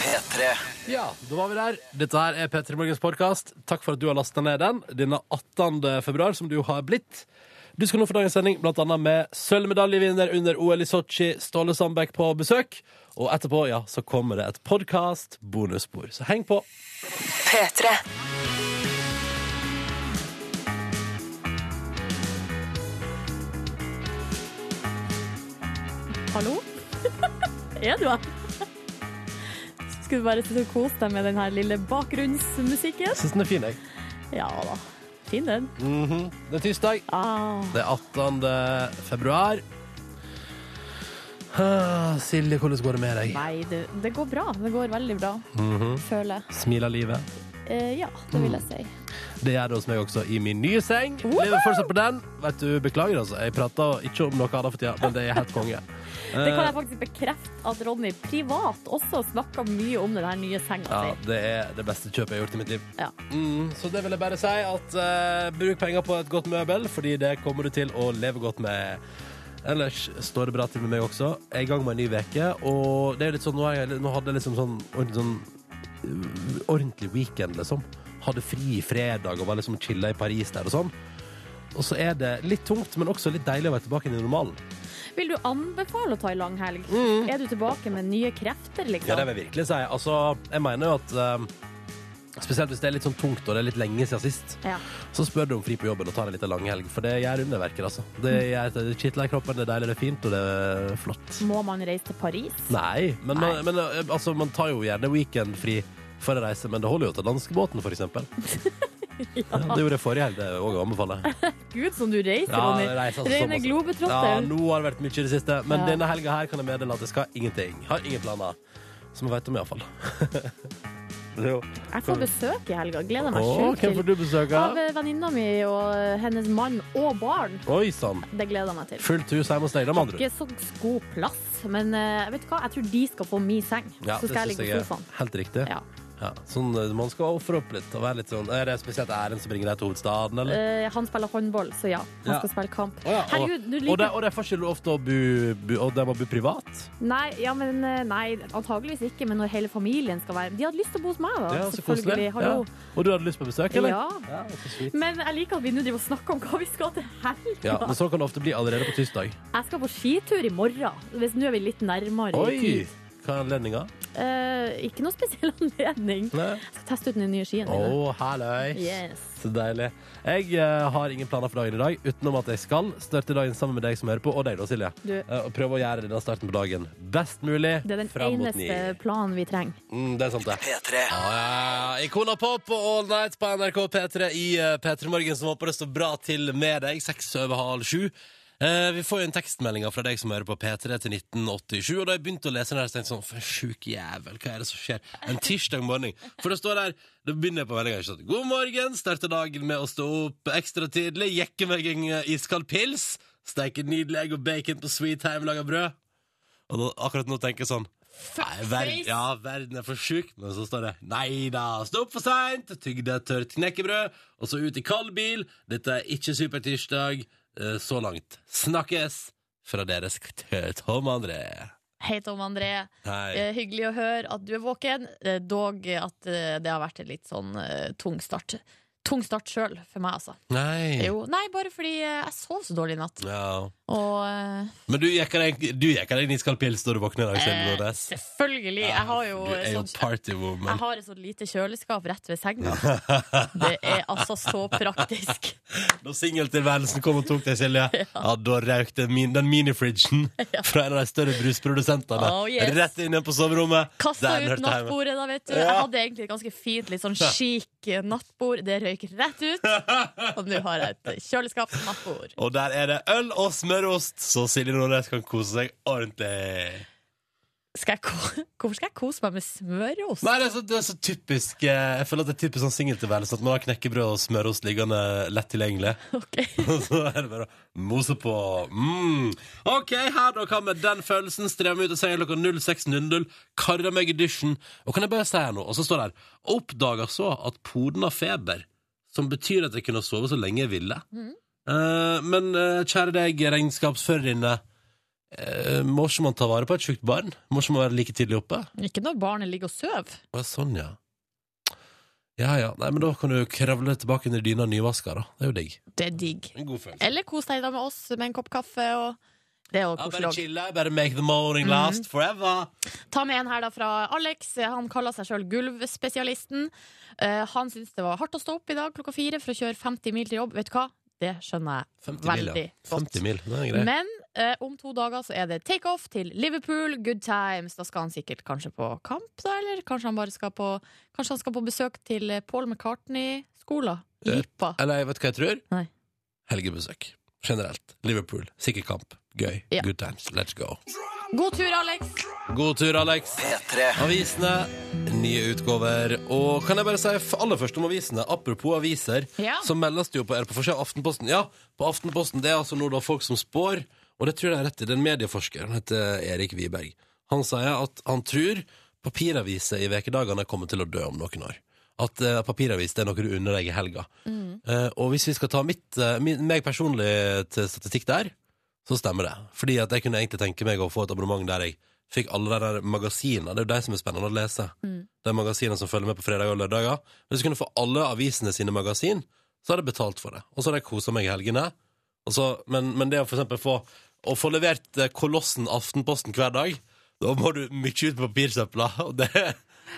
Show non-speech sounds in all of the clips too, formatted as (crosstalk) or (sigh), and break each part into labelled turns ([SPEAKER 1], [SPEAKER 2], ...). [SPEAKER 1] P3.
[SPEAKER 2] Ja, da var vi der. Dette her er P3 Morgens podkast. Takk for at du har lasta ned den. Denne 18. februar, som du jo har blitt. Du skal nå få dagens sending blant annet med sølvmedaljevinner under OL i Sotsji, Ståle Sandbekk, på besøk. Og etterpå ja, så kommer det et podkast-bonusspor. Så heng på.
[SPEAKER 3] P3.
[SPEAKER 4] Hallo? (laughs) er du her? Skulle bare sitte og kose deg med den her lille bakgrunnsmusikken.
[SPEAKER 2] Syns den er fin, jeg.
[SPEAKER 4] Ja da. Fin den.
[SPEAKER 2] Det er tirsdag.
[SPEAKER 4] Ah,
[SPEAKER 2] Det er 18. februar. Ah, Silje, hvordan går det med deg?
[SPEAKER 4] nei, det, det går bra. Det går veldig bra,
[SPEAKER 2] Mhm.
[SPEAKER 4] føler jeg.
[SPEAKER 2] Smiler livet?
[SPEAKER 4] Eh, ja, det vil jeg si.
[SPEAKER 2] Det gjør det hos meg også i min nye seng. Lever fortsatt på den. Vet du, Beklager, altså. Jeg prater ikke om noe annet for tida, men det er helt konge.
[SPEAKER 4] Det kan jeg faktisk bekrefte at Ronny privat også snakka mye om den her nye senga
[SPEAKER 2] Ja,
[SPEAKER 4] si.
[SPEAKER 2] det er det beste kjøpet jeg har gjort i mitt liv.
[SPEAKER 4] Ja.
[SPEAKER 2] Mm, så det vil jeg bare si at eh, bruk penger på et godt møbel, fordi det kommer du til å leve godt med. Ellers står det bra til med meg også. Jeg er i gang med en ny uke, og det er jo litt sånn, nå, har jeg, nå hadde jeg liksom sånn, ordentlig sånn uh, ordentlig weekend, liksom. Hadde fri fredag og var liksom chilla i Paris der og sånn. Og så er det litt tungt, men også litt deilig å være tilbake i normalen.
[SPEAKER 4] Vil du anbefale å ta ei lang helg? Er du tilbake med nye krefter, liksom?
[SPEAKER 2] Mhm. Ja, det vil jeg virkelig si. Altså, jeg mener jo at eh, Spesielt hvis det er litt sånn tungt og det er litt lenge siden sist,
[SPEAKER 4] Ja.
[SPEAKER 2] så spør du om fri på jobben og tar en liten langhelg. For det gjør underverker, altså. Det, gjør, det kitler i kroppen, det er deilig, det er fint, og det er flott.
[SPEAKER 4] Må man reise til Paris?
[SPEAKER 2] Nei, men,
[SPEAKER 4] Nei.
[SPEAKER 2] Man, men eh, altså, man tar jo gjerne weekendfri for å reise, men det holder jo til danskebåten, for
[SPEAKER 4] (laughs)
[SPEAKER 2] eksempel. ja. Det gjorde jeg forrige helg, det er òg å anbefale.
[SPEAKER 4] Gud, som du reiser,
[SPEAKER 2] Ja,
[SPEAKER 4] Ronny.
[SPEAKER 2] jeg reiser altså
[SPEAKER 4] Reine
[SPEAKER 2] såpass. Ja,
[SPEAKER 4] globetrotter.
[SPEAKER 2] nå har det vært mye i det siste, men
[SPEAKER 4] Ja.
[SPEAKER 2] denne helga her kan jeg meddele at jeg skal ingenting. Har ingen planer. Som jeg veit om, (laughs) iallfall.
[SPEAKER 4] jeg får besøk i helga. Gleder meg
[SPEAKER 2] Å,
[SPEAKER 4] sjukt
[SPEAKER 2] hvem
[SPEAKER 4] til.
[SPEAKER 2] får du besøk
[SPEAKER 4] Av
[SPEAKER 2] av?
[SPEAKER 4] eh, venninna mi og eh, hennes mann og barn.
[SPEAKER 2] Oi sann.
[SPEAKER 4] Det gleder jeg meg til.
[SPEAKER 2] Fullt hus hjemme hos deg, da, med andre ord.
[SPEAKER 4] Ikke så god plass, men eh, vet du hva? jeg tror de skal få min seng.
[SPEAKER 2] Ja,
[SPEAKER 4] så
[SPEAKER 2] det
[SPEAKER 4] skal jeg
[SPEAKER 2] synes
[SPEAKER 4] ligge på sofaen.
[SPEAKER 2] er Helt riktig.
[SPEAKER 4] Ja.
[SPEAKER 2] Ja, Sånn, eh, man skal ofre opp litt. Og være litt sånn, er det spesielt æren som bringer deg til hovedstaden, eller?
[SPEAKER 4] Eh, han spiller håndball, så ja. Han
[SPEAKER 2] Ja.
[SPEAKER 4] skal spille kamp.
[SPEAKER 2] Å ja, og-
[SPEAKER 4] Eh, Herregud, du
[SPEAKER 2] og, de,
[SPEAKER 4] liker
[SPEAKER 2] og de får ikke lov til å bo, bo, og de må bo privat?
[SPEAKER 4] Nei, ja, men, eh, nei, antageligvis ikke, men når hele familien skal være De hadde lyst til å bo hos meg, da.
[SPEAKER 2] Det er så koselig.
[SPEAKER 4] selvfølgelig. Hallo.
[SPEAKER 2] Ja. Og du hadde lyst på besøk, eller?
[SPEAKER 4] Ja.
[SPEAKER 2] Ja, så sweet.
[SPEAKER 4] Men jeg liker at vi nå driver og snakker om hva vi skal til helga.
[SPEAKER 2] ja, men sånn kan det ofte bli allerede på tirsdag.
[SPEAKER 4] Jeg skal på skitur i morgen. Hvis nå er vi litt nærmere i
[SPEAKER 2] Oi!
[SPEAKER 4] tid.
[SPEAKER 2] Hva er anledninga?
[SPEAKER 4] Eh, ikke noe spesiell (laughs) anledning.
[SPEAKER 2] Å,
[SPEAKER 4] Jeg skal teste ut den nye skien.
[SPEAKER 2] oh,
[SPEAKER 4] mine.
[SPEAKER 2] halløys.
[SPEAKER 4] Yes.
[SPEAKER 2] Så deilig. Jeg eh, har ingen planer for dagen i dag, utenom at jeg skal starte dagen sammen med deg som hører på, og deg da, Silje.
[SPEAKER 4] Du.
[SPEAKER 2] Eh, og prøve å gjøre denne starten på dagen best mulig
[SPEAKER 4] Det er den
[SPEAKER 2] fram mot ni.
[SPEAKER 4] eneste planen vi trenger.
[SPEAKER 2] Mm, det er sant, det.
[SPEAKER 1] P3.
[SPEAKER 2] Ja, ja, ja. Ikona Pop og All Night på NRK P3 i eh, P3 Morgen, som håper det står bra til med deg. Seks over halv sju. Eh, vi får jo en tekstmelding fra deg som hører på P3 til 1987. Og da jeg begynte å lese den, her, så tenkte jeg sånn For en sjuk jævel, hva er det som skjer? En tirsdag morgen. For det står der Da begynner jeg på meldinga. Sånn, God morgen, starter dagen med å stå opp ekstra tidlig. Jekke meg en eh, iskald pils. Steike nydelig egg og bacon på sweet hjemmelaga brød. Og da, akkurat nå tenker jeg sånn Nei, verden, ja, verden er for sjuk, men så står det Nei da, stå opp for seint, tygg deg et tørt knekkebrød, og så ut i kald bil. Dette er ikke supertirsdag. Eh, Så langt. Snakkes fra deres t- Tom André.
[SPEAKER 5] Hei, Tom André.
[SPEAKER 2] Hei.
[SPEAKER 5] Eh, hyggelig å høre at du er våken, eh, dog at eh, det har vært en litt sånn eh, tung start. Tung start sjøl, for meg, altså.
[SPEAKER 2] Nei.
[SPEAKER 5] Jo, nei, bare fordi eh, jeg sov så dårlig i natt.
[SPEAKER 2] Ja.
[SPEAKER 5] Og eh,
[SPEAKER 2] Men du gikk deg du gikk deg en iskald pils da du våkner i dag, Kjell
[SPEAKER 5] eh,
[SPEAKER 2] Nordnes.
[SPEAKER 5] selvfølgelig. Jeg har jo
[SPEAKER 2] Du er jo
[SPEAKER 5] sånn- jeg
[SPEAKER 2] partywoman.
[SPEAKER 5] har et sånt lite kjøleskap rett ved senga.
[SPEAKER 2] (laughs)
[SPEAKER 5] Det er altså så praktisk.
[SPEAKER 2] Da singeltilværelsen kom og tok deg,
[SPEAKER 5] (laughs)
[SPEAKER 2] Silje, ja, da røyk den min, den minifridgen fra en av de større brusprodusentene
[SPEAKER 5] Oh, yes.
[SPEAKER 2] rett inn igjen på soverommet.
[SPEAKER 5] Kasta
[SPEAKER 2] Der den
[SPEAKER 5] ut
[SPEAKER 2] hørte hjemme.
[SPEAKER 5] nattbordet, da, vet du. Jeg
[SPEAKER 2] Ja.
[SPEAKER 5] hadde egentlig et ganske fint, litt sånn chic eh, nattbord. Det røyk rett ut. Og nå har jeg et kjøleskapsnattbord.
[SPEAKER 2] Og der er det øl og smørost, så Silje Nordnes kan kose seg ordentlig.
[SPEAKER 5] Skal jeg ko Hvorfor skal jeg kose meg med smørost?
[SPEAKER 2] Nei, det er så, det er så typisk eh, Jeg føler at det er typisk sånn singeltilværelse at man har knekkebrød og smørost liggende lett tilgjengelig.
[SPEAKER 5] (laughs) Ok.
[SPEAKER 2] (laughs) Og så er det bare å mose på. Mm. OK, her da kan med den følelsen strømme ut og senga klokka 06.00. Karre meg i dusjen. Og kan jeg bare si her nå, og så står det her Oppdaga så at poden har feber, som betyr at jeg kunne sove så lenge jeg ville. Eh, men eh, kjære deg, regnskapsførerinne, eh, må ikke man ta vare på et sjukt barn? Må ikke man være like tidlig oppe?
[SPEAKER 5] Ikke når barnet ligger og sover.
[SPEAKER 2] Å, ja, sånn, ja. Ja ja. Nei, men da kan du kravle tilbake under dyna nyvaska, da. Det er jo digg.
[SPEAKER 5] Det er digg.
[SPEAKER 2] En god følelse.
[SPEAKER 5] Eller kos deg da med oss med en kopp kaffe. Og det er jo
[SPEAKER 2] Ja,
[SPEAKER 5] koselig
[SPEAKER 2] bare
[SPEAKER 5] også.
[SPEAKER 2] chille. Bare make the morning last forever.
[SPEAKER 5] Ta med en her da fra Alex. Han kaller seg sjøl Gulvspesialisten. Eh, han syns det var hardt å stå opp i dag klokka fire for å kjøre 50 mil til jobb. Vet du hva? Det skjønner jeg
[SPEAKER 2] 50 mil, ja.
[SPEAKER 5] Veldig godt.
[SPEAKER 2] 50 mil, det er greit.
[SPEAKER 5] Men eh, om to dager så er det takeoff til Liverpool, good times. Da skal han sikkert kanskje på kamp, da, eller kanskje han bare skal på Kanskje han skal på besøk til eh, Paul McCartney-skolen i
[SPEAKER 2] Eh,
[SPEAKER 5] Jippa.
[SPEAKER 2] Eller jeg vet hva jeg tror?
[SPEAKER 5] Nei.
[SPEAKER 2] Helgebesøk. Generelt. Liverpool. Sikker kamp. Gøy.
[SPEAKER 5] Ja.
[SPEAKER 2] Good times. Let's go.
[SPEAKER 5] God tur, Alex!
[SPEAKER 2] God tur, Alex. Avisene. Nye utgaver. Og kan jeg bare si f- aller først om avisene? Apropos aviser,
[SPEAKER 5] Ja.
[SPEAKER 2] så meldes det jo på, er det på forsida av Aftenposten. Ja, på Aftenposten. Det er altså nå da folk som spår, og det tror jeg det er rett i. Det er en medieforsker. Han heter Erik Wiberg. Han sier at han tror papiraviser i ukedagene kommer til å dø om noen år. At eh, papiravis det er noe du unner deg i helga. Eh, og hvis vi skal ta mitt, eh, min, meg personlig til statistikk der, så stemmer det. Fordi at jeg kunne egentlig tenke meg å få et abonnement der jeg fikk alle de der magasinene. Det er jo de som er spennende å lese.
[SPEAKER 5] Mm.
[SPEAKER 2] De magasinene som følger med på fredager og lørdager. Hvis jeg kunne få alle avisene sine magasin, så hadde jeg betalt for det. Og så hadde jeg kosa meg i helgene. Og så, men, men det å for eksempel få, å få levert eh, Kolossen Aftenposten hver dag, da må du mye ut på papirsøpla. (laughs) Og det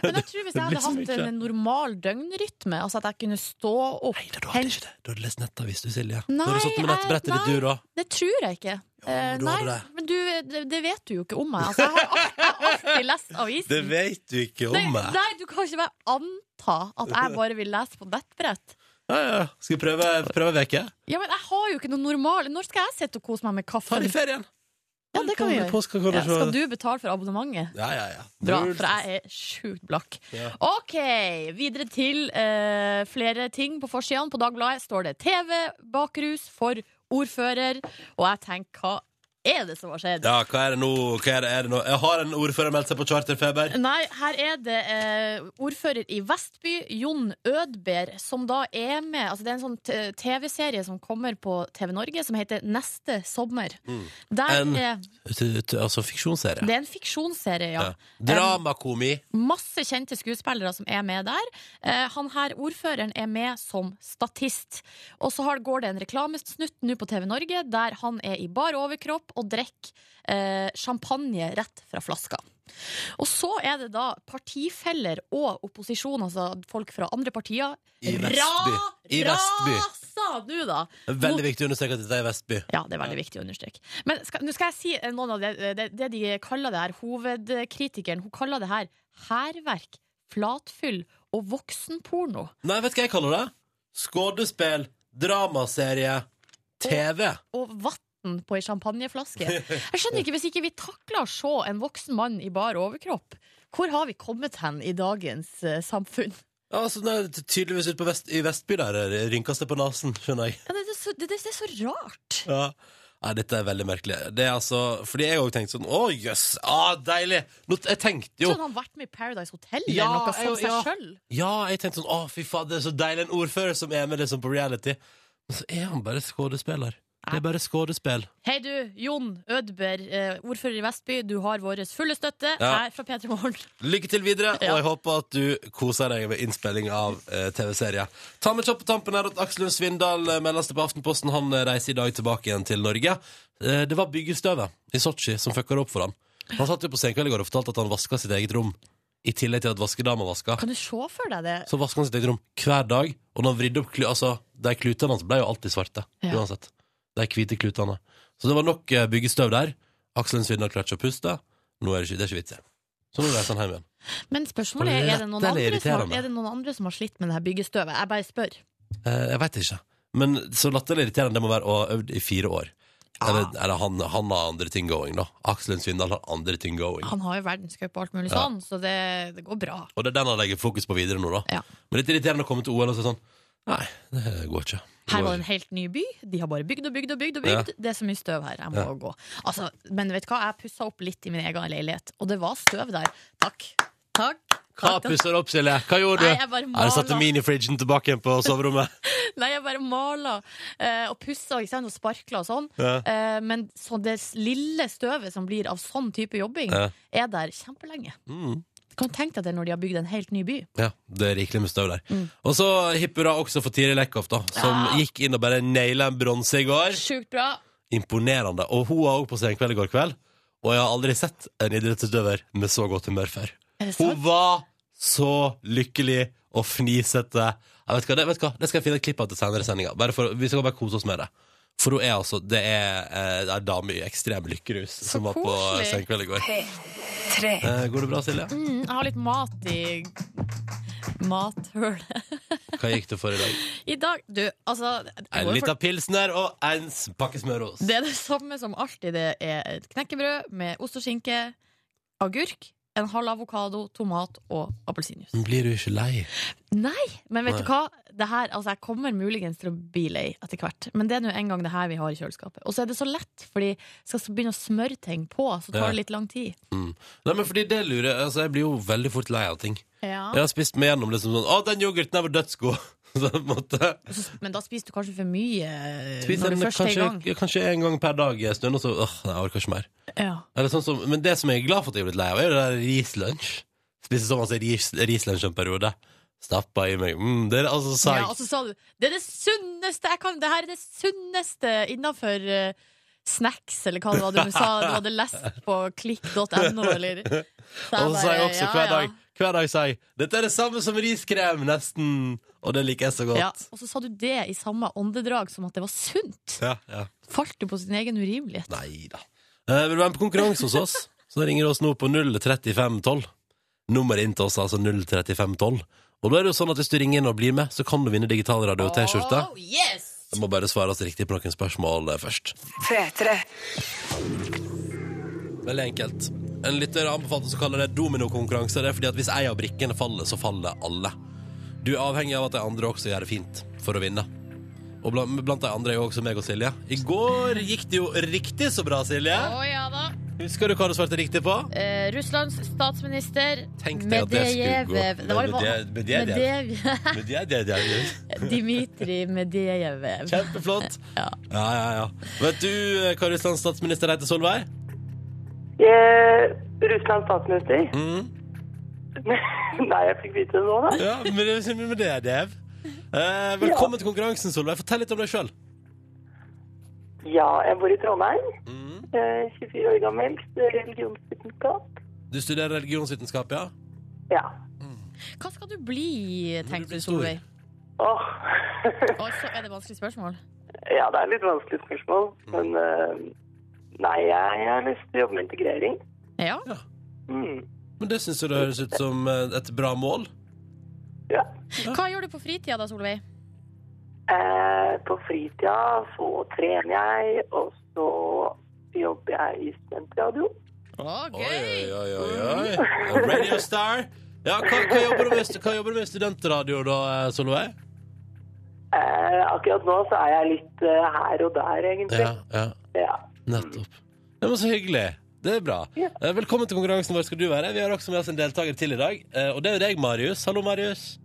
[SPEAKER 5] Men jeg tror Hvis
[SPEAKER 2] Det
[SPEAKER 5] jeg
[SPEAKER 2] blir
[SPEAKER 5] hadde
[SPEAKER 2] så
[SPEAKER 5] hatt
[SPEAKER 2] mye.
[SPEAKER 5] en normal døgnrytme, altså at jeg kunne stå opp
[SPEAKER 2] Nei, da, du hadde ikke det. Du hadde lest nettavis, du, Silje.
[SPEAKER 5] Nei,
[SPEAKER 2] da hadde du satt med
[SPEAKER 5] jeg-
[SPEAKER 2] nettbrettet ditt, du, da.
[SPEAKER 5] Det tror jeg ikke. Eh,
[SPEAKER 2] du
[SPEAKER 5] nei,
[SPEAKER 2] hadde det.
[SPEAKER 5] men du, det, det vet du jo ikke om meg. Altså, jeg har al- jeg har alltid lest avisen.
[SPEAKER 2] Det vet du ikke om
[SPEAKER 5] Nei,
[SPEAKER 2] eh. meg.
[SPEAKER 5] nei, du kan ikke bare anta at jeg bare vil lese på nettbrett.
[SPEAKER 2] Ja, ja. Skal vi prøve, prøve en uke?
[SPEAKER 5] Ja, men jeg har jo ikke noe normal Når skal jeg sitte og kose meg med kaffe?
[SPEAKER 2] Ta det i ferien!
[SPEAKER 5] Ja, det kan vi gjøre.
[SPEAKER 2] Påske, kan
[SPEAKER 5] Ja,
[SPEAKER 2] se-
[SPEAKER 5] skal du betale for abonnementet?
[SPEAKER 2] Ja, ja, ja.
[SPEAKER 5] Bra,
[SPEAKER 2] Null
[SPEAKER 5] for
[SPEAKER 2] stress.
[SPEAKER 5] jeg er sjukt blakk.
[SPEAKER 2] Ja.
[SPEAKER 5] OK, videre til eh, flere ting på forsidene. På Dagbladet står det TV bakrus for ordfører, og jeg tenker hva er det som har skjedd?
[SPEAKER 2] Ja, hva er det nå? Hva er det, er det nå? Jeg har en ordfører meldt seg på charterfeber.
[SPEAKER 5] Nei, her er det eh, ordfører i Vestby, Jon Ødber, som da er med altså Det er en sånn t- TV-serie som kommer på TV Norge, som heter Neste sommer. Der
[SPEAKER 2] Mm. En-
[SPEAKER 5] er,
[SPEAKER 2] T- t- Altså fiksjonsserie.
[SPEAKER 5] det er en fiksjonsserie, ja.
[SPEAKER 2] Ja. Dramakomi.
[SPEAKER 5] Masse kjente skuespillere som er med der. Eh, han her, ordføreren, er med som statist. Og så har, går det en reklamesnutt nå på TV Norge der han er i bar overkropp og drikker eh, champagne rett fra flaska. Og så er det da partifeller og opposisjon, altså folk fra andre partier,
[SPEAKER 2] I Vestby. I Vestby.
[SPEAKER 5] rasa nå, da!
[SPEAKER 2] Veldig viktig å understreke at dette er Vestby.
[SPEAKER 5] Ja, det er veldig viktig å understreke. Men skal, nå skal jeg si eh, noen av det, det, det de kaller det her, hovedkritikeren, hun kaller det her hærverk, flatfyll og voksenporno.
[SPEAKER 2] Nei, vet du hva jeg kaller det? Skuespill, dramaserie, TV.
[SPEAKER 5] Og vann på ei (laughs) champagneflaske. Jeg skjønner ikke hvis ikke vi takler å se en voksen mann i bar overkropp. Hvor har vi kommet hen i dagens eh, samfunn?
[SPEAKER 2] Ja, altså, det er tydeligvis ute på vest, i Vestby der eh, rynkes det på nesen, skjønner jeg.
[SPEAKER 5] Ja, det, det, er så, det, det er så rart.
[SPEAKER 2] Ja. Nei, dette er veldig merkelig. Det er altså, fordi jeg har jo tenkt sånn Å, jøss! ah, deilig! Nå, jeg tenkte jo
[SPEAKER 5] Kunne han vært med i Paradise Hotel
[SPEAKER 2] Ja,
[SPEAKER 5] eller noe som
[SPEAKER 2] jeg-
[SPEAKER 5] seg
[SPEAKER 2] ja.
[SPEAKER 5] sjøl?
[SPEAKER 2] Ja, jeg tenkte sånn, å fy faen, det er så deilig en ordfører som er med liksom på reality Men så er han bare skådespiller Det er bare skådespill
[SPEAKER 5] Hei du, Jon Ødber, eh, ordfører i Vestby. Du har vår fulle støtte
[SPEAKER 2] Ja.
[SPEAKER 5] her fra P3 Morgen.
[SPEAKER 2] Lykke til videre,
[SPEAKER 5] Ja.
[SPEAKER 2] og jeg håper at du koser deg med innspilling av eh, TV-serien Ta med kjapp på tampen her at Aksel Lund Svindal eh, meldes det på Aftenposten Han eh, reiser i dag tilbake igjen til Norge eh, Det var byggestøvet i Sochi som fucker opp for han Han satt jo på senkveld i går og fortalte at han vasket sitt eget rom I tillegg til at vaskedama vasket
[SPEAKER 5] Kan du se for deg det?
[SPEAKER 2] Så vasket han sitt eget rom hver dag, og når han vridde opp klu, altså, de klutene hans ble jo alltid svarte.
[SPEAKER 5] Ja.
[SPEAKER 2] Uansett. De hvite klutene. Så det var nok eh, byggestøv der. Aksel Lund Svindal klarte ikke å puste. Nå er det ikke, det er ikke vits i. Så nå reiser han hjem igjen.
[SPEAKER 5] Men spørsmålet er, er det,
[SPEAKER 2] Dette
[SPEAKER 5] noen
[SPEAKER 2] er
[SPEAKER 5] andre som har,
[SPEAKER 2] irriterende.
[SPEAKER 5] er det noen andre som har slitt med det her byggestøvet? Jeg bare spør.
[SPEAKER 2] Eh, jeg veit ikke. Men så latterlig irriterende det må være å ha øvd i fire år. Eller, eller han, han har andre ting going, da. Aksel Lund Svindal har andre ting going.
[SPEAKER 5] Han har jo verdenscup og alt mulig
[SPEAKER 2] Ja.
[SPEAKER 5] sånn, så det, det går bra.
[SPEAKER 2] Og det er den han legger fokus på videre nå, da.
[SPEAKER 5] Ja.
[SPEAKER 2] Men litt irriterende å komme til OL og si sånn Nei, det går ikke. Det
[SPEAKER 5] Her
[SPEAKER 2] går
[SPEAKER 5] var det
[SPEAKER 2] ikke.
[SPEAKER 5] en helt ny by. De har bare bygd og bygd og bygd. og bygd Det er så mye støv her. Jeg må gå. Altså, men vet du hva, jeg pussa opp litt i min egen leilighet, og det var støv der. Takk. Takk.
[SPEAKER 2] Hva pusser du opp, Silje? Hva gjorde du?
[SPEAKER 5] Nei, jeg bare
[SPEAKER 2] Ja, du satte
[SPEAKER 5] maler.
[SPEAKER 2] minifridgen tilbake igjen på soverommet.
[SPEAKER 5] Nei, jeg bare maler eh, og pusser ikke sant, og sparkler og sånn.
[SPEAKER 2] Ja.
[SPEAKER 5] Eh, men så det lille støvet som blir av sånn type jobbing,
[SPEAKER 2] Ja.
[SPEAKER 5] er der kjempelenge.
[SPEAKER 2] Mm.
[SPEAKER 5] Du kan tenke deg det når de har bygd en helt ny by.
[SPEAKER 2] (laughs) Ja, det er rikelig med støv der.
[SPEAKER 5] Mm.
[SPEAKER 2] Og så hipp hurra også for Tiril Eckhoff, da, som
[SPEAKER 5] Ja.
[SPEAKER 2] gikk inn og bare naila en bronse i går.
[SPEAKER 5] Sjukt bra.
[SPEAKER 2] Imponerende. Og hun var òg på Senkveld i går kveld, og jeg har aldri sett en idrettsutøver med så godt humør før.
[SPEAKER 5] Er det
[SPEAKER 2] Hun
[SPEAKER 5] sant?
[SPEAKER 2] var så lykkelig og fnisete. Jeg vet, hva, det, vet hva, det skal jeg finne et klipp av til senere sendinger. Bare for, vi skal bare kose oss med det. For hun er altså Det er eh, ei dame i ekstrem lykkerus som var på
[SPEAKER 5] koselig.
[SPEAKER 2] Senkveld i går. Eh, går det bra, Silje?
[SPEAKER 5] Mm, jeg har litt mat i mathølet.
[SPEAKER 2] Hva gikk det for i dag?
[SPEAKER 5] I dag Du, altså jeg
[SPEAKER 2] En
[SPEAKER 5] går for-
[SPEAKER 2] liten pilsner og en s- pakke smøros.
[SPEAKER 5] Det er det samme som alltid. Det er et knekkebrød med ost og skinke, agurk, en halv avokado, tomat og appelsinjuice.
[SPEAKER 2] Blir du ikke lei?
[SPEAKER 5] Nei, men vet
[SPEAKER 2] Nei.
[SPEAKER 5] du hva? Det her, altså jeg kommer muligens til å bli lei etter hvert. Men det er nå en gang det her vi har i kjøleskapet. Og så er det så lett, fordi skal så begynne å smøre ting på, så
[SPEAKER 2] Ja.
[SPEAKER 5] tar det litt lang tid.
[SPEAKER 2] Mm. Nei, men fordi det lurer jeg- altså, Jeg blir jo veldig fort lei av ting.
[SPEAKER 5] Ja.
[SPEAKER 2] Jeg har spist meg gjennom det som sånn Å, den yoghurten der var dødsgod! (laughs) Så på en måte
[SPEAKER 5] Og så- Men da spiser du kanskje for mye eh,
[SPEAKER 2] Spiser
[SPEAKER 5] når
[SPEAKER 2] den
[SPEAKER 5] du først er i gang.
[SPEAKER 2] kanskje, ja, kanskje en gang per dag en stund, og så åh, nei, jeg orker ikke mer.
[SPEAKER 5] Ja.
[SPEAKER 2] Eller sånn som, men det som jeg er glad for at jeg er blitt lei av, er jo det der rislunsj. Spiser så masse ris, rislunsj en periode. Stappa i meg mm, Det er altså seigt.
[SPEAKER 5] ja, og så sa du Det er det sunneste jeg kan Det her er det sunneste innenfor eh, snacks, eller hva det
[SPEAKER 2] (laughs)
[SPEAKER 5] var du sa du hadde lest på klikk.no, eller så jeg
[SPEAKER 2] Og så
[SPEAKER 5] bare,
[SPEAKER 2] sier jeg også
[SPEAKER 5] ja,
[SPEAKER 2] hver
[SPEAKER 5] ja.
[SPEAKER 2] dag Hver dag sier jeg Dette er det samme som riskrem, nesten. Og det liker jeg så
[SPEAKER 5] Ja,
[SPEAKER 2] godt.
[SPEAKER 5] og så sa du det i samme åndedrag som at det var sunt.
[SPEAKER 2] Ja, ja.
[SPEAKER 5] Falt du på sin egen urimelighet?
[SPEAKER 2] Nei da. Eh, vil du være med på konkurranse hos oss,
[SPEAKER 5] (laughs)
[SPEAKER 2] så ringer du oss nå på 03512. Nummeret inn til oss er altså 03512. Og da er det jo sånn at hvis du ringer inn og blir med, så kan du vinne digital radio og T-skjorte.
[SPEAKER 5] Oh, yes!
[SPEAKER 2] Det må bare svares riktig på noen spørsmål eh, først. Veldig enkelt. En lytter anbefalte oss å kalle det dominokonkurranse. Det er fordi at hvis ei av brikkene faller, så faller alle. Du er avhengig av at de andre også gjør det fint for å vinne. Og blant, blant de andre er jo også meg og Silje. I går gikk det jo riktig så bra, Silje.
[SPEAKER 5] Å ja da.
[SPEAKER 2] Husker du hva du svarte riktig på?
[SPEAKER 5] Eh, Russlands statsminister
[SPEAKER 2] Tenk deg at det skulle gå.
[SPEAKER 5] Medvedev. Det var-
[SPEAKER 2] Medvedev- Medvedev.
[SPEAKER 5] Medvedev.
[SPEAKER 2] Medvedev. (laughs)
[SPEAKER 5] Dimitri Medvedev.
[SPEAKER 2] Kjempeflott.
[SPEAKER 5] Ja.
[SPEAKER 2] Ja, ja, ja. Vet du eh, hva Russlands statsminister heter, Solveig?
[SPEAKER 1] Eh, Russlands statsminister? (laughs)
[SPEAKER 2] Mm.
[SPEAKER 1] Nei, jeg fikk vite det nå, da.
[SPEAKER 2] Ja, men det er med det, Dev. Eh, velkommen til konkurransen, Solveig. Fortell litt om deg sjøl.
[SPEAKER 1] Ja, jeg bor i Trondheim. Eh, 24 år gammel. studerer Religionsvitenskap.
[SPEAKER 2] Du studerer religionsvitenskap, ja?
[SPEAKER 1] Ja.
[SPEAKER 5] Hva skal du bli,
[SPEAKER 2] du bli
[SPEAKER 5] tenkte du,
[SPEAKER 2] stor?
[SPEAKER 5] Solveig?
[SPEAKER 1] Åh. (laughs)
[SPEAKER 5] Å, så er det vanskelig spørsmål.
[SPEAKER 1] ja, det er litt vanskelig spørsmål, men eh, Nei, jeg, jeg har lyst til å jobbe med integrering.
[SPEAKER 5] Ja.
[SPEAKER 1] Mm.
[SPEAKER 2] Men det syns du det høres ut som eh, et bra mål?
[SPEAKER 1] Ja.
[SPEAKER 5] Hva gjør du på fritida da, Solveig?
[SPEAKER 1] Eh, på fritida så trener jeg, og så jobber jeg i studentradio.
[SPEAKER 5] Å,
[SPEAKER 2] Oi,
[SPEAKER 5] gøy!
[SPEAKER 2] oi, oi, oi. Mm. Radio Star. Ja, hva, hva, jobber du med, hva jobber du med i studentradio da, eh, Solveig?
[SPEAKER 1] Eh, akkurat nå så er jeg litt eh, her og der, egentlig.
[SPEAKER 2] Ja, ja,
[SPEAKER 1] Ja.
[SPEAKER 2] nettopp. Det var så hyggelig. Det er bra.
[SPEAKER 1] Ja.
[SPEAKER 2] Eh, Velkommen til konkurransen vår skal du være. Vi har også med oss en deltaker til i dag, eh, og det er jo deg, Marius. Hallo, Marius.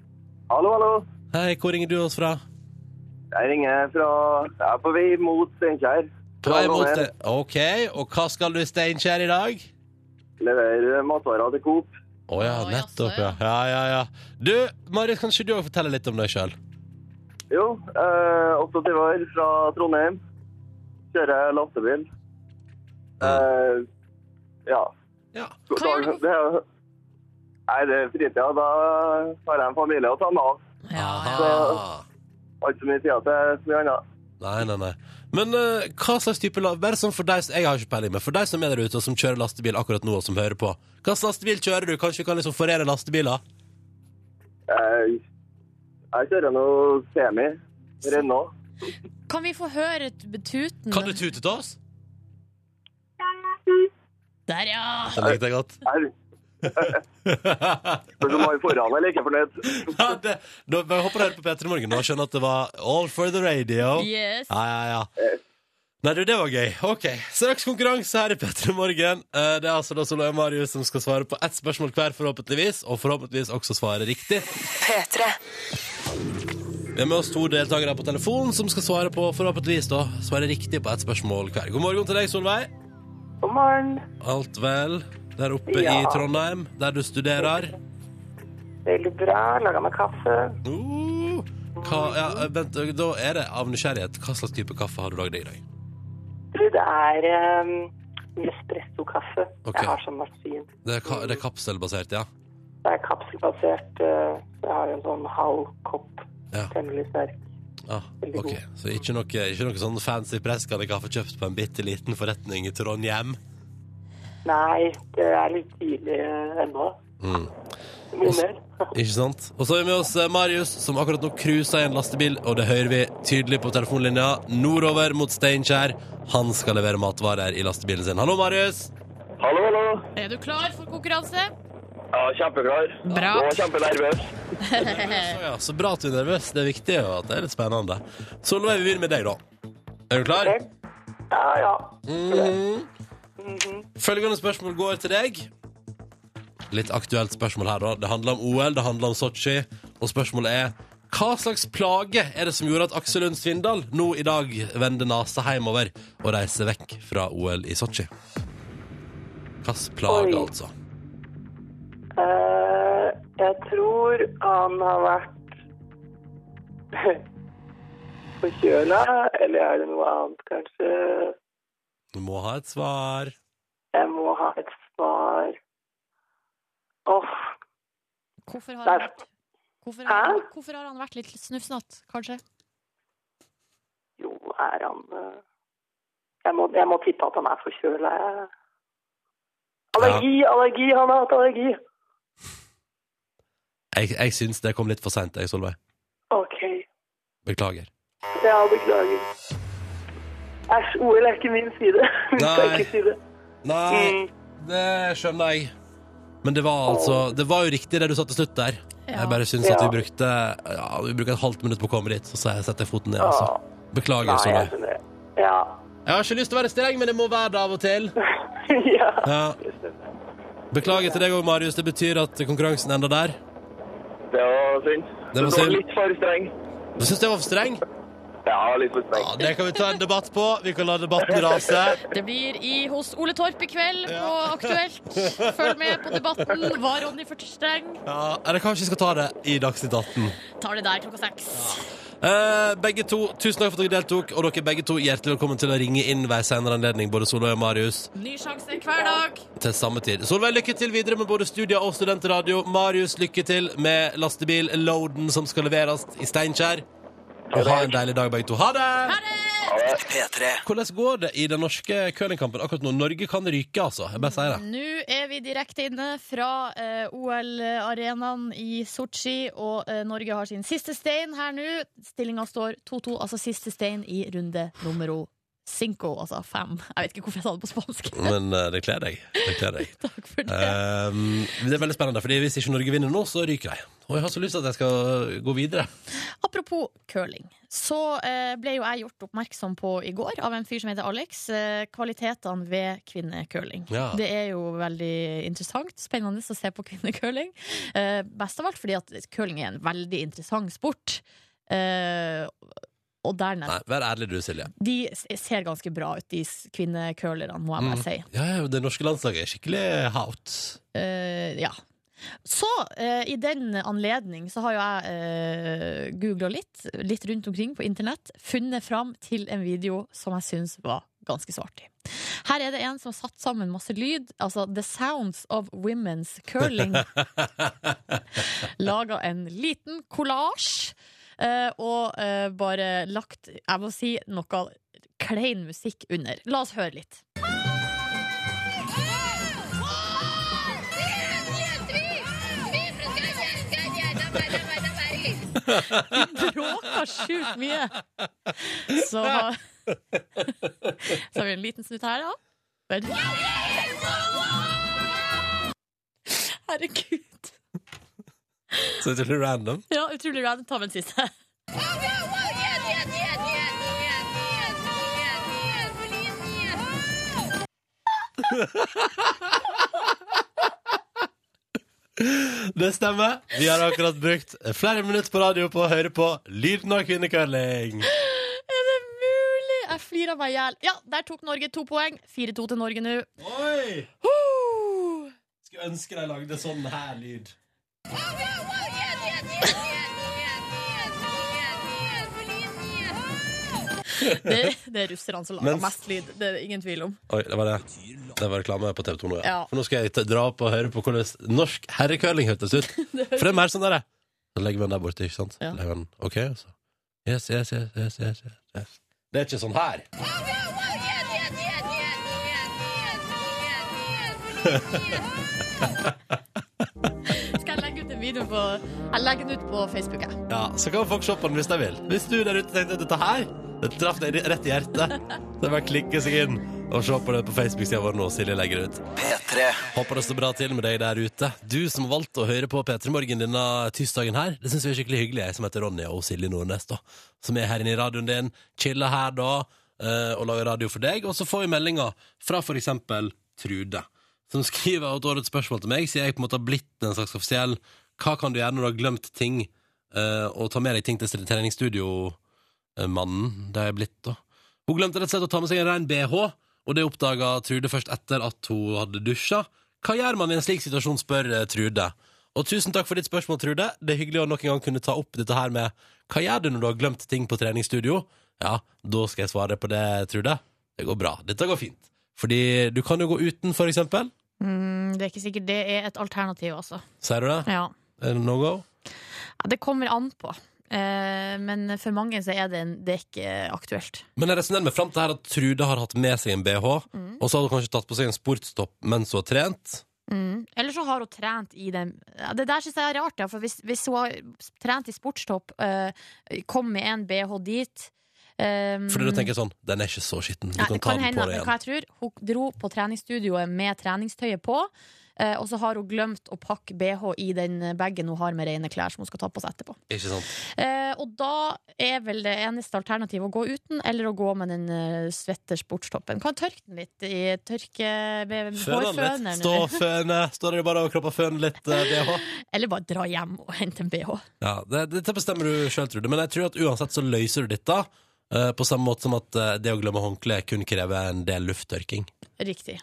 [SPEAKER 3] Hallo, hallo.
[SPEAKER 2] Hei, hvor ringer du oss fra?
[SPEAKER 3] Jeg ringer fra Jeg er på vei mot Steinkjer.
[SPEAKER 2] På vei mot det. OK, og hva skal du i Steinkjer i dag?
[SPEAKER 3] Leverer matvarer til Coop.
[SPEAKER 2] Å ja,
[SPEAKER 5] Å,
[SPEAKER 2] nettopp, ja.
[SPEAKER 5] jaså,
[SPEAKER 2] ja. Ja, ja, Du, Marius, kan ikke du òg fortelle litt om deg sjøl?
[SPEAKER 3] Jo, eh, 28 år fra Trondheim. Kjører lastebil.
[SPEAKER 2] Mm.
[SPEAKER 3] Eh, ja.
[SPEAKER 2] Ja.
[SPEAKER 5] Hva gjør du på-
[SPEAKER 3] Det er- Nei, det er fritida. Da har jeg en familie å ta meg av.
[SPEAKER 5] Ja, ja.
[SPEAKER 2] Aha.
[SPEAKER 3] Alt så mye tid til så mye annet.
[SPEAKER 2] Nei, nei, nei. Men eh, hva slags type la- Bare sånn for deg, Jeg har ikke peiling, men for deg som er der ute, og som kjører lastebil akkurat nå, og som hører på. Hva slags lastebil kjører du? Kanskje vi kan liksom forene lastebiler?
[SPEAKER 3] Eh, jeg kjører nå semi. (laughs) Renault.
[SPEAKER 5] Kan vi få høre et betuten?
[SPEAKER 2] Kan du tute til oss?
[SPEAKER 5] Der, ja!
[SPEAKER 2] Det likte jeg godt.
[SPEAKER 3] Jeg spør om han foran eller ikke fornøyd.
[SPEAKER 2] (laughs) ja, det, da, jeg håper du hører på P3 Morgen nå og skjønner at det var all for the radio.
[SPEAKER 5] Yes.
[SPEAKER 2] Ja, ja, ja. Nei, du, det var gøy. Ok, Straks konkurranse her i P3 Morgen. Eh, Det er altså da Solveig og Marius som skal svare på ett spørsmål hver, forhåpentligvis, og forhåpentligvis også svare riktig.
[SPEAKER 6] P3.
[SPEAKER 2] Vi har med oss to deltakere på telefon som skal svare på forhåpentligvis da, svare riktig på ett spørsmål hver. God morgen til deg, Solveig.
[SPEAKER 1] God morgen.
[SPEAKER 2] Alt vel der oppe i
[SPEAKER 1] Ja.
[SPEAKER 2] Trondheim, der du studerer?
[SPEAKER 1] Veldig bra. Laga meg kaffe.
[SPEAKER 2] Uh, hva, ja, eh, vent, da er det av nysgjerrighet. Hva slags type kaffe har du lagd i dag?
[SPEAKER 1] Du, det er um, espresso-kaffe.
[SPEAKER 2] Ok.
[SPEAKER 1] Jeg har sånn maskin.
[SPEAKER 2] Det er, ka, det er kapselbasert, ja?
[SPEAKER 1] Det er kapselbasert. eh, jeg har en sånn halv kopp.
[SPEAKER 2] Ja.
[SPEAKER 1] Temmelig sterk.
[SPEAKER 2] Ah, ok, Så ikke noe, ikke noe sånn fancy presskade kaffe kjøpt på en bitte liten forretning i Trondheim?
[SPEAKER 1] Nei, det er litt tidlig eh, ennå.
[SPEAKER 2] Mm.
[SPEAKER 1] Mye mer.
[SPEAKER 2] Ikke sant? Og så har vi med oss eh, Marius, som akkurat nå cruiser i en lastebil, og det hører vi tydelig på telefonlinja nordover mot Steinkjer. Han skal levere matvarer i lastebilen sin. Hallo, Marius!
[SPEAKER 3] Hallo, hallo.
[SPEAKER 5] Er du klar for konkurranse?
[SPEAKER 3] Ja, kjempeklar.
[SPEAKER 5] Bra.
[SPEAKER 3] Nå er jeg kjempenervøs.
[SPEAKER 2] Så, ja, så bra at du er nervøs. Det er viktig og at det er litt spennende. Solveig, vi begynner med deg, da. Er du klar?
[SPEAKER 1] Ok. Ja, ja.
[SPEAKER 2] Mhm. Følgende spørsmål går til deg. Litt aktuelt spørsmål her, da. Det handler om OL, det handler om Sotsji. Og spørsmålet er hva slags plage er det som gjorde at Aksel Lund Svindal nå i dag vender nesa hjemover og reiser vekk fra OL i Sotsji? Hvilken plage,
[SPEAKER 1] Oi.
[SPEAKER 2] altså?
[SPEAKER 1] Eh, jeg tror han har vært (laughs) forkjøla, eller er det noe annet, kanskje?
[SPEAKER 2] Du må ha et svar.
[SPEAKER 1] Jeg må ha et svar. Åh,
[SPEAKER 5] Hvorfor har han
[SPEAKER 1] Nei.
[SPEAKER 5] vært, hvorfor har,
[SPEAKER 1] Hæ?
[SPEAKER 5] hvorfor har han vært litt snufsete, kanskje?
[SPEAKER 1] jo, er han eh, jeg må, jeg må tippe at han er forkjøla. jeg. Allergi, allergi! Han har hatt allergi.
[SPEAKER 2] Jeg, jeg syns det kom litt for seint, jeg, Solveig.
[SPEAKER 1] OK.
[SPEAKER 2] Beklager.
[SPEAKER 1] Ja, beklager. Æsj, OL er ikke min side. (laughs) Vi skal
[SPEAKER 2] Nei.
[SPEAKER 1] ikke si det.
[SPEAKER 2] Nei,
[SPEAKER 1] Mm.
[SPEAKER 2] det skjønner jeg. Men det var altså Det var jo riktig det du sa til slutt der. Jeg bare syns at
[SPEAKER 1] Ja.
[SPEAKER 2] vi brukte Ja, vi bruker et halvt minutt på å komme dit, så sa jeg- setter jeg foten ned,
[SPEAKER 1] Åh,
[SPEAKER 2] altså. Beklager,
[SPEAKER 1] nei, altså. jeg
[SPEAKER 2] Solveig.
[SPEAKER 1] skjønner sånn det. Ja.
[SPEAKER 2] Jeg har ikke lyst til å være streng, men det må være det av og til.
[SPEAKER 1] ja. (laughs)
[SPEAKER 2] Ja. Beklager til deg òg, Marius. Det betyr at konkurransen ender der.
[SPEAKER 3] Det var synd.
[SPEAKER 2] Det var
[SPEAKER 3] Du
[SPEAKER 2] synd.
[SPEAKER 3] litt for streng.
[SPEAKER 2] Du syns jeg var for streng?
[SPEAKER 3] Ja, litt for streng.
[SPEAKER 2] Ja, det kan vi ta en debatt på. Vi kan la debatten rase.
[SPEAKER 5] Det blir i hos Ole Torp i kveld på
[SPEAKER 2] Ja.
[SPEAKER 5] Aktuelt. Følg med på debatten. Var Ronny for streng?
[SPEAKER 2] Ja, eller kanskje vi skal ta det i Dagsnytt 18.
[SPEAKER 5] Tar det der klokka seks.
[SPEAKER 2] Eh, begge to, Tusen takk for at dere deltok, og dere begge to hjertelig velkommen til å ringe inn ved en senere anledning, både Solveig og Marius.
[SPEAKER 5] Ny sjanse hver dag.
[SPEAKER 2] til samme tid. Solveig, lykke til videre med både studier og studentradio. Marius, lykke til med lastebil-loaden som skal leveres i Steinkjer. Og ha en deilig dag, begge to. Ha det!
[SPEAKER 6] P3.
[SPEAKER 2] Hvordan går det i den norske curlingkampen akkurat nå? Norge kan ryke, altså. Jeg bare sier det.
[SPEAKER 5] Nå er vi direkte inne fra eh, OL-arenaen i Sotsji, og eh, Norge har sin siste stein her nå. Stillinga står 2-2, altså siste stein i runde numero cinco, altså fem. Jeg vet ikke hvorfor jeg sa det på spansk.
[SPEAKER 2] Men eh, det kler deg. Det kler (laughs) deg.
[SPEAKER 5] Takk for det.
[SPEAKER 2] Ehm, det er veldig spennende, Fordi hvis ikke Norge vinner nå, så ryker de. Og jeg har så lyst til at jeg skal gå videre.
[SPEAKER 5] Apropos curling, så eh, ble jo jeg gjort oppmerksom på i går av en fyr som heter Alex, eh, kvalitetene ved kvinnecurling.
[SPEAKER 2] Ja.
[SPEAKER 5] Det er jo veldig interessant, spennende å se på (laughs) kvinnecurling. Eh, best av alt fordi at curling er en veldig interessant sport. Eh, og dernest
[SPEAKER 2] Nei, Vær ærlig du, Silje.
[SPEAKER 5] De s- ser ganske bra ut, de s- kvinnecurlerne, må jeg bare si.
[SPEAKER 2] Ja, ja, Det norske landslaget er skikkelig hot.
[SPEAKER 5] Eh, ja. Så eh, i den anledning så har jo jeg uh, googla litt, litt rundt omkring på internett, funnet fram til en video som jeg syns var ganske så artig. Her er det en som har satt sammen masse lyd, altså The Sounds of Women's Curling. Laga en liten kollasj eh, og eh, bare lagt, jeg må si, noe klein musikk under. La oss høre litt. De bråker sjukt mye. Så (laughs) Så har vi en liten snutt her, da. Vent. Herregud.
[SPEAKER 2] Så det er litt random.
[SPEAKER 5] Ja, utrolig random. Ta med den siste.
[SPEAKER 2] Det stemmer. Vi har akkurat brukt flere minutter på radio på å høre på lyden av kvinnekøling.
[SPEAKER 5] Er det mulig? Jeg flirer meg i hjel. Ja, der tok Norge to poeng. 4-2 til Norge nå.
[SPEAKER 2] Oi!
[SPEAKER 5] Huh.
[SPEAKER 2] Skulle ønske de lagde sånn her lyd.
[SPEAKER 5] Det, det er russerne som lager
[SPEAKER 2] Men-
[SPEAKER 5] mest lyd. Det er det ingen tvil om.
[SPEAKER 2] Oi, det var det. Det var reklame på TV 2 nå, ja.
[SPEAKER 5] Ja.
[SPEAKER 2] For nå skal jeg ta- dra opp og høre på hvordan norsk herrecurling hørtes ut. For (laughs) det er mer sånn der, Så legger vi den der borte, ikke sant?
[SPEAKER 5] Ja.
[SPEAKER 2] Legger den, ok, så. Yes, yes, yes, yes, yes, yes, yes. Det er ikke sånn her.
[SPEAKER 5] Skal jeg legge ut en video på Jeg legger den ut på Facebook, jeg.
[SPEAKER 2] Ja, så kan folk se på den hvis de vil. Hvis du der ute tenkte at dette her, det traff deg rett i hjertet, så bare klikke seg inn og se på det på Facebook-siden vår nå, Silje legger det ut.
[SPEAKER 6] P3.
[SPEAKER 2] Håper det står bra til med deg der ute. Du som har valgt å høre på P3 Morgen denne tirsdagen her, det syns vi er skikkelig hyggelig. Jeg som heter Ronny og Silje Nordnes, da. Som er her inne i radioen din, chiller her da, eh, og lager radio for deg. Og så får vi meldinger fra for eksempel Trude, som skriver at årets spørsmål til meg, siden jeg på en måte har blitt en slags offisiell Hva kan du gjøre når du har glemt ting, eh, og ta med deg ting til treningsstudio-mannen? eh, Det har jeg blitt, da. Hun glemte rett og slett å ta med seg en ren BH, og det oppdaga Trude først etter at hun hadde dusja. Hva gjør man i en slik situasjon, spør eh, Trude. Og tusen takk for ditt spørsmål, Trude. Det er hyggelig å nok en gang kunne ta opp dette her med hva gjør du når du har glemt ting på treningsstudio? Ja, da skal jeg svare på det, Trude. Det går bra. Dette går fint. Fordi du kan jo gå uten, for eksempel.
[SPEAKER 5] Mm, det er ikke sikkert det er et alternativ, altså.
[SPEAKER 2] Sier du det?
[SPEAKER 5] Ja.
[SPEAKER 2] Er det no go?
[SPEAKER 5] Ja, Det kommer an på. Eh, Men for mange så er det, en, det er ikke aktuelt.
[SPEAKER 2] Men jeg resonnerer meg fram til her at Trude har hatt med seg en BH,
[SPEAKER 5] Mm.
[SPEAKER 2] og så har hun kanskje tatt på seg en sportstopp mens hun har trent.
[SPEAKER 5] Mm. Eller så har hun trent i den ja, Det der syns jeg er rart, ja, for hvis, hvis hun har trent i sportstopp, eh, kom med en bh dit um,
[SPEAKER 2] Fordi du tenker sånn, den er ikke så skitten. Du
[SPEAKER 5] Nei,
[SPEAKER 2] kan,
[SPEAKER 5] det kan
[SPEAKER 2] ta den
[SPEAKER 5] hende,
[SPEAKER 2] på deg
[SPEAKER 5] men
[SPEAKER 2] igjen.
[SPEAKER 5] hva jeg tror Hun dro på treningsstudioet med treningstøyet på eh, Og så har hun glemt å pakke BH i den baggen hun har med rene klær Som hun skal ta på seg etterpå
[SPEAKER 2] Ikke sant?
[SPEAKER 5] eh, Og da er vel det eneste alternativet Å gå uten, eller å gå med den eh, svette sportstoppen Kan tørke den litt i tørke med
[SPEAKER 2] Føne den
[SPEAKER 5] hårføneren
[SPEAKER 2] litt. Stå
[SPEAKER 5] eller-
[SPEAKER 2] og føne. Stå der bare og kroppe og føne litt eh, BH.
[SPEAKER 5] Eller bare dra hjem og hente en BH
[SPEAKER 2] Ja, det, dette bestemmer du sjøl, Trude. Men jeg tror at uansett så løser du dette. eh, på samme måte som at eh, det å glemme håndkle kun krever en del lufttørking.
[SPEAKER 5] Riktig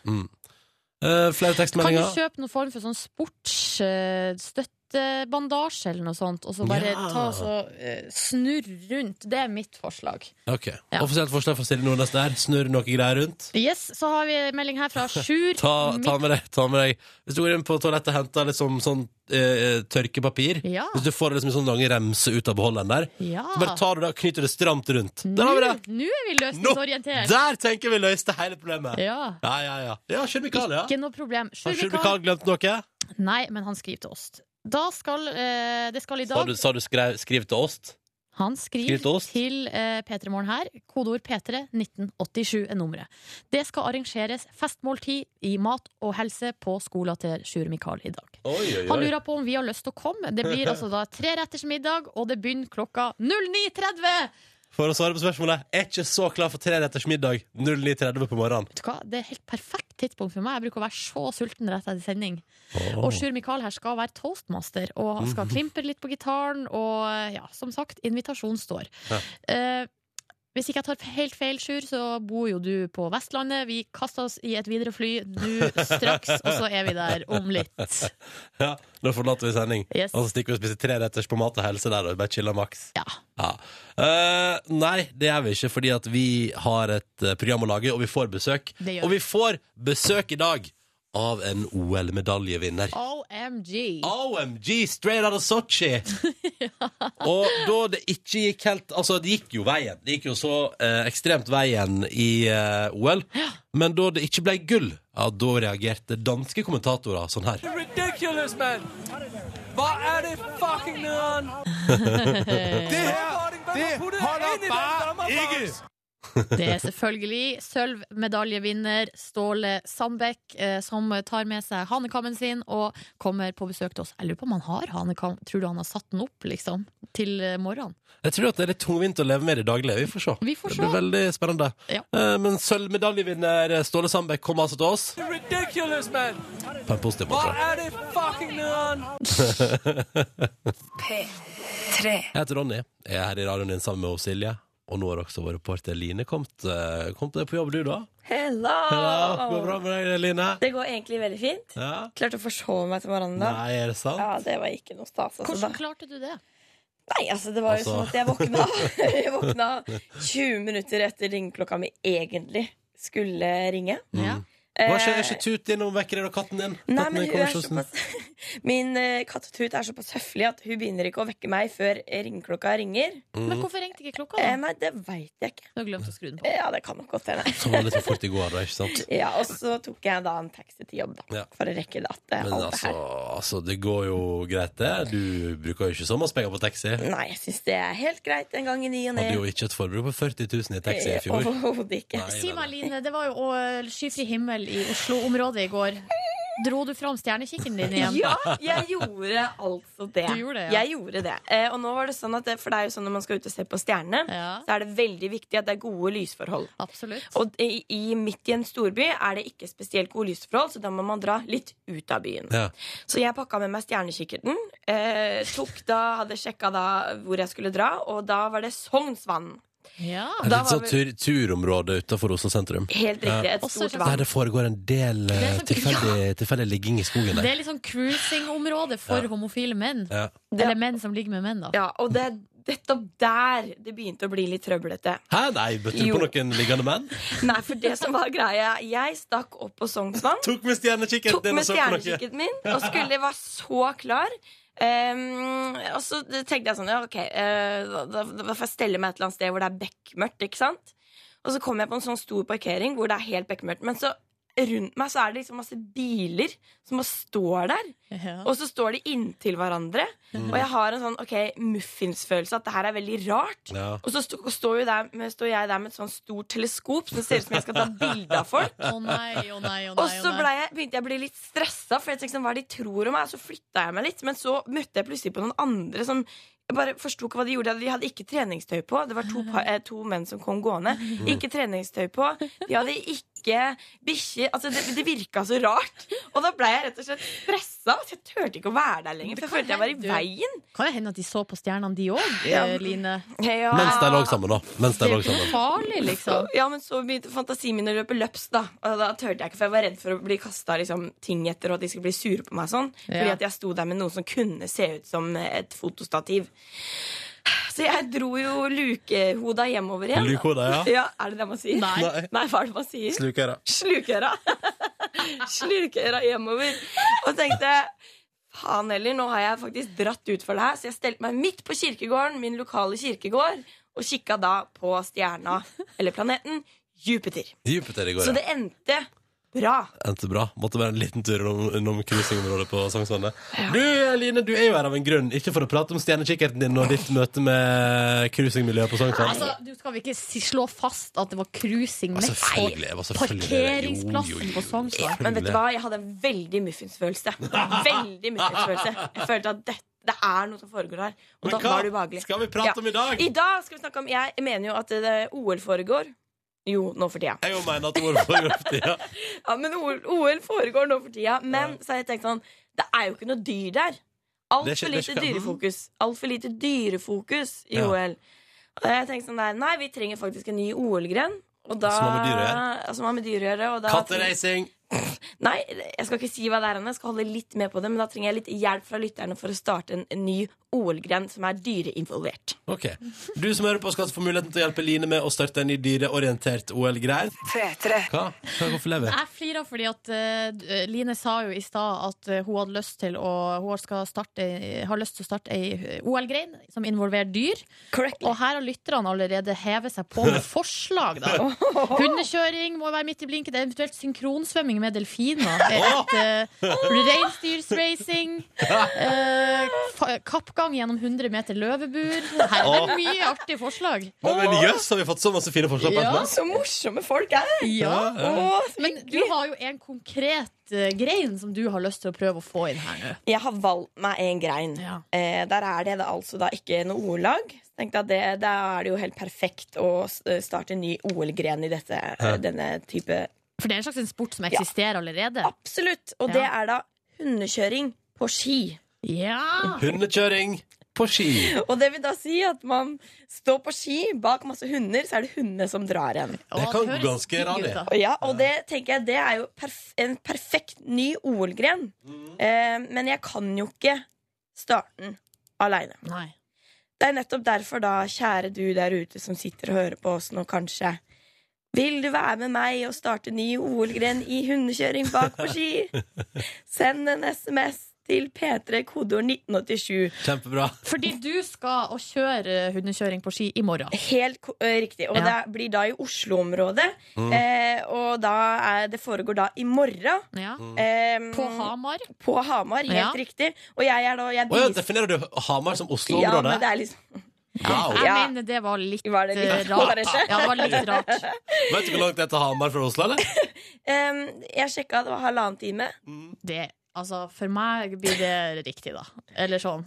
[SPEAKER 2] Uh, flere
[SPEAKER 5] Kan du
[SPEAKER 2] tekstmeldinger.
[SPEAKER 5] kjøpe noen form for sånn sportsstøttebandasje eller noe sånt, og så bare
[SPEAKER 2] Ja.
[SPEAKER 5] ta og så, eh, snurr rundt? Det er mitt forslag.
[SPEAKER 2] Ok,
[SPEAKER 5] Ja.
[SPEAKER 2] Offisielt forslag fra Silje Nordnes der. Snurr noe greier rundt.
[SPEAKER 5] Yes, så har vi en melding her fra
[SPEAKER 2] (laughs)
[SPEAKER 5] Sjur.
[SPEAKER 2] Ta, ta,
[SPEAKER 5] Mitt-
[SPEAKER 2] med deg, ta med deg Hvis du går inn på toalettet og henter liksom sånn eh, tørkepapir
[SPEAKER 5] Ja,
[SPEAKER 2] Hvis du får liksom en sånn lang remse ut av beholderen der,
[SPEAKER 5] ja.
[SPEAKER 2] så bare tar du det og knyter det stramt rundt. Der har vi
[SPEAKER 5] Nå,
[SPEAKER 2] det!
[SPEAKER 5] nå er vi (laughs) løsningsorientert.
[SPEAKER 2] Der tenker vi løste hele problemet.
[SPEAKER 5] Ja.
[SPEAKER 2] Ja, ja, ja. Ja, Sjur Mikael, ja.
[SPEAKER 5] Ikke noe problem.
[SPEAKER 2] Har
[SPEAKER 5] Sjur
[SPEAKER 2] Sjur Mikael
[SPEAKER 5] Mikael.
[SPEAKER 2] glemt noe?
[SPEAKER 5] Nei, men han skriver til oss. Da skal, eh, det skal i
[SPEAKER 2] Sa
[SPEAKER 5] dag
[SPEAKER 2] du, sa du skrev, skriv til oss?
[SPEAKER 5] Han
[SPEAKER 2] Skriv til
[SPEAKER 5] skriver
[SPEAKER 2] oss.
[SPEAKER 5] til eh, P3 Morgen her. Kodeord P3 1987 er nummeret. Det skal arrangeres festmåltid i mat og helse på skolen til Sjur Mikael i dag.
[SPEAKER 2] Oi, oi,
[SPEAKER 5] Han lurer på om vi har lyst til å komme. Det blir altså da tre retters middag, og det begynner klokka 09.30!
[SPEAKER 2] For å svare på spørsmålet, er ikke så klar for tre retters middag 09.30 på morgenen.
[SPEAKER 5] Vet du hva? Det er helt perfekt tidspunkt for meg. Jeg bruker å være så sulten rett etter sending. Og Sjur Mikael her skal være toastmaster, og han skal klimpre litt på gitaren, og ja, som sagt, invitasjon står.
[SPEAKER 2] Ja.
[SPEAKER 5] Eh, hvis ikke jeg tar helt feil, Sjur, så bor jo du på Vestlandet. Vi kaster oss i et videre fly nå straks, og så er vi der om litt.
[SPEAKER 2] Ja, da forlater vi sending.
[SPEAKER 5] Yes.
[SPEAKER 2] Og så stikker vi og spiser tre retters på mat og helse der og bare chiller maks.
[SPEAKER 5] Ja.
[SPEAKER 2] Ja. Eh, nei, det gjør vi ikke, fordi at vi har et eh, program å lage, og vi får besøk.
[SPEAKER 5] Det gjør
[SPEAKER 2] Og vi får besøk i dag av en OL-medaljevinner.
[SPEAKER 5] OMG.
[SPEAKER 2] OMG, straight out of Sochi! Og da det ikke gikk helt Altså, det gikk jo veien. Det gikk jo så eh, ekstremt veien i eh, OL. Men da det ikke ble gull, ja, da reagerte danske kommentatorer sånn her.
[SPEAKER 7] ridiculous, man! Hvor er det fucking
[SPEAKER 6] (laughs)
[SPEAKER 7] nederen? det her, det holder bare ikke!
[SPEAKER 5] Det er selvfølgelig sølvmedaljevinner Ståle Sandbekk eh, som tar med seg hanekammen sin og kommer på besøk til oss. Jeg lurer på om han har hanekam. Tror du han har satt den opp liksom, til eh, morgenen?
[SPEAKER 2] Jeg tror at det er litt tungvint å leve med det daglige. Vi får se.
[SPEAKER 5] Vi får
[SPEAKER 2] Det blir
[SPEAKER 5] se.
[SPEAKER 2] veldig spennende.
[SPEAKER 5] Ja.
[SPEAKER 2] Eh, Men sølvmedaljevinner eh, Ståle Sandbekk kom altså til oss
[SPEAKER 8] Ridiculous, man!
[SPEAKER 2] på en positiv
[SPEAKER 8] Hva
[SPEAKER 2] måte.
[SPEAKER 8] er det fucking noen?
[SPEAKER 9] P3
[SPEAKER 2] Jeg heter Ronny, jeg er her i radioen din sammen med oss, Silje. Og nå har også vår reporter Line kommet, eh, kommet deg på jobb, du, da.
[SPEAKER 10] Hello!
[SPEAKER 2] Ja, går det bra med deg, Line?
[SPEAKER 10] Det går egentlig veldig fint.
[SPEAKER 2] Ja?
[SPEAKER 10] Klarte å forsove meg til morgenen da.
[SPEAKER 2] Nei, er det sant?
[SPEAKER 10] Ja, det var ikke noe stas. Altså, da.
[SPEAKER 5] Hvordan klarte du det?
[SPEAKER 10] Nei, altså, det var jo
[SPEAKER 2] Altså.
[SPEAKER 10] sånn at jeg våkna
[SPEAKER 2] (laughs)
[SPEAKER 10] Jeg våkna 20 minutter etter ringeklokka mi egentlig skulle ringe.
[SPEAKER 5] Ja.
[SPEAKER 2] Hva skjer? Er ikke Tut innom vekker deg og katten din?
[SPEAKER 10] Eh. Nei,
[SPEAKER 2] Katten
[SPEAKER 10] men
[SPEAKER 2] din
[SPEAKER 10] hun
[SPEAKER 2] kommer
[SPEAKER 10] er
[SPEAKER 2] ikke hos den.
[SPEAKER 10] såpass (laughs) Min eh, katt Tut er såpass høflig at hun begynner ikke å vekke meg før ringeklokka ringer.
[SPEAKER 5] Men hvorfor ringte ikke klokka?
[SPEAKER 10] Eh,
[SPEAKER 5] da?
[SPEAKER 10] nei, det veit jeg ikke.
[SPEAKER 5] Du har glemt å skru den på.
[SPEAKER 10] Ja, det kan nok godt hende.
[SPEAKER 2] Som var litt for fort i går, da, ikke sant?
[SPEAKER 10] Ja, og så tok jeg da en taxi til jobb, da.
[SPEAKER 2] Ja.
[SPEAKER 10] For å rekke det at det,
[SPEAKER 2] Men
[SPEAKER 10] alt det
[SPEAKER 2] altså, altså, det går jo greit, det. Du bruker jo ikke så masse penger på taxi.
[SPEAKER 10] her. Nei, jeg syns det er helt greit en gang i ny og ne. Eh,
[SPEAKER 2] Hadde jo ikke et forbruk på 40 000 i taxi i
[SPEAKER 10] (laughs)
[SPEAKER 2] fjor.
[SPEAKER 10] Overhodet
[SPEAKER 5] (laughs)
[SPEAKER 10] ikke.
[SPEAKER 2] Nei,
[SPEAKER 5] Si
[SPEAKER 2] nei, nei.
[SPEAKER 5] meg, Line, det var jo å- skyfri himmel i Oslo-området i går. Dro du fram stjernekikken din igjen?
[SPEAKER 10] Ja,
[SPEAKER 2] (laughs)
[SPEAKER 10] jeg gjorde altså det.
[SPEAKER 5] Du gjorde det, ja.
[SPEAKER 10] Jeg gjorde det. Eh, og nå var det sånn at det, For det er jo sånn når man skal ut og se på stjernene,
[SPEAKER 5] Ja.
[SPEAKER 10] så er det veldig viktig at det er gode lysforhold.
[SPEAKER 5] Absolutt.
[SPEAKER 10] Og i, i midt i en storby er det ikke spesielt gode lysforhold, så da må man dra litt ut av byen.
[SPEAKER 2] Ja.
[SPEAKER 10] Så jeg pakka med meg stjernekikkerten. Eh, tok da, hadde sjekka da hvor jeg skulle dra, og da var det Sognsvann.
[SPEAKER 5] Ja.
[SPEAKER 2] Et
[SPEAKER 10] Da
[SPEAKER 2] litt
[SPEAKER 10] var
[SPEAKER 2] sånn tur turområde utafor Oslo sentrum.
[SPEAKER 10] Helt riktig. Et
[SPEAKER 5] Også
[SPEAKER 10] stort
[SPEAKER 2] Der
[SPEAKER 5] Ja.
[SPEAKER 10] vann.
[SPEAKER 2] det foregår en del eh,
[SPEAKER 5] Det er så-
[SPEAKER 2] tilfeldig, tilfeldig ligging i skogen
[SPEAKER 5] Det
[SPEAKER 2] der.
[SPEAKER 5] er litt sånn cruising-område for homofile menn.
[SPEAKER 2] Ja.
[SPEAKER 5] Eller menn som ligger med menn, da.
[SPEAKER 10] Ja, og det er nettopp der det begynte å bli litt trøblete.
[SPEAKER 2] Hæ, nei, bøtte du
[SPEAKER 10] Jo.
[SPEAKER 2] på noen liggende menn?
[SPEAKER 10] Nei, for det som var greia Jeg stakk opp på Sognsvann
[SPEAKER 2] Tok med stjernekikkert
[SPEAKER 10] Tok
[SPEAKER 2] din
[SPEAKER 10] med
[SPEAKER 2] og så på noe?
[SPEAKER 10] stjernekikket min Og skulle var så klar Ehm, Og så tenkte jeg sånn ja, Ok, eh, da, da, da får jeg stelle meg et eller annet sted Hvor det er bekkmørkt, ikke sant? Og så kom jeg på en sånn stor parkering Hvor det er helt bekkmørkt Men så rundt meg så er det liksom masse biler Som bare står der
[SPEAKER 5] Ja. (laughs)
[SPEAKER 10] og så står de inntil hverandre. Og jeg har en sånn ok, muffinsfølelse at det her er veldig rart.
[SPEAKER 2] Ja.
[SPEAKER 10] Og så sto- står, jo der, med- står jeg der med et sånn stort teleskop som det ser ut som jeg skal ta bilde av folk.
[SPEAKER 5] Å nei, å nei, å nei.
[SPEAKER 10] Og så
[SPEAKER 5] å nei.
[SPEAKER 10] ble jeg, begynte jeg å bli litt stressa, for jeg tenkte sånn, hva er det de tror om meg? Så flytta jeg meg litt, men så møtte jeg plutselig på noen andre som jeg bare forsto ikke hva de gjorde. De hadde ikke treningstøy på. Det var to, pa- eh, to menn som kom gående. Ikke treningstøy på. De hadde ikke bikkjer. Altså, det, det virka så rart. Og da ble jeg rett og slett stressa. Så jeg turte ikke å være der lenger, for jeg
[SPEAKER 5] Men
[SPEAKER 10] følte jeg var i
[SPEAKER 5] hva
[SPEAKER 10] veien.
[SPEAKER 5] Kan det hende at de så på stjernene, de òg,
[SPEAKER 10] Ja.
[SPEAKER 5] Line?
[SPEAKER 10] Ja.
[SPEAKER 2] Mens de lå sammen, da. Mens de
[SPEAKER 5] Det er jo
[SPEAKER 2] lå
[SPEAKER 5] ikke noe
[SPEAKER 2] sammen.
[SPEAKER 5] farlig, (laughs) liksom.
[SPEAKER 10] Ja, men så begynte fantasien min å løpe løps, da. Og da turte jeg ikke, for jeg var redd for å bli kasta liksom, ting etter, og at de skulle bli sure på meg og sånn.
[SPEAKER 5] Ja.
[SPEAKER 10] Fordi at jeg sto der med noe som kunne se ut som et fotostativ. Så jeg dro jo lukehoda hjemover igjen.
[SPEAKER 2] Lukehoda, ja.
[SPEAKER 10] Er det det man sier?
[SPEAKER 2] Nei.
[SPEAKER 10] Nei hva er det man sier?
[SPEAKER 2] Sluker det.
[SPEAKER 10] (laughs) Slukøra. Slukøra hjemover. Og tenkte faen heller, nå har jeg faktisk dratt ut for det her. Så jeg stelte meg midt på kirkegården, min lokale kirkegård, og kikka da på stjerna, eller planeten, Jupiter.
[SPEAKER 2] Jupiter i går,
[SPEAKER 10] Så
[SPEAKER 2] ja.
[SPEAKER 10] det endte bra.
[SPEAKER 2] Endte bra. Måtte være en liten tur innom, innom cruisingområdet på Sognsvannet. Du Line, du er jo her av en grunn. Ikke for å prate om stjernekikkerten din og ditt møte med cruisingmiljøet på Sognsvann.
[SPEAKER 5] Altså, du skal vel ikke si, slå fast at det var cruising
[SPEAKER 2] Ja,
[SPEAKER 5] mest på
[SPEAKER 2] selvfølgelig, det var selvfølgelig det. Jo, jo,
[SPEAKER 5] parkeringsplassen
[SPEAKER 2] jo.
[SPEAKER 5] på Sognsvann?
[SPEAKER 10] Men vet du hva, jeg hadde en veldig muffinsfølelse. Veldig muffinsfølelse. Jeg følte at dette det er noe som foregår her. Og
[SPEAKER 2] Men
[SPEAKER 10] da
[SPEAKER 2] hva
[SPEAKER 10] var det ubehagelig.
[SPEAKER 2] skal vi prate om i dag?
[SPEAKER 10] I dag skal vi snakke om Jeg mener jo at eh, OL foregår. Jo, nå for tida.
[SPEAKER 2] Jeg jo mener at ordet var grovt, ja.
[SPEAKER 10] Ja, men OL, OL foregår nå for tida. Men så har jeg tenkt sånn Det er jo ikke noe dyr
[SPEAKER 2] Det
[SPEAKER 10] der.
[SPEAKER 2] er
[SPEAKER 10] Altfor
[SPEAKER 2] ikke- det er
[SPEAKER 10] lite
[SPEAKER 2] ikke-
[SPEAKER 10] dyrefokus. Altfor lite dyrefokus i
[SPEAKER 2] Ja.
[SPEAKER 10] OL. Og jeg tenkte sånn der, Nei, vi trenger faktisk en ny OL-gren. Og da,
[SPEAKER 2] Som har med dyr å gjøre?
[SPEAKER 10] ja, som har med dyr å gjøre. Og da
[SPEAKER 2] Katteracing.
[SPEAKER 10] Nei, jeg skal ikke si hva det er ennå. Jeg skal holde litt med på det, men da trenger jeg litt hjelp fra lytterne for å starte en, en ny OL-gren som er dyreinvolvert.
[SPEAKER 2] Ok. Du som hører på, skal altså få muligheten til å hjelpe Line med å starte en ny dyreorientert OL-greie.
[SPEAKER 9] P3
[SPEAKER 2] Hva? Hva hvorfor lever jeg?
[SPEAKER 5] Jeg flirer fordi at eh, d- Line sa jo i stad at eh, hun hadde lyst til å Hun skal starte, har lyst til å starte ei eh, OL-grein som involverer dyr. Og her har lytterne allerede hevet seg på med forslag. Da. Hundekjøring må være midt i blinken. Eventuelt synkronsvømming med delfiner. Et, eh, Reinsdyrsracing. eh, fa- Kappgang gjennom 100 meter løvebur. Her er det mye artige forslag.
[SPEAKER 2] Å, Men jøss, har vi fått så masse fine forslag på
[SPEAKER 5] Ja.
[SPEAKER 2] etterpå?
[SPEAKER 10] Så morsomme folk er!
[SPEAKER 5] Ja.
[SPEAKER 2] Ja, ja.
[SPEAKER 10] Å, så
[SPEAKER 5] Men du
[SPEAKER 10] hyggelig.
[SPEAKER 5] har jo en konkret eh, grein som du har lyst til å prøve å få inn her nå.
[SPEAKER 10] Jeg har valgt meg en grein.
[SPEAKER 5] Ja.
[SPEAKER 10] Eh, der er det da altså da ikke noe ordlag. Så tenkte jeg at det, Da er det jo helt perfekt å s- eh, starte en ny OL-gren i dette, eh, denne type
[SPEAKER 5] For det er en slags en sport som eksisterer allerede.
[SPEAKER 10] Absolutt! Og det er da hundekjøring på ski.
[SPEAKER 5] Ja.
[SPEAKER 2] Hundekjøring på ski.
[SPEAKER 10] Og det vil da si at man står på ski bak masse hunder, så er det hundene som drar en.
[SPEAKER 5] Å,
[SPEAKER 2] kan
[SPEAKER 5] høres
[SPEAKER 2] gå ganske
[SPEAKER 5] digg ut,
[SPEAKER 2] rally.
[SPEAKER 5] da.
[SPEAKER 10] Og Ja, og det tenker jeg det er jo perf en perfekt ny OL-gren. Eh, men jeg kan jo ikke starte den aleine.
[SPEAKER 5] Nei.
[SPEAKER 10] Det er nettopp derfor, da, kjære du der ute som sitter og hører på oss nå, kanskje. Vil du være med meg og starte ny OL-gren i hundekjøring bak
[SPEAKER 2] (laughs)
[SPEAKER 10] på ski? Send en SMS til P3 kodeord 1987.
[SPEAKER 2] Kjempebra.
[SPEAKER 5] Fordi du skal og kjøre eh, hundekjøring på ski i morgen.
[SPEAKER 10] Helt ko- eh, riktig. Og
[SPEAKER 5] Ja.
[SPEAKER 10] det blir da i Oslo-området.
[SPEAKER 2] Mm.
[SPEAKER 10] Eh, og da er, det foregår da i morgen.
[SPEAKER 5] Ja.
[SPEAKER 2] Mm.
[SPEAKER 10] Eh,
[SPEAKER 5] På Hamar.
[SPEAKER 10] på Hamar, helt
[SPEAKER 5] Ja.
[SPEAKER 10] riktig. Og jeg er da jeg
[SPEAKER 2] Å ja,
[SPEAKER 10] bistår-
[SPEAKER 2] definerer du Hamar som
[SPEAKER 10] ja, men
[SPEAKER 2] Oslo-området?
[SPEAKER 10] det er liksom
[SPEAKER 2] wow.
[SPEAKER 5] Jeg
[SPEAKER 10] Ja.
[SPEAKER 5] mener det var litt
[SPEAKER 10] Var det litt
[SPEAKER 5] eh, rart. Ja, det var litt rart.
[SPEAKER 2] Vet du hvor langt det er til Hamar fra Oslo, eller?
[SPEAKER 10] Em, Ehm, Jeg sjekka, det var halvannen time.
[SPEAKER 5] Det, altså, for meg blir det riktig, da. Eller sånn.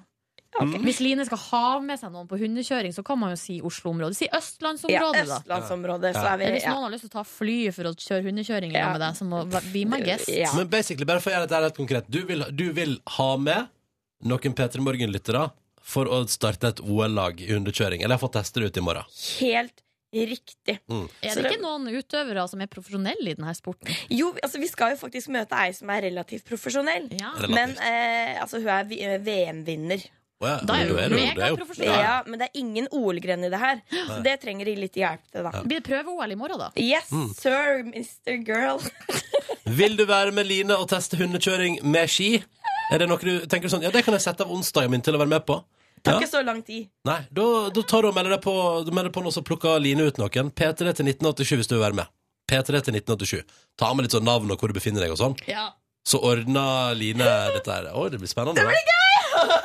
[SPEAKER 5] Hvis Line skal ha med seg noen på hundekjøring, så kan man jo si Oslo-området. Si
[SPEAKER 10] Ja,
[SPEAKER 5] Østlandsområdet, da.
[SPEAKER 10] Østlandsområdet. Så
[SPEAKER 2] Ja.
[SPEAKER 10] er vi
[SPEAKER 5] Eller Hvis
[SPEAKER 10] ja.
[SPEAKER 5] noen har lyst til å ta fly for å kjøre hundekjøring
[SPEAKER 10] Ja.
[SPEAKER 5] ja. med deg, så må bli my guest.
[SPEAKER 10] Eh, Ja.
[SPEAKER 2] Men basically, bare for å gjøre dette her helt konkret Du vil, du vil ha med noen P3 Morgen-lyttere for å starte et OL-lag i hundekjøring. Eller jeg får teste det ut i morgen.
[SPEAKER 10] Helt riktig.
[SPEAKER 5] Er det ikke noen utøvere som er profesjonelle i denne sporten?
[SPEAKER 10] Jo, altså vi skal jo faktisk møte ei som er relativt profesjonell.
[SPEAKER 5] Ja.
[SPEAKER 2] Relativt.
[SPEAKER 10] Men eh, altså, hun er vi- eh, VM-vinner.
[SPEAKER 2] Å ja,
[SPEAKER 5] Da er
[SPEAKER 2] du
[SPEAKER 5] jo
[SPEAKER 2] du-
[SPEAKER 5] mega
[SPEAKER 2] du er jo-
[SPEAKER 5] profesjonell.
[SPEAKER 10] Ja.
[SPEAKER 2] Ja.
[SPEAKER 10] men det er ingen OL-gren i det her. Så det trenger de litt hjelp til, da.
[SPEAKER 5] Blir det prøve-OL i morgen, da?
[SPEAKER 10] Yes, sir, Mr. Girl.
[SPEAKER 2] Vil du være med Line og teste hundekjøring med ski? Er det noe du tenker sånn, ja det kan jeg sette av onsdagen min til å være med på?
[SPEAKER 10] Tar
[SPEAKER 2] Ja.
[SPEAKER 10] ikke så lang tid.
[SPEAKER 2] Nei, da, da tar du og melder deg på, du melder på noe, så plukker Line ut noen. P3 til 1987 hvis du vil være med. P3 til 1987. Ta med litt sånn navn og hvor du befinner deg og sånn.
[SPEAKER 5] Ja.
[SPEAKER 2] Så ordner Line dette her. Å, det blir spennende. Det blir gøy!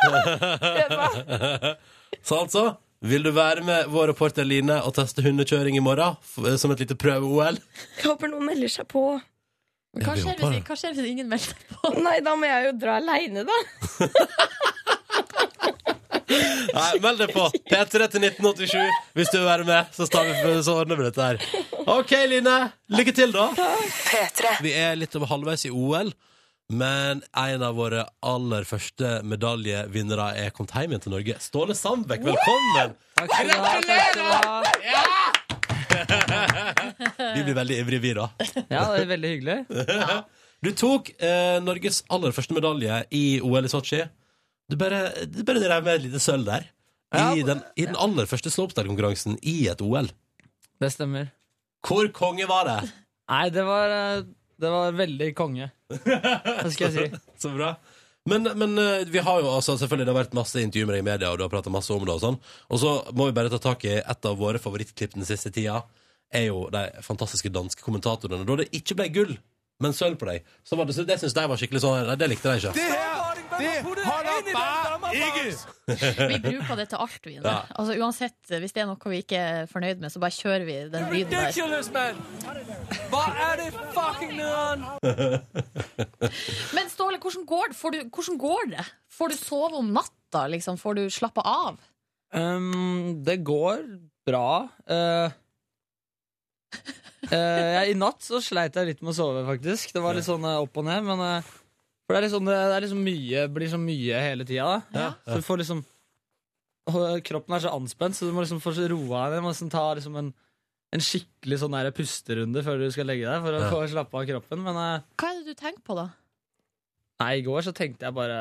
[SPEAKER 2] (laughs) så altså, vil du være med vår reporter Line og teste hundekjøring i morgen f- som et lite prøve-OL?
[SPEAKER 10] Jeg håper noen melder seg på.
[SPEAKER 5] Hva
[SPEAKER 2] Jeg
[SPEAKER 5] skjer,
[SPEAKER 2] håper
[SPEAKER 5] hvis,
[SPEAKER 2] det.
[SPEAKER 5] hva skjer hvis ingen melder seg på?
[SPEAKER 10] Nei, da må jeg jo dra aleine, da.
[SPEAKER 2] Nei, meld deg på. P3 til 1987 hvis du vil være med, så, tar vi, så ordner vi dette her. OK, Line. Lykke til, da.
[SPEAKER 11] P3.
[SPEAKER 2] Vi er litt over halvveis i OL. Men en av våre aller første medaljevinnere er kommet hjem igjen til Norge. Ståle Sandbekk, velkommen!
[SPEAKER 7] Takk skal du ha. Takk skal du ha.
[SPEAKER 2] Vi blir veldig ivrige, vi, da.
[SPEAKER 7] Ja, det er veldig hyggelig.
[SPEAKER 2] Du tok eh, Norges aller første medalje i OL i Sotsji. Du bare, du bare drev med et lite sølv der. I, den, I den aller første slopestyle-konkurransen i et OL.
[SPEAKER 7] Det stemmer.
[SPEAKER 2] Hvor konge var det?
[SPEAKER 7] Nei, det var, eh, det var veldig (laughs) konge. Hva skal jeg si?
[SPEAKER 2] Så bra. Men, men eh, vi har jo altså, selvfølgelig det har vært masse intervjuer med deg i media, og du har prata masse om det. Og sånn Og så må vi bare ta tak i et av våre favorittklipp den siste tida. Er jo de fantastiske danske kommentatorene. Da det ikke ble gull, men sølv på deg, så var det, så det syns de var skikkelig sånn Nei, det likte de ikke.
[SPEAKER 5] Vi bruker det til alt, vi.
[SPEAKER 2] Ja.
[SPEAKER 5] (laughs) Altså, uansett, hvis det er noe vi ikke er fornøyd med, så bare kjører vi den lyden der.
[SPEAKER 7] Ridiculous, man! Hva er det fucking nederen?
[SPEAKER 5] Men Ståle, hvordan går det? Får du, hvordan går det? Får du sove om natta? Liksom? Får du slappe av?
[SPEAKER 7] Ehm, det går bra. Eh, eh, jeg- I natt så sleit jeg litt med å sove, faktisk. Det var litt sånn eh, opp og ned. Men eh, for det er liksom, det, det er liksom mye, blir så mye hele tida. da.
[SPEAKER 5] Ja.
[SPEAKER 7] Så du får liksom og Kroppen er så anspent, så du må liksom få roa deg ned. Du må liksom ta liksom en, en skikkelig sånn der pusterunde før du skal legge deg, for å
[SPEAKER 2] Ja.
[SPEAKER 7] få slappe av kroppen. Men eh,
[SPEAKER 5] Hva er det du tenker på, da?
[SPEAKER 7] Nei, i går så tenkte jeg bare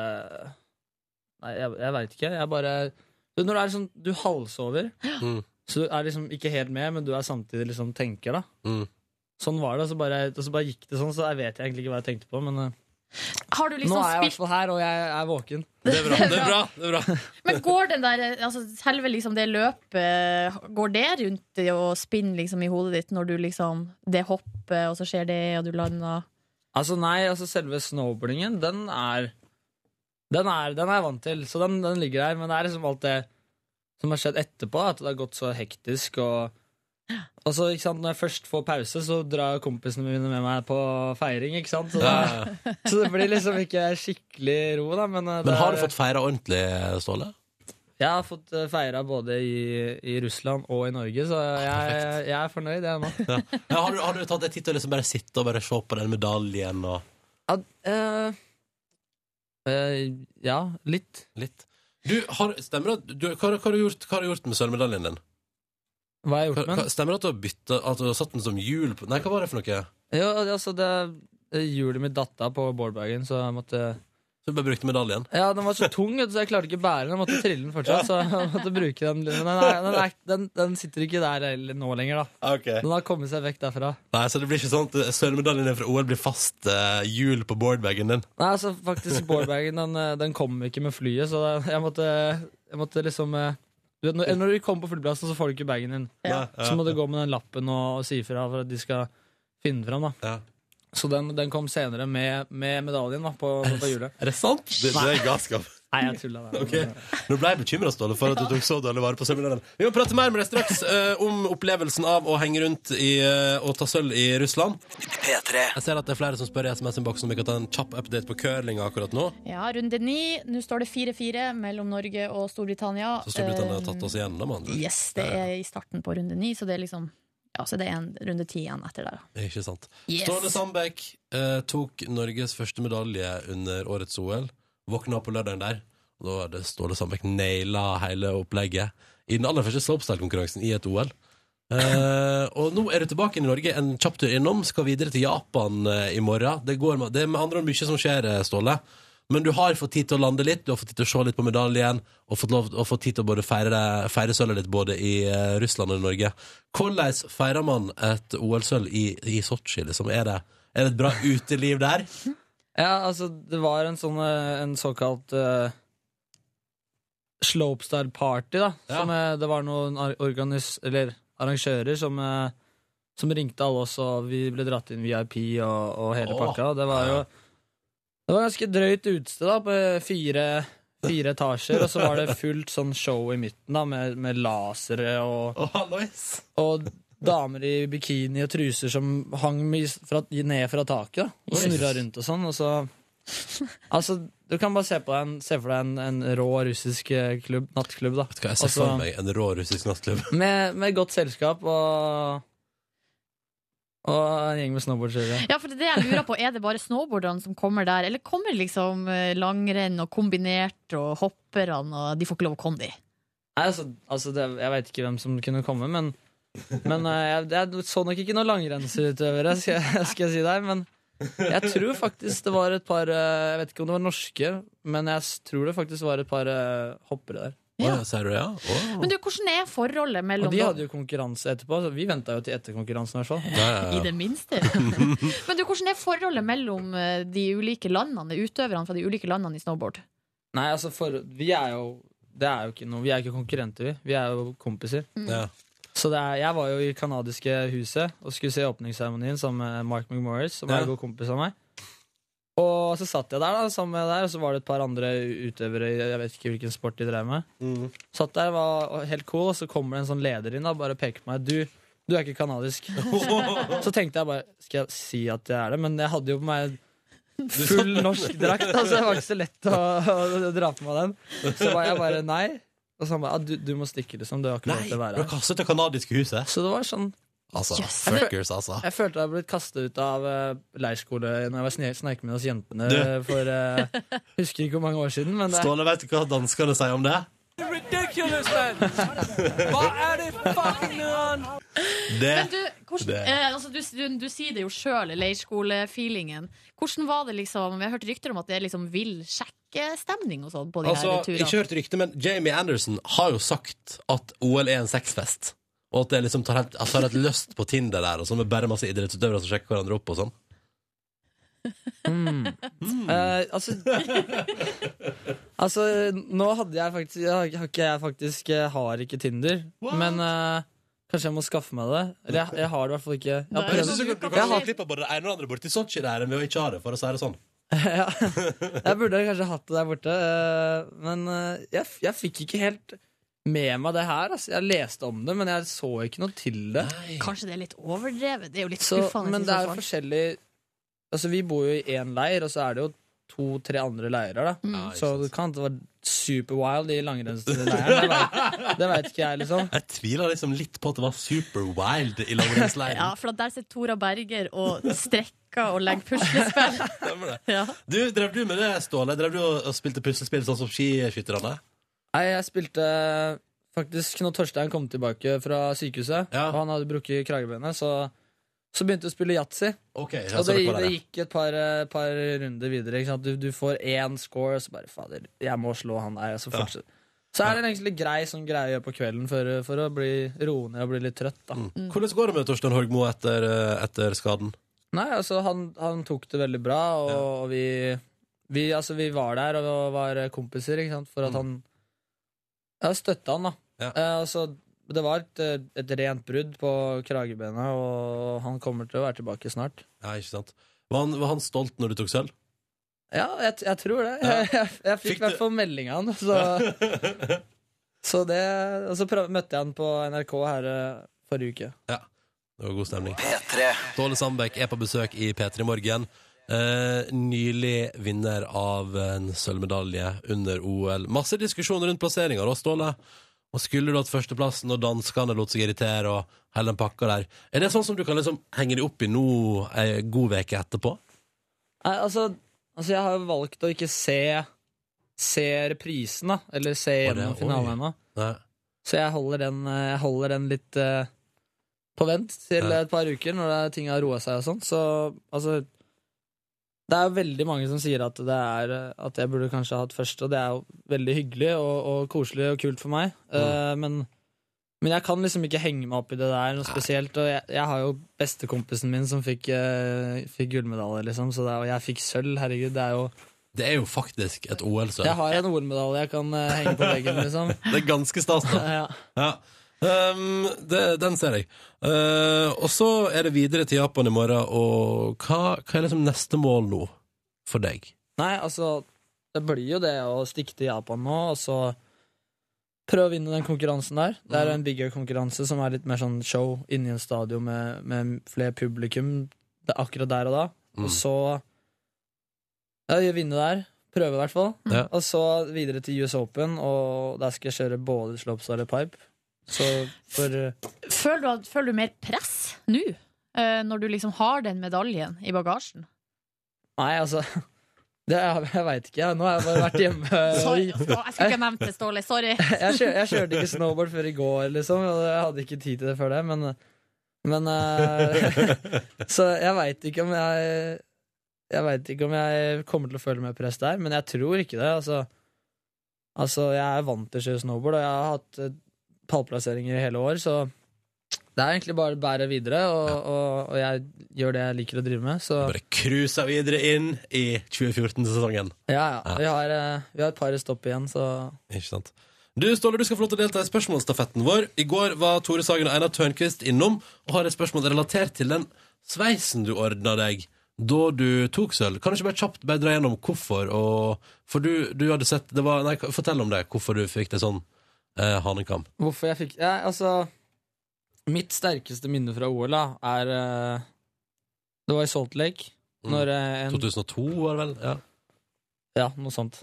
[SPEAKER 7] Nei, jeg, jeg veit ikke. Jeg bare du, Når det er sånn du halvsover,
[SPEAKER 2] Mm.
[SPEAKER 7] så du er liksom ikke helt med, men du er samtidig liksom tenker, da.
[SPEAKER 2] Mm.
[SPEAKER 7] Sånn var det, og så, bare, og så bare gikk det sånn, så jeg vet egentlig ikke hva jeg tenkte på. Men eh,
[SPEAKER 5] Har du
[SPEAKER 7] nå
[SPEAKER 5] liksom
[SPEAKER 7] er jeg i hvert
[SPEAKER 5] spilt
[SPEAKER 7] fall her, og jeg er våken.
[SPEAKER 2] Det er bra. (laughs) det er bra, det er bra.
[SPEAKER 5] Men går den der altså, Selve liksom det løpet Går det rundt det og spinner liksom i hodet ditt når du liksom Det hopper, og så skjer det, og du lander
[SPEAKER 7] Altså, nei, altså selve snowboardingen, den er Den er, den er jeg vant til, så den, den ligger der. Men det er liksom alt det som har skjedd etterpå, at det har gått så hektisk. Og, og så, ikke sant, når jeg først får pause, så drar kompisene mine med meg på feiring. ikke sant? Så,
[SPEAKER 2] Ja, ja.
[SPEAKER 7] det, så det blir liksom ikke skikkelig ro, da. Men, eh, det
[SPEAKER 2] Men har du
[SPEAKER 7] er-
[SPEAKER 2] fått feira ordentlig, Ståle?
[SPEAKER 7] Jeg har fått eh, feira både i, i Russland og i Norge, så jeg, jeg er fornøyd, jeg nå.
[SPEAKER 2] Ja. Ja, har, du, har du tatt deg tid til å liksom bare sitte og bare se på den medaljen og
[SPEAKER 7] Ja, eh, eh, ja litt.
[SPEAKER 2] litt? Du, har, stemmer det at du, hva, hva, har du gjort, hva har du gjort med sølvmedaljen din?
[SPEAKER 7] Hva har
[SPEAKER 2] Hva,
[SPEAKER 7] jeg gjort med
[SPEAKER 2] hva,
[SPEAKER 7] den?
[SPEAKER 2] stemmer det at du har byttet, at du har satt den som hjul på Nei, hva var det for noe?
[SPEAKER 7] Jo, altså, det eh, Hjulet mitt datt av på Bårdbergen, så jeg måtte
[SPEAKER 2] Så du bare brukte medaljen?
[SPEAKER 7] Ja, den var så tung, vet du, så jeg klarte ikke bære den. Jeg måtte trille den fortsatt, så jeg måtte bruke den. Men den, er, den, er, den, den sitter ikke der heller nå lenger, da.
[SPEAKER 2] Ok
[SPEAKER 7] Den har kommet seg vekk derfra.
[SPEAKER 2] Nei, så det blir ikke sånn at sølvmedaljen din fra OL blir fast eh, hjul på boardbagen din?
[SPEAKER 7] Nei, altså faktisk Bårdbergen, den, eh, den kom ikke med flyet, så da- jeg måtte, jeg måtte liksom eh, du vet, når, når du kommer på flyplassen, så får du ikke bagen din.
[SPEAKER 2] Ja.
[SPEAKER 7] Så må du gå med den lappen og, og si ifra for at de skal finne den fram. da
[SPEAKER 2] Ja.
[SPEAKER 7] Så den, den kom senere med, med medaljen da, på, på hjulet.
[SPEAKER 2] Er det sant? Det, det er galskap.
[SPEAKER 7] Nei, jeg tulla. der.
[SPEAKER 2] Ok. Nå ble jeg bekymra, Ståle, for at du tok så dårlig vare på seminaren. Vi må prate mer med deg straks eh, om opplevelsen av å henge rundt i, eh, og ta sølv i Russland.
[SPEAKER 6] P3.
[SPEAKER 2] Jeg ser at det er flere som spør i SMS-innboksen om vi kan ta en kjapp update på curlinga akkurat nå.
[SPEAKER 5] Ja, runde ni. Nå står det 4-4 mellom Norge og Storbritannia.
[SPEAKER 2] Så Storbritannia har tatt oss igjennom, andre.
[SPEAKER 5] Yes, det er i starten på runde ni, så det er liksom Ja, så det er en runde ti igjen etter der. da.
[SPEAKER 2] Ikke sant.
[SPEAKER 5] Yes.
[SPEAKER 2] Ståle Sandbekk eh, tok Norges første medalje under årets OL. Våkna på lørdagen der, og da hadde Ståle Sandbekk naila hele opplegget i den aller første slopestyle-konkurransen i et OL. Eh, og nå er du tilbake inn i Norge, en kjapp tur innom. Skal videre til Japan eh, i morgen. Det, går med, det er med andre ord mye som skjer, eh, Ståle. Men du har fått tid til å lande litt, du har fått tid til å se litt på medaljen, og fått, lov, og fått tid til å både feire, feire sølvet ditt både i eh, Russland og i Norge. Hvordan feirer man et OL-sølv i, i Sotsji? Liksom? Er, det, er det et bra uteliv der?
[SPEAKER 7] Ja, altså, det var en sånn eh, En såkalt uh, slopestyle party, da.
[SPEAKER 2] Ja.
[SPEAKER 7] Som, eh, det var noen ar- organis... Eller arrangører som eh, Som ringte alle oss, og vi ble dratt inn VIP og, og hele
[SPEAKER 2] Åh.
[SPEAKER 7] pakka. Og det var jo
[SPEAKER 2] Ja.
[SPEAKER 7] Det var ganske drøyt utested, da, på eh, fire Fire etasjer, og så var det fullt sånn show i midten, da, med, med lasere og
[SPEAKER 2] Å, hallois!
[SPEAKER 7] og damer i bikini og truser som hang med, fra, ned fra taket da, og snurra rundt og sånn. Og så, altså, du kan bare se, på en, se for deg en, en rå russisk eh, klubb, nattklubb. da
[SPEAKER 2] Vet du hva, jeg ser
[SPEAKER 7] Altså-
[SPEAKER 2] for meg en rå russisk nattklubb.
[SPEAKER 7] med, med godt selskap og Og en gjeng med snowboardkjørere.
[SPEAKER 5] Ja, for det jeg lurer på, er det bare snowboarderne som kommer der, eller kommer liksom eh, langrenn og (laughs) kombinert og hopperne, og de får ikke lov å komme, de?
[SPEAKER 7] Nei, Altså, altså det, jeg veit ikke hvem som kunne komme, men men eh, jeg, jeg så nok ikke noen langrennsutøvere, skal, jeg- (laughs) skal jeg si deg. Men jeg tror faktisk det var et par eh, Jeg vet ikke om det var norske, men jeg s- tror det faktisk var et par eh, hoppere der.
[SPEAKER 2] Å, ja, sier du ja? Å.
[SPEAKER 5] Men du, hvordan er forholdet mellom
[SPEAKER 7] Og de hadde jo konkurranse etterpå, så vi venta jo til etter konkurransen. i hvert
[SPEAKER 2] (laughs)
[SPEAKER 7] fall
[SPEAKER 2] Ja,
[SPEAKER 5] I
[SPEAKER 2] ja, ja.
[SPEAKER 5] det minste. Men du, hvordan er forholdet mellom eh, de ulike landene, utøverne fra de ulike landene i snowboard?
[SPEAKER 7] Nei, altså, for, vi er jo Det er jo ikke noe Vi er ikke konkurrenter, vi. Vi er jo kompiser.
[SPEAKER 2] Ja.
[SPEAKER 7] Så det er, jeg var jo i kanadiske huset og skulle se åpningsseremonien sammen med Mark McMorris, som er
[SPEAKER 2] Ja.
[SPEAKER 7] en god kompis av meg. Og så satt jeg der, da, sammen med der, og så var det et par andre utøvere i jeg vet ikke hvilken sport de drev med.
[SPEAKER 2] Mm.
[SPEAKER 7] Satt der, var helt cool, og så kommer det en sånn leder inn da, bare peker på meg. Du, du er ikke
[SPEAKER 2] (laughs)
[SPEAKER 7] kanadisk. så tenkte jeg bare, skal jeg si at jeg er det? Men jeg hadde jo på meg full norsk drakt, da, så det var ikke så lett å, å dra på meg den. Så var jeg bare nei. Og så han bare, ja, du, du må stikke, liksom. Du har ikke
[SPEAKER 2] Nei, du
[SPEAKER 7] lov til å være
[SPEAKER 2] har
[SPEAKER 7] her.
[SPEAKER 2] kastet det kanadiske huset.
[SPEAKER 7] Så det var sånn
[SPEAKER 2] Altså,
[SPEAKER 5] Yes.
[SPEAKER 2] fuckers, altså.
[SPEAKER 7] jeg følte jeg ble kasta ut av eh, leirskole når jeg var sne- snerkende hos jentene
[SPEAKER 2] Du.
[SPEAKER 7] eh, (laughs) for eh, Husker ikke hvor mange år siden, men eh, det,
[SPEAKER 2] Ståle, vet du hva danskene sier om det? Det
[SPEAKER 5] Men du, hvordan,
[SPEAKER 2] Det-
[SPEAKER 5] eh, altså, du, du, du sier det jo sjøl, leirskolefeelingen. Hvordan var det liksom Jeg hørte rykter om at det er liksom vill sjekkestemning og sånn på de
[SPEAKER 2] Altså,
[SPEAKER 5] her turene.
[SPEAKER 2] ikke hørt rykte, men Jamie Anderson har jo sagt at OL er en sexfest. Og at det liksom tar helt, at tar helt løst på Tinder der, og så med bare masse idrettsutøvere som sjekker hverandre opp og sånn.
[SPEAKER 7] eh, altså, altså, (laughs) nå hadde jeg faktisk Jeg har- har ikke, jeg faktisk eh, har ikke Tinder, men eh, kanskje jeg må skaffe meg det. Eller jeg, jeg har det i hvert fall ikke. Jeg har
[SPEAKER 5] Nei.
[SPEAKER 2] Men
[SPEAKER 7] prøvd- (laughs)
[SPEAKER 2] jeg synes du, du kan
[SPEAKER 7] Jeg har-
[SPEAKER 2] klippe både det ene og det andre borti Sotsji der med å ikke ha det, for å si det sånn.
[SPEAKER 7] ja. Jeg burde kanskje hatt det der borte, eh, men eh, jeg, f- jeg fikk ikke helt med meg det her. Altså. Jeg leste om det, men jeg så ikke noe til det.
[SPEAKER 5] Kanskje det er litt overdrevet? Det sånn. er jo litt
[SPEAKER 7] Så,
[SPEAKER 5] skuffende.
[SPEAKER 7] men
[SPEAKER 5] i
[SPEAKER 7] det
[SPEAKER 5] så
[SPEAKER 7] er
[SPEAKER 5] fall.
[SPEAKER 7] jo forskjellig Altså, vi bor jo i én leir, og så er det jo to-tre andre leirer, da.
[SPEAKER 2] Ja, ikke
[SPEAKER 7] Så
[SPEAKER 2] sant.
[SPEAKER 7] det kan ikke være superwild i langrennsleiren. Det vet- Det veit ikke jeg, liksom.
[SPEAKER 2] Jeg tviler liksom litt på at det var super wild i
[SPEAKER 7] (laughs)
[SPEAKER 2] langrennsleiren.
[SPEAKER 5] Ja, for at der sitter Tora Berger og strekker og legger puslespill.
[SPEAKER 2] Stemmer det.
[SPEAKER 5] Ja.
[SPEAKER 2] Du, drev du med det, Ståle? Drev du og og spilte puslespill sånn som skiskytterne?
[SPEAKER 7] Nei, jeg spilte faktisk når Torstein kom tilbake fra sykehuset,
[SPEAKER 2] Ja.
[SPEAKER 7] og han hadde brukket kragebeinet, så, så begynte vi å spille yatzy.
[SPEAKER 2] Ok, ja,
[SPEAKER 7] Og
[SPEAKER 2] så
[SPEAKER 7] det,
[SPEAKER 2] dere var
[SPEAKER 7] det
[SPEAKER 2] der, ja.
[SPEAKER 7] gikk et par, eh, par runder videre. Ikke sant? Du, du får én score, og så bare Fader, jeg må slå han der. Og så
[SPEAKER 2] Ja.
[SPEAKER 7] fortsetter Så er det en egentlig grei sånn greie å gjøre på kvelden for, for å bli roe ned og bli litt trøtt. Da.
[SPEAKER 2] Mm. Hvordan går det med Torstein Horgmo etter, eh, etter skaden?
[SPEAKER 7] Nei, altså, han, han tok det veldig bra, og, og vi, vi, altså, vi var der og var eh, kompiser, ikke sant, for at
[SPEAKER 2] Mm.
[SPEAKER 7] han Jeg støtta han, da.
[SPEAKER 2] Ja.
[SPEAKER 7] Eh, altså, det var et, eh, et rent brudd på kragebenet, og han kommer til å være tilbake snart.
[SPEAKER 2] Ja, ikke sant? Var han, var han stolt når du tok sølv?
[SPEAKER 7] Ja, jeg, t- jeg tror det.
[SPEAKER 2] Ja.
[SPEAKER 7] (laughs) Jeg, jeg, jeg
[SPEAKER 2] Fikk
[SPEAKER 7] fikk i hvert
[SPEAKER 2] du-
[SPEAKER 7] fall melding av han. Så,
[SPEAKER 2] (laughs)
[SPEAKER 7] så det, og så prøv, møtte jeg han på NRK her eh, forrige uke.
[SPEAKER 2] Det var god stemning.
[SPEAKER 6] P3.
[SPEAKER 2] Ståle Sandbekk er på besøk i P3 Morgen. Eh, nylig vinner av en sølvmedalje under OL. Masse diskusjon rundt plasseringa, da, Ståle. Og skulle du hatt førsteplassen, og danskene lot seg irritere, og hele den pakka der. Er det sånn som du kan liksom henge deg opp i nå ei god uke etterpå?
[SPEAKER 7] Nei, altså, altså Jeg har valgt å ikke se Se reprisen, da. Eller se
[SPEAKER 2] Å, det er-
[SPEAKER 7] gjennom finalen
[SPEAKER 2] oi.
[SPEAKER 7] ennå.
[SPEAKER 2] Nei.
[SPEAKER 7] Så jeg holder den, eh, jeg holder den litt eh, på vent til
[SPEAKER 2] Ja.
[SPEAKER 7] et par uker, når det, ting har roa seg og sånn. Så altså Det er jo veldig mange som sier at, det er, eh, at jeg burde kanskje ha hatt først, og det er jo veldig hyggelig og, og koselig og kult for meg, Eh, men men jeg kan liksom ikke henge meg opp i det der noe spesielt. Og jeg, jeg har jo bestekompisen min som fikk, eh, fikk gullmedalje, liksom. Så det, er- og jeg fikk sølv. Herregud, det er jo
[SPEAKER 2] Det er jo faktisk et
[SPEAKER 7] Jeg
[SPEAKER 2] OL-sølv.
[SPEAKER 7] har en OL-medalje jeg kan eh, henge på veggen, liksom.
[SPEAKER 2] Det er ganske stas, da.
[SPEAKER 7] ja.
[SPEAKER 2] Ja. Ehm, det, den ser jeg. Eh, og så er det videre til Japan i morgen, og hva, hva er liksom neste mål nå for deg?
[SPEAKER 7] Nei, altså Det blir jo det å stikke til Japan nå, og så prøve å vinne den konkurransen der. Det er en bigger konkurranse som er litt mer sånn show inni en stadion med, med flere publikum det er akkurat der og da.
[SPEAKER 2] Mm.
[SPEAKER 7] Og så ja, jeg vinne der. Prøve, i hvert fall.
[SPEAKER 2] Ja.
[SPEAKER 7] Og så videre til US Open, og der skal jeg kjøre både slopestyle og pipe. Så for eh,
[SPEAKER 5] Føler du, at- føler du mer press nå, eh, når du liksom har den medaljen i bagasjen?
[SPEAKER 7] Nei, altså (laughs) det, Jeg, jeg veit ikke. jeg. Nå har jeg bare vært hjemme.
[SPEAKER 5] Sorry, å, jeg skulle ikke ha nevnt det, Ståle. Sorry.
[SPEAKER 7] jeg, kjør, jeg kjørte ikke snowboard før i går, liksom. Og jeg hadde ikke tid til det før det, men, men eh, (laughs) Så jeg veit ikke om jeg Jeg veit ikke om jeg kommer til å føle meg press der, men jeg tror ikke det. Altså, altså jeg er vant til å kjøre snowboard, og jeg har hatt eh, pallplasseringer i hele år, så det er egentlig bare å bære videre, og, og, og jeg gjør det jeg liker å drive med. Så
[SPEAKER 2] Bare cruise videre inn i 2014-sesongen.
[SPEAKER 7] ja, ja. Vi har, eh, vi har et par stopp igjen, så
[SPEAKER 2] Ikke sant? Du, Ståle, du skal få lov til å delta i spørsmålsstafetten vår. I går var Tore Sagen og Einar Tørnquist innom og har et spørsmål relatert til den sveisen du ordna deg da du tok sølv. Kan du ikke bare kjapt bare dra gjennom hvorfor? Og, for du, du hadde sett det var, Nei, fortell om det. Hvorfor du fikk det sånn eh, hanekam.
[SPEAKER 7] Hvorfor jeg fikk ja, Altså, mitt sterkeste minne fra OL da, er eh, Det var i Salt Lake.
[SPEAKER 2] Mm.
[SPEAKER 7] Når eh, en
[SPEAKER 2] 2002 var det vel? Ja.
[SPEAKER 7] Ja, noe sånt.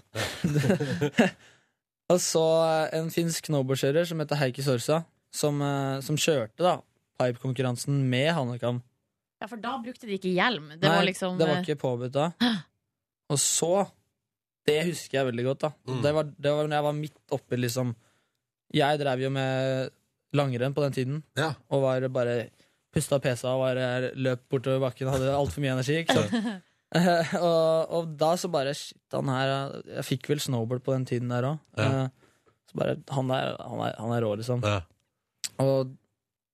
[SPEAKER 7] (laughs) og så eh, en finsk snowboardkjører som heter Heikki Sorsa, som, eh, som kjørte da pipekonkurransen med hanekam.
[SPEAKER 5] Ja, for da brukte de ikke hjelm. Det var
[SPEAKER 7] Nei,
[SPEAKER 5] liksom
[SPEAKER 7] Det var ikke påbudt da. Og så Det husker jeg veldig godt, da.
[SPEAKER 2] Mm.
[SPEAKER 7] Det, var, det var når jeg var midt oppe, liksom. Jeg drev jo med langrenn på den tiden.
[SPEAKER 2] Ja.
[SPEAKER 7] og var bare pusta og pesa og var, eh, løp bortover bakken og hadde altfor mye energi. Ikke sant?
[SPEAKER 5] (laughs)
[SPEAKER 7] Eh, og, og da så bare Shit, han her eh, Jeg fikk vel snowboard på den tiden der òg.
[SPEAKER 2] Ja.
[SPEAKER 7] så bare Han er, han er, han er rå, liksom.
[SPEAKER 2] Ja.
[SPEAKER 7] Og,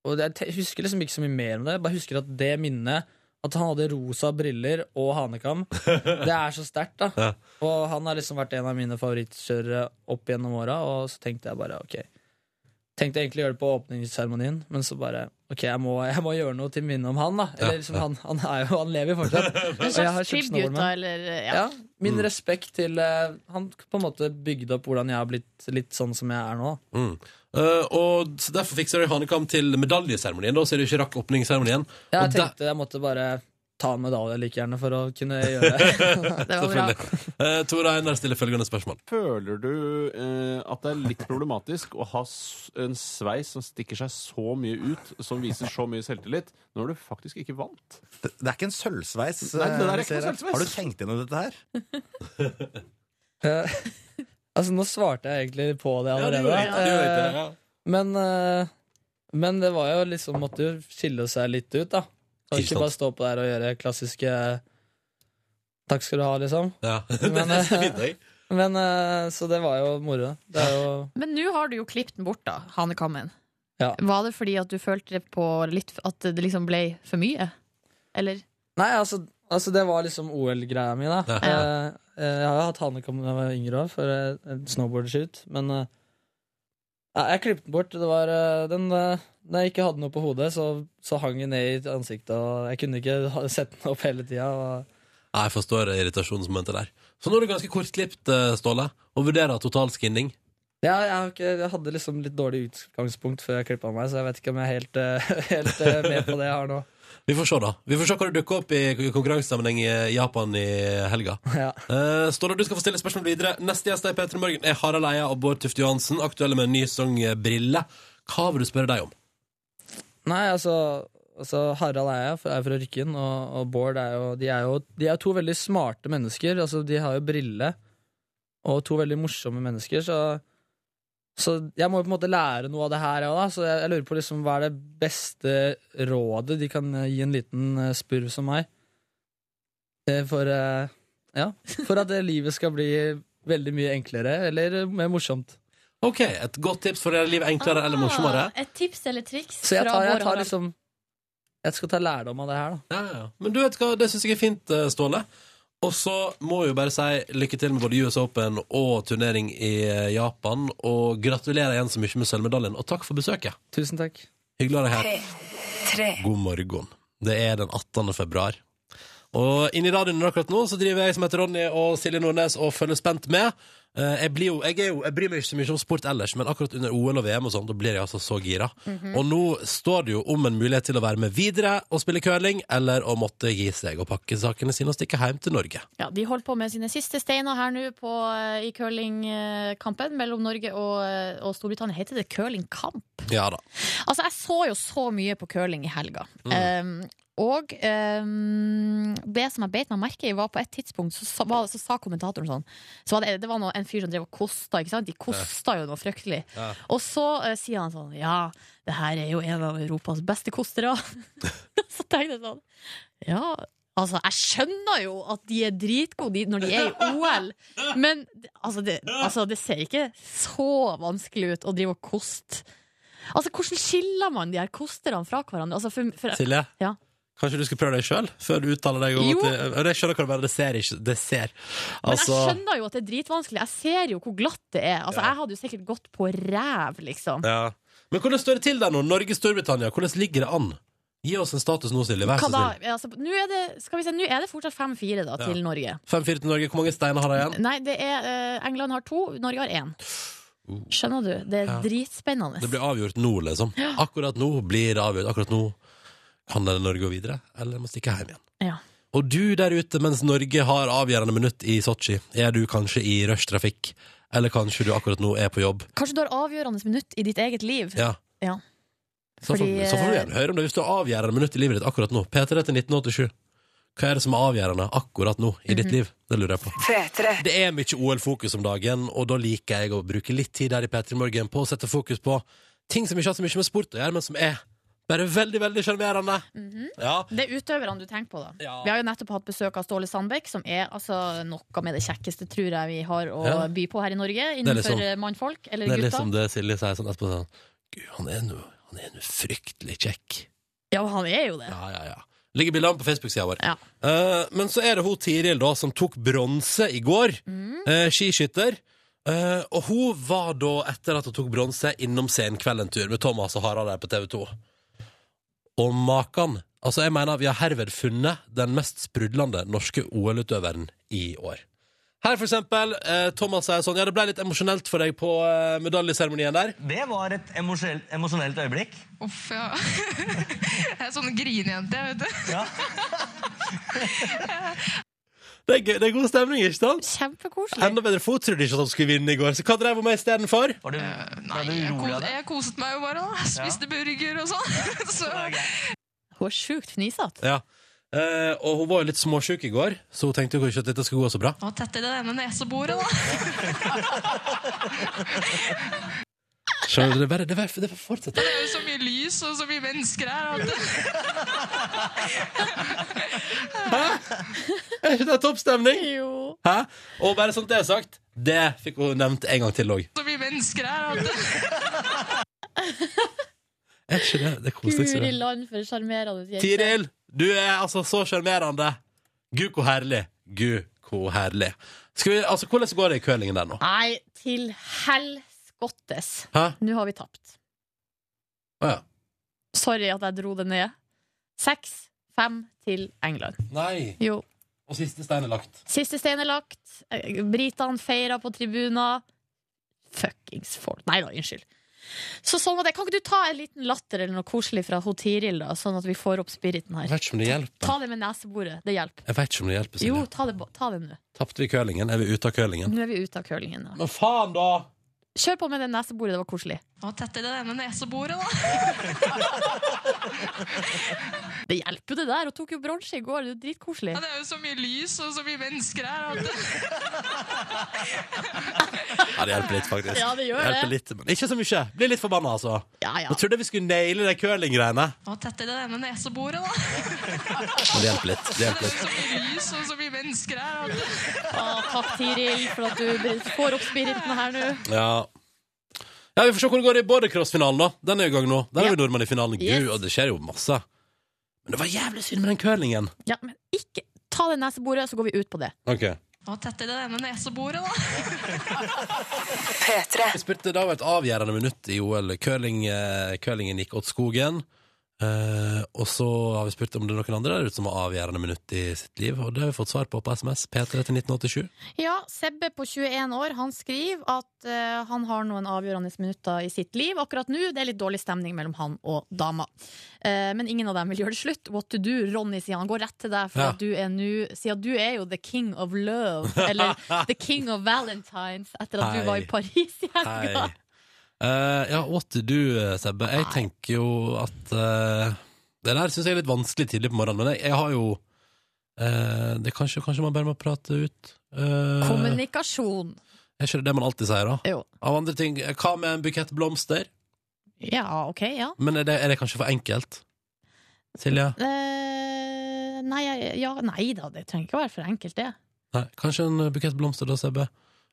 [SPEAKER 7] og jeg te- husker liksom ikke så mye mer om det. Jeg bare husker at det minnet at han hadde rosa briller og hanekam. Det er så sterkt, da.
[SPEAKER 2] Ja.
[SPEAKER 7] Og han har liksom vært en av mine favorittkjørere opp gjennom åra, og så tenkte jeg bare ok. Tenkte egentlig å gjøre det på åpningsseremonien, men så bare Ok, jeg må, jeg må gjøre noe til minne om han, da. Eller liksom, han, han, er jo, han lever jo fortsatt.
[SPEAKER 4] En
[SPEAKER 7] Og jeg har
[SPEAKER 4] slags
[SPEAKER 7] kjøpt
[SPEAKER 4] tribute,
[SPEAKER 7] snowboard
[SPEAKER 4] da,
[SPEAKER 7] med.
[SPEAKER 4] eller eh, ja.
[SPEAKER 7] Ja, min respekt til eh, Han på en måte bygde opp hvordan jeg har blitt litt sånn som jeg er nå.
[SPEAKER 2] Mm. Eh, og så Derfor fikser dere Hanekam til medaljeseremonien, da, så dere ikke rakk åpningsseremonien.
[SPEAKER 7] Jeg
[SPEAKER 2] Og der-
[SPEAKER 7] tenkte jeg måtte bare ta en medalje like gjerne for å kunne gjøre
[SPEAKER 2] (laughs)
[SPEAKER 7] det.
[SPEAKER 4] Det var bra.
[SPEAKER 2] Eh, Tora Einar stiller følgende spørsmål.
[SPEAKER 12] Føler du eh, at det er litt problematisk å ha s en sveis som stikker seg så mye ut, som viser så mye selvtillit, når du faktisk ikke vant?
[SPEAKER 6] Det det er ikke en sølvsveis.
[SPEAKER 12] Nei, det der er
[SPEAKER 6] eh,
[SPEAKER 12] ikke
[SPEAKER 6] ser
[SPEAKER 12] noe
[SPEAKER 6] jeg.
[SPEAKER 12] sølvsveis.
[SPEAKER 6] Har du tenkt gjennom dette her?
[SPEAKER 7] Eh, altså, nå svarte jeg egentlig på det allerede. Eh,
[SPEAKER 2] ja.
[SPEAKER 7] Men, eh, men det var jo liksom Måtte jo skille seg litt ut, da. Kan
[SPEAKER 2] Ikke sant.
[SPEAKER 7] ikke bare stå på der og gjøre klassiske eh, Takk skal du ha, liksom.
[SPEAKER 2] Ja. (laughs)
[SPEAKER 7] Men,
[SPEAKER 2] det er fint, jeg.
[SPEAKER 7] Men eh, Så det var jo moro. Det er jo
[SPEAKER 4] Men nå har du jo klippet den bort, da, hanekammen.
[SPEAKER 7] Ja.
[SPEAKER 4] Var det fordi at du følte på litt at det liksom ble for mye? Eller?
[SPEAKER 7] Nei, altså, altså det var liksom OL-greia mi, da.
[SPEAKER 2] Ja.
[SPEAKER 7] Eh, eh, jeg har jo hatt hanekam da jeg var yngre òg, for eh, en snowboardshoot, men eh, ja, jeg klippet den bort. Det var eh, den eh, Når jeg ikke hadde noe på hodet, så, så hang den ned i ansiktet, og jeg kunne ikke ha- (laughs) sette den opp hele tida. Og...
[SPEAKER 2] Nei, Jeg forstår irritasjonsmomentet der. Så nå er du ganske kortklipt, eh, Ståle, og vurderer total skinning.
[SPEAKER 7] Ja, jeg, har ikke, jeg hadde liksom litt dårlig utgangspunkt før jeg klippa meg, så jeg vet ikke om jeg er helt, eh, (laughs) helt eh, med på det jeg har nå. (laughs)
[SPEAKER 2] Vi får se, da. Vi får se hva det dukker opp i konkurransesammenheng i Japan i helga.
[SPEAKER 7] Ja.
[SPEAKER 2] Eh, Ståle, du skal få stille spørsmål videre. Neste gjest i P3 Morgen er Harald Eia og Bård Tufte Johansen, aktuelle med en ny sang eh, 'Brille'. Hva vil du spørre deg om?
[SPEAKER 7] Nei, altså, altså Harald er jeg, for- er fra Rykken, og, og Bård er jo De er jo de er to veldig smarte mennesker. Altså, de har jo brille, og to veldig morsomme mennesker, så så jeg må jo på en måte lære noe av det her, jeg òg, da. Så jeg, jeg lurer på liksom, hva er det beste rådet de kan eh, gi en liten eh, spurv som meg? Eh, For, eh, ja, for at eh, livet skal bli veldig mye enklere, eller eh, mer morsomt.
[SPEAKER 2] Ok, Et godt tips for å gjøre livet enklere eller morsommere?
[SPEAKER 13] Et tips eller triks
[SPEAKER 7] Så jeg
[SPEAKER 13] fra
[SPEAKER 7] tar, jeg
[SPEAKER 13] Bård
[SPEAKER 7] tar
[SPEAKER 13] Harald.
[SPEAKER 7] liksom Jeg skal ta lærdom av det her, da.
[SPEAKER 2] Ja, ja. Men du vet hva, det syns jeg er fint, eh, Ståle. Og så må jeg jo bare si lykke til med både US Open og turnering i eh, Japan. Og gratulerer igjen så mye med sølvmedaljen, og takk for besøket.
[SPEAKER 7] Tusen takk.
[SPEAKER 2] Hyggelig å ha deg her. God morgen. Det er den 18. februar. Og inni radioen akkurat nå så driver jeg som heter Ronny og Silje Nordnes og følger spent med. Eh, Jeg, blir jo, jeg, er jo, jeg bryr meg ikke så mye om sport ellers, men akkurat under OL og VM og sånn, da blir jeg altså så gira.
[SPEAKER 4] Mhm.
[SPEAKER 2] Og nå står det jo om en mulighet til å være med videre og spille curling, eller å måtte gi seg og pakke sakene sine og stikke hjem til Norge.
[SPEAKER 4] Ja, de holder på med sine siste steiner her nå på, eh, i curlingkampen mellom Norge og, eh, og Storbritannia. Heter det curlingkamp?
[SPEAKER 2] Ja da.
[SPEAKER 4] Altså, jeg så jo så mye på curling i helga.
[SPEAKER 7] Mm.
[SPEAKER 4] Um, og um, det som jeg beit meg merke i, var på et tidspunkt så, sa- var, så sa kommentatoren sånn så var det, det var noe, en fyr som drev og kosta, ikke sant? De kosta jo noe fryktelig.
[SPEAKER 2] Ja.
[SPEAKER 4] Og så eh, sier han sånn Ja, det her er jo en av Europas beste kostere. (laughs) så tenkte jeg sånn Ja, altså, jeg skjønner jo at de er dritgode de- når de er i OL, men altså, det, altså, det ser ikke så vanskelig ut å drive og koste. Altså, Hvordan skiller man de her kosterne fra hverandre? Altså, for, for,
[SPEAKER 2] Silje?
[SPEAKER 4] Ja.
[SPEAKER 2] Kanskje du skal prøve deg sjøl, før du uttaler deg? om
[SPEAKER 4] Jo.
[SPEAKER 2] at det- Jeg skjønner hva det mener, det ser ikke Det ser.
[SPEAKER 4] men jeg
[SPEAKER 2] Altså-
[SPEAKER 4] skjønner jo at det er dritvanskelig. Jeg ser jo hvor glatt det er. Altså, Jeg hadde jo sikkert gått på ræv, liksom.
[SPEAKER 2] Ja. Men hvordan står det til der nå? Norge, Storbritannia, hvordan ligger det an? Gi oss en status nå, Silje. Vær
[SPEAKER 4] Hva
[SPEAKER 2] så
[SPEAKER 4] da?
[SPEAKER 2] snill.
[SPEAKER 4] Altså, nå, er det, skal vi se, nå er det fortsatt 5-4 da, til Norge.
[SPEAKER 2] 5-4 til Norge. Hvor mange steiner har de igjen?
[SPEAKER 4] Nei, det er, eh, England har to, Norge har én. Skjønner du? Det er
[SPEAKER 2] Ja.
[SPEAKER 4] dritspennende.
[SPEAKER 2] Det blir avgjort nå, liksom. Akkurat nå blir det avgjort. Akkurat nå kan det Norge gå videre, eller må stikke hjem igjen.
[SPEAKER 4] Ja.
[SPEAKER 2] Og du der ute, mens Norge har avgjørende minutt i Sotsji, er du kanskje i rushtrafikk, eller kanskje du akkurat nå er på jobb.
[SPEAKER 4] Kanskje du har avgjørende minutt i ditt eget liv.
[SPEAKER 2] Ja.
[SPEAKER 4] Ja.
[SPEAKER 2] Så, får,
[SPEAKER 4] Fordi,
[SPEAKER 2] så får sånn du gjerne høre om det hvis du har avgjørende minutt i livet ditt akkurat nå. P3 til 1987. Hva er det som er avgjørende akkurat nå i ditt liv? Det lurer jeg på. Det er mye OL-fokus om dagen, og da liker jeg å bruke litt tid her i P3 Morgen på å sette fokus på ting som ikke har så mye med sport å gjøre, men som er bare veldig, veldig sjarmerende. Ja.
[SPEAKER 4] Det er utøverne du tenker på, da.
[SPEAKER 2] Ja.
[SPEAKER 4] Vi har jo nettopp hatt besøk av Ståle Sandbekk, som er altså noe med det kjekkeste, tror jeg, vi har å
[SPEAKER 2] Ja.
[SPEAKER 4] by på her i Norge
[SPEAKER 2] er
[SPEAKER 4] innenfor
[SPEAKER 2] liksom-
[SPEAKER 4] eh, mannfolk eller
[SPEAKER 2] Det er
[SPEAKER 4] gutter.
[SPEAKER 2] liksom det Silje sier sånn etterpå sånn Gud, han er nå han er nå fryktelig kjekk.
[SPEAKER 4] Ja, han er jo det.
[SPEAKER 2] Ja, ja, ja. Ligger bildene på Facebook-sida vår.
[SPEAKER 4] Ja. Mm.
[SPEAKER 2] Eh, men så er det hun Tiril da, som tok bronse i går. Eh, skiskytter. Eh, og hun var da, etter at hun tok bronse, innom Senkveld en tur med Thomas og Harald her på TV 2. Og makan Altså, jeg mener vi har herved funnet den mest sprudlende norske OL-utøveren i år. Her, for eksempel, eh, Thomas sier sånn Ja, det ble litt emosjonelt for deg på eh, medaljeseremonien der.
[SPEAKER 6] Det var et emosjonelt, emosjonelt øyeblikk.
[SPEAKER 5] Uff, ja. (laughs) Jeg er sånn grinejente, vet du.
[SPEAKER 2] Det er, gøy, det er god stemning, ikke sant?
[SPEAKER 4] Kjempekoselig.
[SPEAKER 2] Enda bedre fot trodde ikke at hun skulle vinne i går, så hva drev hun med istedenfor?
[SPEAKER 5] Eh, Nei, jeg, kos jeg koset meg jo bare, da. Spiste burger og sånn. (laughs) Så
[SPEAKER 4] Hun er sjukt fnisete.
[SPEAKER 2] Ja. Eh, og hun var jo litt småsjuk i går, så hun tenkte jo ikke at dette skulle gå så bra.
[SPEAKER 5] Nå tett i det ene neseboret, da.
[SPEAKER 2] Så det bare, det bare, det bare
[SPEAKER 5] Det (laughs)
[SPEAKER 2] fortsetter.
[SPEAKER 5] er jo så mye lys og så mye mennesker her.
[SPEAKER 2] Hæ? Er ikke det topp stemning? Hæ? Og bare sånn det er sagt, det fikk hun nevnt en gang til òg.
[SPEAKER 5] Så mye mennesker her.
[SPEAKER 2] (laughs) Er ikke det det koseligste?
[SPEAKER 14] Guri
[SPEAKER 2] det?
[SPEAKER 14] land for sjarmerende jente.
[SPEAKER 2] Tiril, du er altså så sjarmerende. Gud, hvor herlig. Gud, hvor herlig. Skal vi, altså, hvordan går det i curlingen der nå?
[SPEAKER 4] Nei, til helskottes.
[SPEAKER 2] Hæ?
[SPEAKER 4] Nå har vi tapt.
[SPEAKER 2] Å ja.
[SPEAKER 4] Sorry at jeg dro det ned. Seks, fem til England.
[SPEAKER 2] Nei.
[SPEAKER 4] Jo.
[SPEAKER 2] Og siste stein er lagt.
[SPEAKER 4] Siste stein er lagt. Eh, Britene feirer på tribuner. Fuckings folk. Nei da, unnskyld. Så sånn var det. Kan ikke du ta en liten latter eller noe koselig fra ho Tiril, da, sånn at vi får opp spiriten
[SPEAKER 2] Jeg
[SPEAKER 4] her?
[SPEAKER 2] vet ikke om det hjelper.
[SPEAKER 4] Ta det med neseboret. Det hjelper.
[SPEAKER 2] Jeg vet ikke om det hjelper Silje.
[SPEAKER 4] Jo, ta det, ba- ta det nå.
[SPEAKER 2] Tapte vi curlingen? Er vi ute av curlingen?
[SPEAKER 4] Nå er vi ute av curlingen. da.
[SPEAKER 2] Men faen, da!
[SPEAKER 4] Kjør på med det neseboret. Det var koselig.
[SPEAKER 5] Nå tett i det ene neseboret, da.
[SPEAKER 4] (laughs) Det hjelper jo, det der. Hun tok jo bronse i går. Det er jo dritkoselig.
[SPEAKER 5] Ja, det er jo så mye lys og så mye mennesker her.
[SPEAKER 2] Ja, det hjelper litt, faktisk.
[SPEAKER 5] Ja, det gjør
[SPEAKER 2] hjelper
[SPEAKER 5] det.
[SPEAKER 2] Litt, men ikke så mye. Blir litt forbanna, altså.
[SPEAKER 4] Ja, ja.
[SPEAKER 2] Jeg trodde vi skulle naile de curlinggreiene,
[SPEAKER 5] Nå tett i det ene neseboret, da.
[SPEAKER 2] men det hjelper litt. Det hjelper
[SPEAKER 5] Så
[SPEAKER 2] litt.
[SPEAKER 5] mye lys og så mye mennesker her.
[SPEAKER 4] Ah, takk, Tiril, for at du br- får opp spiriten her nå.
[SPEAKER 2] Ja. ja, vi får se hvordan det går i bordercross-finalen, da. Den er i gang nå. Der er
[SPEAKER 4] Ja.
[SPEAKER 2] vi nordmenn i finalen. Gud,
[SPEAKER 4] Yes.
[SPEAKER 2] og det skjer jo masse. Men det var jævlig synd med den curlingen.
[SPEAKER 4] Ja, men ikke ta det neseboret, så går vi ut på det.
[SPEAKER 2] Ok.
[SPEAKER 5] Nå tett i det ene neseboret, da.
[SPEAKER 2] Jeg spurte, det har vært avgjørende minutt i OL. Curling, eh, curlingen gikk åt skogen. Eh, og så har vi spurt om det er noen andre der ute som har avgjørende minutt i sitt liv, og det har vi fått svar på på SMS. P3 til 1987.
[SPEAKER 4] Ja, Sebbe på 21 år han skriver at eh, han har noen avgjørende minutter i sitt liv akkurat nå. Det er litt dårlig stemning mellom han og dama. Eh, men ingen av dem vil gjøre det slutt. What to do? Ronny sier han går rett til deg, for
[SPEAKER 15] Ja.
[SPEAKER 4] at du er nå Siden du er jo the king of
[SPEAKER 2] (laughs)
[SPEAKER 4] love, eller the king of valentines, etter at
[SPEAKER 2] Hei.
[SPEAKER 4] du var i Paris i helga.
[SPEAKER 2] Hei. Eh, ja, what do du, Sebbe? Jeg tenker jo at eh, Det der syns jeg er litt vanskelig tidlig på morgenen, men jeg, jeg har jo eh, det er kanskje, kanskje man bare må prate ut. Eh,
[SPEAKER 5] altså.
[SPEAKER 4] Kommunikasjon.
[SPEAKER 2] er ikke det det man alltid sier, da?
[SPEAKER 4] Jo.
[SPEAKER 2] Av andre ting, eh, hva med en bukett blomster?
[SPEAKER 4] Ja, OK, ja.
[SPEAKER 2] Men er det, er det kanskje for enkelt? Silja?
[SPEAKER 4] Eh, nei, jeg- ja, nei da, det trenger ikke å være for enkelt, det.
[SPEAKER 2] Nei, kanskje en bukett blomster, da, Sebbe?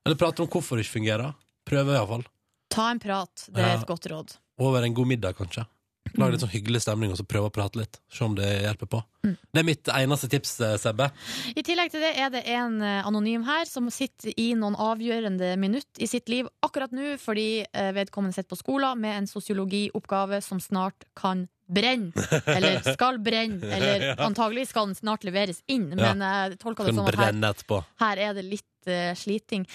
[SPEAKER 2] Eller prate om hvorfor det ikke fungerer? Prøve, iallfall.
[SPEAKER 4] Ta en prat, det er
[SPEAKER 2] Ja.
[SPEAKER 4] et godt råd.
[SPEAKER 2] Over en god middag, kanskje. Lag litt sånn hyggelig stemning og så prøve å prate litt. Se om det hjelper på.
[SPEAKER 4] Mm.
[SPEAKER 2] Det er mitt eneste tips, eh, Sebbe.
[SPEAKER 4] I tillegg til det er det en eh, anonym her som sitter i noen avgjørende minutt i sitt liv akkurat nå, fordi eh, vedkommende sitter på skolen med en sosiologioppgave som snart kan brenne. Eller
[SPEAKER 2] (laughs)
[SPEAKER 4] skal brenne.
[SPEAKER 2] Ja.
[SPEAKER 4] Eller antagelig skal den snart leveres inn,
[SPEAKER 2] Ja.
[SPEAKER 4] men jeg tolker
[SPEAKER 2] Kan
[SPEAKER 4] det som at her,
[SPEAKER 2] brenne etterpå.
[SPEAKER 4] her er det litt eh, sliting.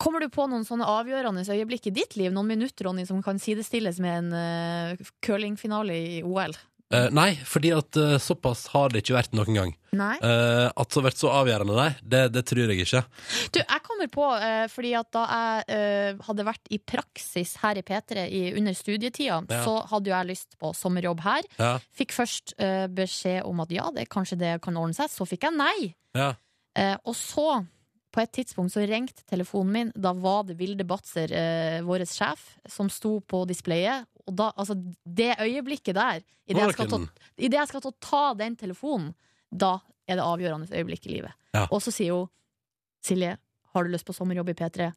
[SPEAKER 4] Kommer du på noen sånne avgjørende øyeblikk i ditt liv, noen minutter, Ronny, som kan sidestilles med en eh, curlingfinale i OL?
[SPEAKER 2] Eh, nei, fordi at eh, såpass har det ikke vært noen gang.
[SPEAKER 4] Nei.
[SPEAKER 2] Eh, at det har vært så avgjørende, nei, det, det tror jeg ikke.
[SPEAKER 4] Du, jeg kommer på, eh, fordi at da jeg eh, hadde vært i praksis her i P3 i, under studietida,
[SPEAKER 2] Ja.
[SPEAKER 4] så hadde jo jeg lyst på sommerjobb her.
[SPEAKER 2] Ja.
[SPEAKER 4] Fikk først eh, beskjed om at ja, det, kanskje det kan ordne seg. Så fikk jeg nei.
[SPEAKER 2] Ja.
[SPEAKER 4] Eh, og så, på et tidspunkt, så ringte telefonen min. Da var det Vilde Batzer, eh, vår sjef, som sto på displayet. Og da, altså, det øyeblikket der, i det,
[SPEAKER 2] Var
[SPEAKER 4] jeg skal
[SPEAKER 2] det
[SPEAKER 4] til å- i det jeg skal til å ta den telefonen, da er det avgjørende øyeblikk i livet.
[SPEAKER 2] Ja.
[SPEAKER 4] Og så sier hun Silje, har du lyst på sommerjobb i P3?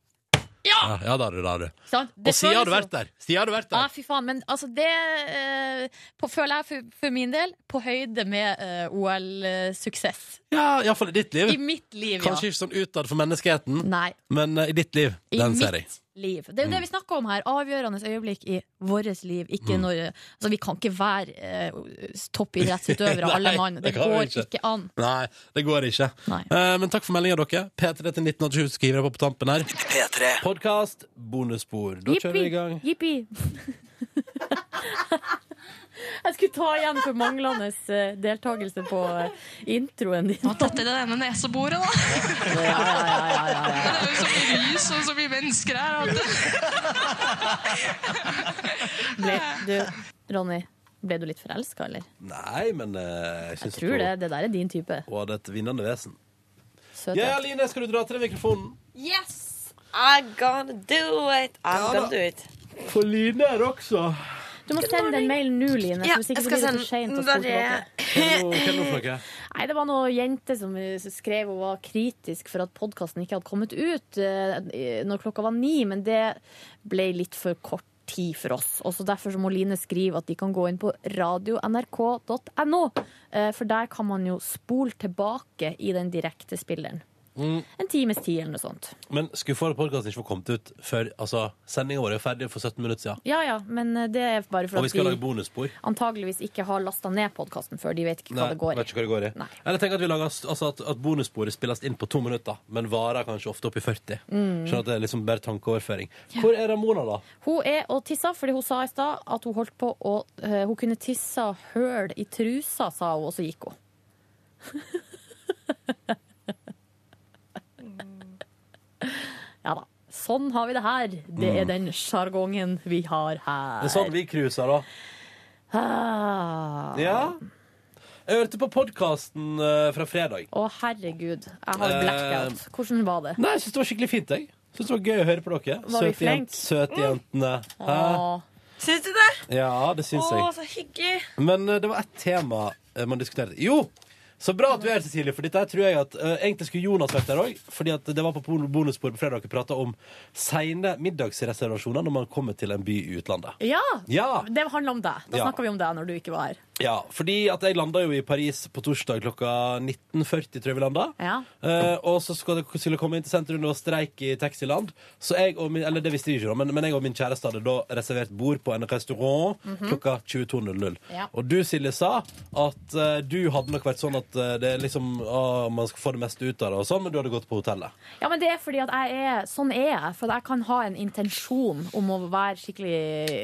[SPEAKER 4] Ja!
[SPEAKER 2] Ja, ja da har du det. har du.
[SPEAKER 4] Ikke sant? Det
[SPEAKER 2] Og Sia
[SPEAKER 4] føles
[SPEAKER 2] har du
[SPEAKER 4] jo-
[SPEAKER 2] vært der. Sia har du vært der.
[SPEAKER 4] Ja, fy faen. Men altså, det eh, på, føler jeg for, for min del på høyde med eh, OL-suksess.
[SPEAKER 2] Ja, iallfall i ditt liv.
[SPEAKER 4] I mitt liv, ja.
[SPEAKER 2] Kanskje ikke sånn utad for menneskeheten,
[SPEAKER 4] Nei.
[SPEAKER 2] men eh, i ditt liv.
[SPEAKER 4] I
[SPEAKER 2] den
[SPEAKER 4] mitt
[SPEAKER 2] ser jeg. Mm.
[SPEAKER 4] liv. Det er jo det vi snakker om her. Avgjørende øyeblikk i vårt liv. Ikke når, altså, vi kan ikke være eh,
[SPEAKER 2] (laughs)
[SPEAKER 4] toppidrettsutøvere,
[SPEAKER 2] Nei,
[SPEAKER 4] alle mann. Det
[SPEAKER 2] kan vi
[SPEAKER 4] går ikke. an.
[SPEAKER 2] Nei, det går ikke. Eh, men takk for meldinga, dere. P3 til 1987 skriver jeg på på tampen her. P3 Podkast, bonusspor. Da kjører vi i gang.
[SPEAKER 4] Jippi.
[SPEAKER 2] (laughs)
[SPEAKER 4] Jeg skulle ta igjen for manglende eh, deltakelse på eh, introen din.
[SPEAKER 5] Tatt i det ene neseboret, da. Men Det er jo så mye lys og så mye mennesker her.
[SPEAKER 4] Ble, du, Ronny, ble du litt forelska, eller?
[SPEAKER 2] Nei, men eh, jeg syns
[SPEAKER 4] Tror det. Det der er din type.
[SPEAKER 2] Hun hadde et vinnende vesen.
[SPEAKER 4] Søt.
[SPEAKER 2] Ja, Line, skal du dra til mikrofonen?
[SPEAKER 10] Yes! I'm gonna do it. I'm
[SPEAKER 2] Ja da.
[SPEAKER 10] gonna do it.
[SPEAKER 2] For Line er også
[SPEAKER 4] Du må sende en mail nå, Line.
[SPEAKER 10] Ja,
[SPEAKER 4] for hvis ikke
[SPEAKER 10] jeg
[SPEAKER 4] så
[SPEAKER 10] skal
[SPEAKER 4] blir det
[SPEAKER 10] sende
[SPEAKER 4] for sent å
[SPEAKER 10] den. eh,
[SPEAKER 4] spole tilbake.
[SPEAKER 2] Hva er det nå- hva er det nå for noe?
[SPEAKER 4] Nei, det var noen jente som eh, som skrev hun var kritisk for at podkasten ikke hadde kommet ut eh, når klokka var ni, men det ble litt for kort tid for oss. Og så Derfor så må Line skrive at de kan gå inn på radio.nrk.no, eh, for der kan man jo spole tilbake i den direkte spilleren.
[SPEAKER 2] Mm.
[SPEAKER 4] En times tid eller noe sånt.
[SPEAKER 2] Men skuffa over at podkasten ikke får kommet ut før altså, sendinga vår er jo ferdig for 17 minutter siden.
[SPEAKER 4] Ja ja, men eh, det er bare
[SPEAKER 2] Og
[SPEAKER 4] for
[SPEAKER 2] vi
[SPEAKER 4] at
[SPEAKER 2] skal lage
[SPEAKER 4] de
[SPEAKER 2] bonusspor.
[SPEAKER 4] antageligvis ikke har lasta ned podkasten før. De vet ikke hva
[SPEAKER 2] Nei,
[SPEAKER 4] det går i.
[SPEAKER 2] vet ikke hva det går i. Eller tenk at, vi lager, altså at, at bonussporet spilles inn på to minutter, men varer kanskje ofte opp i 40.
[SPEAKER 4] Mm.
[SPEAKER 2] Skjønner at det er liksom bare tankeoverføring. Hvor er Ramona, da?
[SPEAKER 4] Hun er og tissa, fordi hun sa i stad at hun holdt på å eh, Hun kunne tissa høl i trusa, sa hun, og så gikk hun. (laughs) ja da. Sånn har vi det her. Det er
[SPEAKER 2] Mm.
[SPEAKER 4] den sjargongen vi har her.
[SPEAKER 2] Det er sånn vi cruiser, da.
[SPEAKER 4] Ah.
[SPEAKER 2] Ja. Jeg hørte på podkasten fra fredag.
[SPEAKER 4] Å, herregud. Jeg har blackout.
[SPEAKER 2] Eh,
[SPEAKER 4] Hvordan var det?
[SPEAKER 2] Nei, jeg syns det var skikkelig fint, jeg. Syns det var gøy å høre på dere.
[SPEAKER 4] Var vi
[SPEAKER 2] Søte,
[SPEAKER 4] flink?
[SPEAKER 2] jent, søte jentene. Hæ?
[SPEAKER 4] Åh.
[SPEAKER 10] Syns du det?
[SPEAKER 2] Ja, det syns jeg.
[SPEAKER 10] Å, så hyggelig.
[SPEAKER 2] Men eh, det var ett tema eh, man diskuterte. Jo! Så bra at du er her, Cecilie. For dette her tror jeg at eh, Egentlig skulle Jonas vært der òg. Fordi at det var på Pol- bonusbord på fredag dere prata om seine middagsreservasjoner når man kommer til en by i utlandet.
[SPEAKER 4] Ja!
[SPEAKER 2] Ja.
[SPEAKER 4] Det handler om deg. Da
[SPEAKER 2] Ja.
[SPEAKER 4] snakka vi om deg når du ikke var her.
[SPEAKER 2] Ja, fordi at jeg landa jo i Paris på torsdag klokka 19.40, tror jeg vi landa.
[SPEAKER 4] Ja.
[SPEAKER 2] Eh, og så skal det skulle komme inn til sentrum, det var streik i taxiland. Så jeg og min, eller det visste jeg ikke, da, men, men jeg og min kjæreste hadde da reservert bord på en restaurant
[SPEAKER 16] Mhm.
[SPEAKER 2] klokka 22.00.
[SPEAKER 16] Ja.
[SPEAKER 2] Og du, Silje, sa at eh, du hadde nok vært sånn at eh, det er liksom å, man skal få det meste ut av det, og sånn, men du hadde gått på hotellet.
[SPEAKER 4] Ja, men det er fordi at jeg er Sånn er jeg. For at jeg kan ha en intensjon om å være skikkelig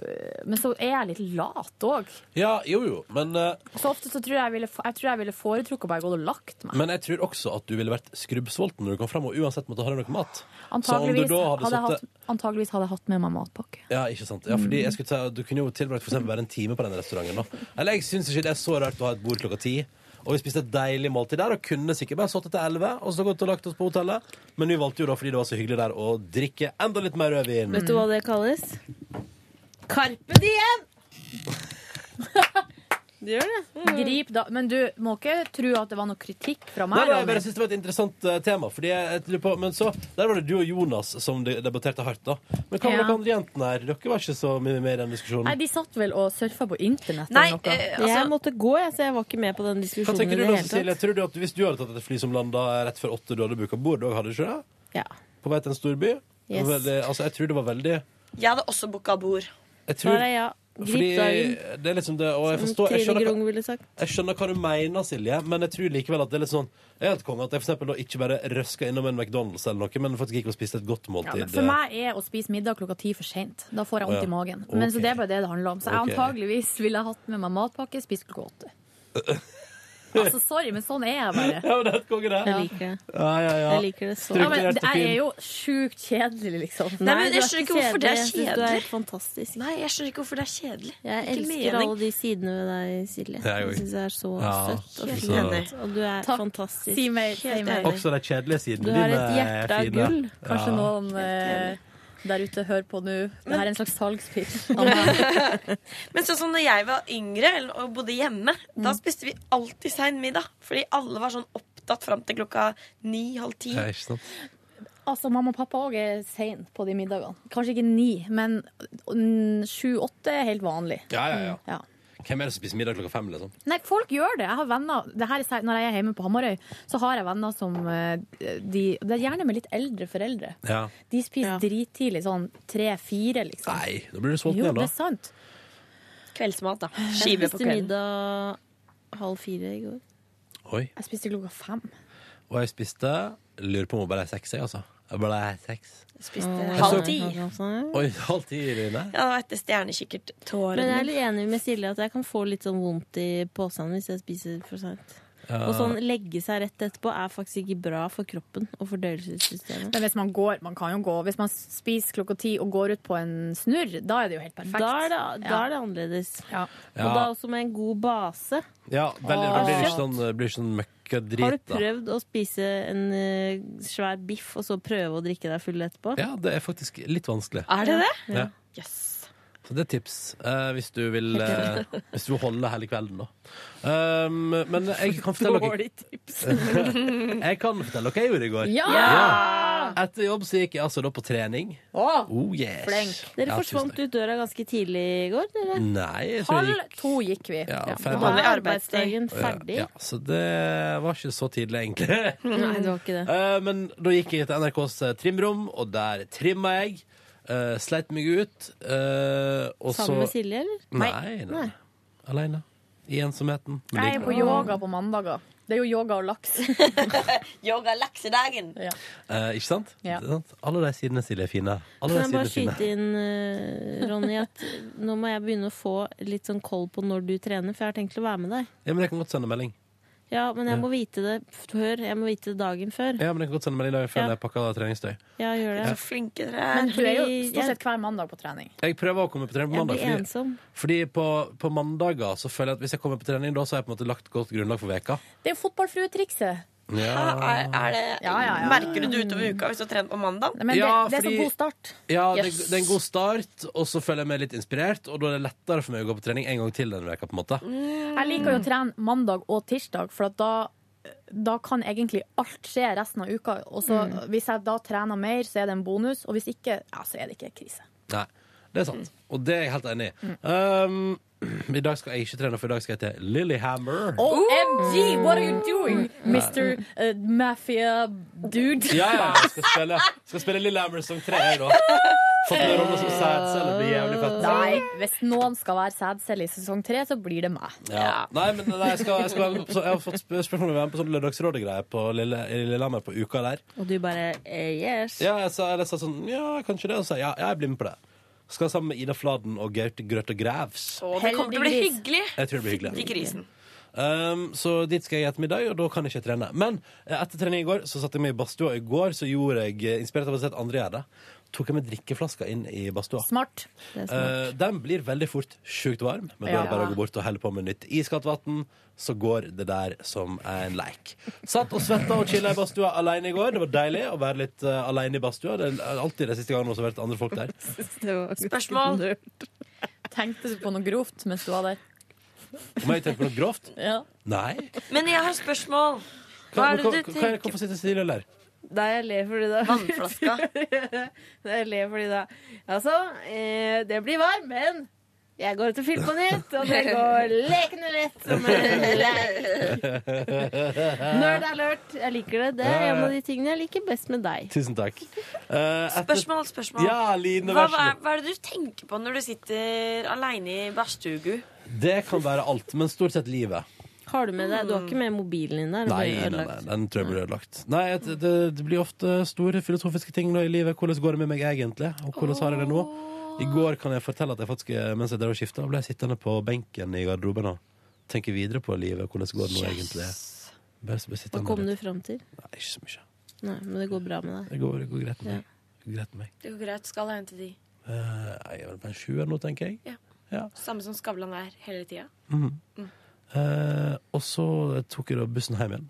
[SPEAKER 4] øh, Men så er jeg litt lat òg.
[SPEAKER 2] Ja, jo jo, men, eh,
[SPEAKER 4] Så ofte så tror jeg jeg ville, jeg tror jeg ville foretrukket å bare gå og lagt meg.
[SPEAKER 2] men jeg tror også at du ville vært skrubbsulten når du kom fram, og uansett måtte ha deg noe mat.
[SPEAKER 4] Antageligvis
[SPEAKER 2] sittet-
[SPEAKER 4] hadde, jeg hatt, antageligvis hadde jeg hatt med meg matpakke.
[SPEAKER 2] Ja, ikke sant. Ja, fordi jeg skulle ta, du kunne jo tilbrakt for eksempel bare en time på den restauranten. Da. Eller jeg syns ikke det er så rart å ha et bord klokka ti. Og vi spiste et deilig måltid der og kunne sikkert bare sittet til elleve og så gått og lagt oss på hotellet. Men vi valgte jo da, fordi det var så hyggelig der, å drikke enda litt mer rødvin.
[SPEAKER 17] Vet du hva det kalles? Carpe diem!
[SPEAKER 4] Det gjør det.
[SPEAKER 17] Mm.
[SPEAKER 4] Grip da. Men du må ikke tro at det var noe kritikk fra
[SPEAKER 2] Nei,
[SPEAKER 4] meg.
[SPEAKER 2] nei, jeg
[SPEAKER 4] Ronny.
[SPEAKER 2] bare synes det var et interessant eh, tema. Fordi jeg, jeg lurer på, men så, Der var det du og Jonas som de- debatterte hardt. da Men hva med
[SPEAKER 4] Ja.
[SPEAKER 2] dere andre jentene her? Dere var ikke så mye med i den diskusjonen.
[SPEAKER 4] Nei, de satt vel og surfa på internett
[SPEAKER 17] Nei,
[SPEAKER 4] eller noe.
[SPEAKER 17] eh, altså- Jeg måtte gå, jeg, så jeg var ikke med på den
[SPEAKER 2] Hva
[SPEAKER 17] diskusjonen. i
[SPEAKER 2] tenker du
[SPEAKER 17] det
[SPEAKER 2] da,
[SPEAKER 17] hele
[SPEAKER 2] Cecilie?
[SPEAKER 17] tatt.
[SPEAKER 2] Tror du at Hvis du hadde tatt et fly som landa rett før åtte, du hadde booka bord? Du hadde ikke det?
[SPEAKER 17] Ja.
[SPEAKER 2] På vei til en storby?
[SPEAKER 10] Yes.
[SPEAKER 2] Veldig, altså, jeg tror det var veldig jeg
[SPEAKER 10] Jeg hadde også booka bord.
[SPEAKER 2] tror,
[SPEAKER 10] Svaret er ja. Grip
[SPEAKER 2] Fordi
[SPEAKER 10] dagen.
[SPEAKER 2] det er liksom det, og
[SPEAKER 17] Som
[SPEAKER 2] jeg, forstår, jeg,
[SPEAKER 17] Trine
[SPEAKER 2] skjønner,
[SPEAKER 17] Grung
[SPEAKER 2] hva-
[SPEAKER 17] ville sagt.
[SPEAKER 2] jeg skjønner hva du mener, Silje, men jeg tror likevel at det er litt sånn Jeg er helt konge at jeg for eksempel da ikke bare røska innom en McDonald's eller noe, men faktisk gikk og spiste et godt
[SPEAKER 4] Ja,
[SPEAKER 2] måltid.
[SPEAKER 4] men for meg er å spise middag klokka ti for seint. Da får jeg
[SPEAKER 2] Å, ja.
[SPEAKER 4] vondt i magen. Men
[SPEAKER 2] Ok.
[SPEAKER 4] Så det er bare det det handler om. Så jeg
[SPEAKER 2] Ok.
[SPEAKER 4] antageligvis ville jeg hatt med meg matpakke, spist klokka
[SPEAKER 2] (laughs)
[SPEAKER 4] åtte. altså, sorry, men sånn er jeg
[SPEAKER 2] (laughs)
[SPEAKER 4] bare.
[SPEAKER 2] Ja, men det er helt konge, det.
[SPEAKER 4] Ja.
[SPEAKER 2] Ja, ja, ja.
[SPEAKER 17] Jeg liker det så
[SPEAKER 4] Ja, men jeg er jo sjukt kjedelig, liksom.
[SPEAKER 17] Nei, men jeg skjønner ikke hvorfor det er kjedelig.
[SPEAKER 10] fantastisk. Nei, jeg skjønner ikke hvorfor det er kjedelig.
[SPEAKER 17] Jeg
[SPEAKER 10] Det er ikke
[SPEAKER 17] elsker
[SPEAKER 10] mening.
[SPEAKER 17] alle de sidene ved deg, Silje.
[SPEAKER 2] Jeg
[SPEAKER 17] Jeg
[SPEAKER 2] òg.
[SPEAKER 17] syns det er så
[SPEAKER 2] Ja,
[SPEAKER 17] søtt og
[SPEAKER 2] så-
[SPEAKER 17] fint. Og du er fantastisk.
[SPEAKER 4] Si mer, si
[SPEAKER 17] Helt
[SPEAKER 4] mer.
[SPEAKER 17] enig.
[SPEAKER 2] Også de kjedelige sidene
[SPEAKER 17] Du har
[SPEAKER 2] dine
[SPEAKER 17] et
[SPEAKER 2] er
[SPEAKER 17] hjerte av
[SPEAKER 2] fine.
[SPEAKER 17] gull.
[SPEAKER 4] Kanskje
[SPEAKER 2] Ja.
[SPEAKER 4] noen eh, der ute hører på nå. Det her er en slags
[SPEAKER 17] (laughs)
[SPEAKER 4] salgspitch.
[SPEAKER 10] Men sånn som når jeg var yngre eller- og bodde hjemme, da spiste vi alltid sein middag. Fordi alle var sånn opptatt fram til klokka ni, halv ti.
[SPEAKER 2] Ja, ikke sant?
[SPEAKER 4] altså Mamma og pappa òg er sein på de middagene. Kanskje ikke ni, men sju-åtte er helt vanlig.
[SPEAKER 2] Ja, ja,
[SPEAKER 4] Ja.
[SPEAKER 2] ja. Hvem er det som spiser middag klokka fem, liksom?
[SPEAKER 4] Nei, folk gjør det. Jeg har venner det her, er sær- Når jeg er hjemme på Hamarøy, så har jeg venner som eh, de, Det er gjerne med litt eldre foreldre.
[SPEAKER 2] Ja.
[SPEAKER 4] De spiser drittidlig, sånn tre-fire, liksom.
[SPEAKER 2] Nei, da blir du sulten
[SPEAKER 4] Jo,
[SPEAKER 2] igjen,
[SPEAKER 4] det
[SPEAKER 2] da.
[SPEAKER 4] er sant.
[SPEAKER 18] Kveldsmat, da.
[SPEAKER 4] Jeg
[SPEAKER 18] Skive på
[SPEAKER 4] spiste
[SPEAKER 18] kvelden.
[SPEAKER 4] middag halv fire i går.
[SPEAKER 2] Oi.
[SPEAKER 4] Jeg spiste klokka fem.
[SPEAKER 2] Og jeg spiste Lurer på om hun bare er seks, jeg, altså. Jeg bare er seks.
[SPEAKER 18] Spiste
[SPEAKER 2] Jeg
[SPEAKER 18] halv
[SPEAKER 2] så-
[SPEAKER 18] ti.
[SPEAKER 2] Oi, halv ti, Rine.
[SPEAKER 18] Ja, det var etter stjernekikkert
[SPEAKER 7] Men jeg er
[SPEAKER 18] tårene.
[SPEAKER 7] litt enig med Silje at jeg kan få litt sånn vondt i posen hvis jeg spiser for seint.
[SPEAKER 2] Ja.
[SPEAKER 7] Og sånn legge seg rett etterpå er faktisk ikke bra for kroppen og fordøyelsessystemet.
[SPEAKER 4] Men hvis man går, man kan jo gå. Hvis man spiser klokka ti og går ut på en snurr, da er det jo helt perfekt.
[SPEAKER 7] Da er det- da er det annerledes.
[SPEAKER 4] Ja.
[SPEAKER 7] Og da
[SPEAKER 2] Ja,
[SPEAKER 7] også med en god base.
[SPEAKER 2] ja veldig, det blir ikke
[SPEAKER 7] Kjøtt.
[SPEAKER 2] sånn, det blir ikke sånn møkkadrit,
[SPEAKER 7] Har du
[SPEAKER 2] da.
[SPEAKER 7] prøvd å spise en eh, svær biff og så prøve å drikke deg full etterpå?
[SPEAKER 2] Ja, det er faktisk litt vanskelig.
[SPEAKER 7] Er det det?
[SPEAKER 2] Ja.
[SPEAKER 7] Yes.
[SPEAKER 2] Så det er tips eh, hvis du vil
[SPEAKER 7] (laughs)
[SPEAKER 2] eh, Hvis du vil holde hele kvelden, da. Um, men jeg kan fortelle dere
[SPEAKER 7] Dårlig tips.
[SPEAKER 2] (laughs) Jeg kan fortelle dere hva jeg gjorde i går.
[SPEAKER 7] Ja!
[SPEAKER 2] Etter jobb så gikk jeg altså da på trening.
[SPEAKER 7] Åh,
[SPEAKER 2] Oh, yes.
[SPEAKER 7] Dere
[SPEAKER 2] Ja,
[SPEAKER 7] forsvant ut døra ganske tidlig i går, dere.
[SPEAKER 2] Nei, jeg tror jeg Halv gikk-
[SPEAKER 7] to gikk vi.
[SPEAKER 2] Ja,
[SPEAKER 7] Da
[SPEAKER 2] ferdig.
[SPEAKER 7] var arbeidsdagen ferdig.
[SPEAKER 2] Ja, så det var ikke så tidlig, egentlig.
[SPEAKER 7] Nei, det var ikke
[SPEAKER 2] (laughs)
[SPEAKER 7] det.
[SPEAKER 2] Eh, men da gikk jeg til NRKs eh, trimrom, og der trimma jeg. eh, sleit meg ut. eh, og så
[SPEAKER 7] Sammen med Silje, eller?
[SPEAKER 2] Nei, nei. nei. Aleine. I ensomheten. Men
[SPEAKER 4] Jeg
[SPEAKER 2] det
[SPEAKER 4] er
[SPEAKER 2] gikk
[SPEAKER 4] på
[SPEAKER 2] bra.
[SPEAKER 4] yoga på mandager. Det er jo yoga og laks. (laughs)
[SPEAKER 18] Yoga laksedagen.
[SPEAKER 2] Eh, ikke sant?
[SPEAKER 7] Ja.
[SPEAKER 2] Det er sant? Alle de sidene, Silje, er fine. Alle
[SPEAKER 7] Kan
[SPEAKER 2] de sidene
[SPEAKER 7] jeg bare
[SPEAKER 2] er fine.
[SPEAKER 7] skyte inn, eh, Ronny, at nå må jeg begynne å få litt sånn koll på når du trener, for jeg har tenkt å være med deg.
[SPEAKER 2] Ja, men jeg kan godt sende melding.
[SPEAKER 7] Ja, men jeg
[SPEAKER 2] Ja.
[SPEAKER 7] må vite det før. Jeg må vite det dagen før.
[SPEAKER 2] Ja, men jeg kan godt sende melding dagen før
[SPEAKER 7] Ja.
[SPEAKER 2] jeg pakker treningstøy.
[SPEAKER 7] Ja, gjør det.
[SPEAKER 2] Så
[SPEAKER 7] flinke dere
[SPEAKER 4] Men du er jo stort sett hver mandag på trening.
[SPEAKER 2] Jeg prøver å komme på trening på
[SPEAKER 7] Jeg
[SPEAKER 2] mandag.
[SPEAKER 7] blir ensom.
[SPEAKER 2] fordi på, på mandager så føler jeg at hvis jeg kommer på trening, da så har jeg på en måte lagt godt grunnlag for veka.
[SPEAKER 4] Det er jo fotballfruetrikset.
[SPEAKER 2] Ja,
[SPEAKER 10] Er det,
[SPEAKER 4] Ja, ja, ja.
[SPEAKER 10] Merker du det utover uka hvis du har trent på mandag?
[SPEAKER 2] men det- Ja, det er så fordi- god
[SPEAKER 4] start.
[SPEAKER 2] ja det,
[SPEAKER 10] Yes.
[SPEAKER 2] det er en god start, og så føler jeg meg litt inspirert. Og da er det lettere for meg å gå på trening en gang til denne veka, på en måte.
[SPEAKER 4] Jeg liker jo å trene mandag og tirsdag, for at da, da kan egentlig alt skje resten av uka. Og så Hvis jeg da trener mer, så er det en bonus, og hvis ikke, ja, så er det ikke krise.
[SPEAKER 2] Nei, det er sant. Og det er jeg helt enig i. Um, I dag skal jeg ikke trene, for i dag skal jeg til Lillehammer.
[SPEAKER 4] OMG, what are you doing, Mr. eh, mafia dude?
[SPEAKER 2] Ja, ja, jeg skal spille, skal spille Lillehammer som tre, jeg, da. Fått med rolle som sædcelle, det blir jævlig fett.
[SPEAKER 4] Nei, hvis noen skal være sædcelle i sesong tre, så blir det meg.
[SPEAKER 2] Ja. Nei, men nei, jeg, skal, jeg, skal være med på, så- jeg har fått sp- spørsmål om å være med på sånn Lørdagsrådet-greie på Lille, i Lillehammer på uka der.
[SPEAKER 7] Og du bare eh, yes.
[SPEAKER 2] Ja, jeg sa, eller jeg sa sånn Ja, kanskje det. Og så sa jeg, ja, jeg blir med på det. Skal sammen med Ida Fladen og Gaute Grøthe Grævs.
[SPEAKER 10] Å, det kommer til å bli
[SPEAKER 4] Heldigvis.
[SPEAKER 10] hyggelig.
[SPEAKER 2] Jeg tror det blir hyggelig.
[SPEAKER 10] Fytti grisen.
[SPEAKER 2] Um, så dit skal jeg i ettermiddag, og da kan jeg ikke trene. Men eh, etter trening i går så satte jeg meg i badstua. I går så gjorde jeg, eh, inspirert av å se at andre gjør det, tok jeg med drikkeflaska inn i badstua.
[SPEAKER 4] Smart.
[SPEAKER 7] Det er
[SPEAKER 2] Eh, den blir veldig fort sjukt varm, men da er det
[SPEAKER 4] Ja.
[SPEAKER 2] bare å gå bort og helle på med nytt iskaldt vann, så går det der som en leik. Satt og svetta og chilla i badstua alene i går. Det var deilig å være litt eh, alene i badstua. Det er alltid de siste gangene også har vært andre folk der.
[SPEAKER 4] Spørsmål? Tenkte du på noe grovt mens du var der?
[SPEAKER 2] Om jeg tenker på noe grovt?
[SPEAKER 4] Ja.
[SPEAKER 2] Nei.
[SPEAKER 10] Men jeg har spørsmål. Hva
[SPEAKER 2] Hva,
[SPEAKER 10] er
[SPEAKER 2] hva,
[SPEAKER 10] det du
[SPEAKER 2] hva, hva,
[SPEAKER 10] tenker
[SPEAKER 2] hvorfor sitter Silje og ler?
[SPEAKER 7] Nei, jeg ler fordi det (laughs)
[SPEAKER 10] Vannflaska.
[SPEAKER 7] Nei, jeg ler fordi det Altså, eh, det blir varm, men jeg går ut og fyller på nytt, og det går lekende lett som en leik. Nerd alert. Jeg liker det. Det er en av de tingene jeg liker best med deg.
[SPEAKER 2] Tusen takk. Eh, etter-
[SPEAKER 10] Spørsmål, spørsmål.
[SPEAKER 2] Ja, Line,
[SPEAKER 10] hva,
[SPEAKER 2] vær
[SPEAKER 10] hva,
[SPEAKER 2] så
[SPEAKER 10] hva er det du tenker på når du sitter aleine i badstugu?
[SPEAKER 2] god. Det kan være alt, men stort sett livet.
[SPEAKER 7] Har du med deg Du har ikke med mobilen din der?
[SPEAKER 2] Nei, nei, nei, den tror jeg blir ødelagt. Nei, det, det, det blir ofte store filosofiske ting nå i livet. Hvordan går det med meg egentlig, og hvordan har jeg det nå? I går kan jeg fortelle at jeg faktisk, mens jeg drev og skifta, ble jeg sittende på benken i garderoben og tenke videre på livet. Hvordan går det nå egentlig? Bare, bare
[SPEAKER 7] Hva
[SPEAKER 2] sittende
[SPEAKER 7] kom
[SPEAKER 2] der.
[SPEAKER 7] du fram til?
[SPEAKER 2] Nei, ikke så mye.
[SPEAKER 7] Nei, men det går bra med deg.
[SPEAKER 2] Det går, det går greit med meg. Det går greit med meg.
[SPEAKER 18] Det går greit. Skal hente de.
[SPEAKER 2] Eh, jeg er vel på en sjuer nå, tenker jeg.
[SPEAKER 18] Ja.
[SPEAKER 2] Ja.
[SPEAKER 18] Samme som Skavlan er hele tida.
[SPEAKER 2] Mhm.
[SPEAKER 18] Mm.
[SPEAKER 2] Eh, og så tok jeg da bussen hjem igjen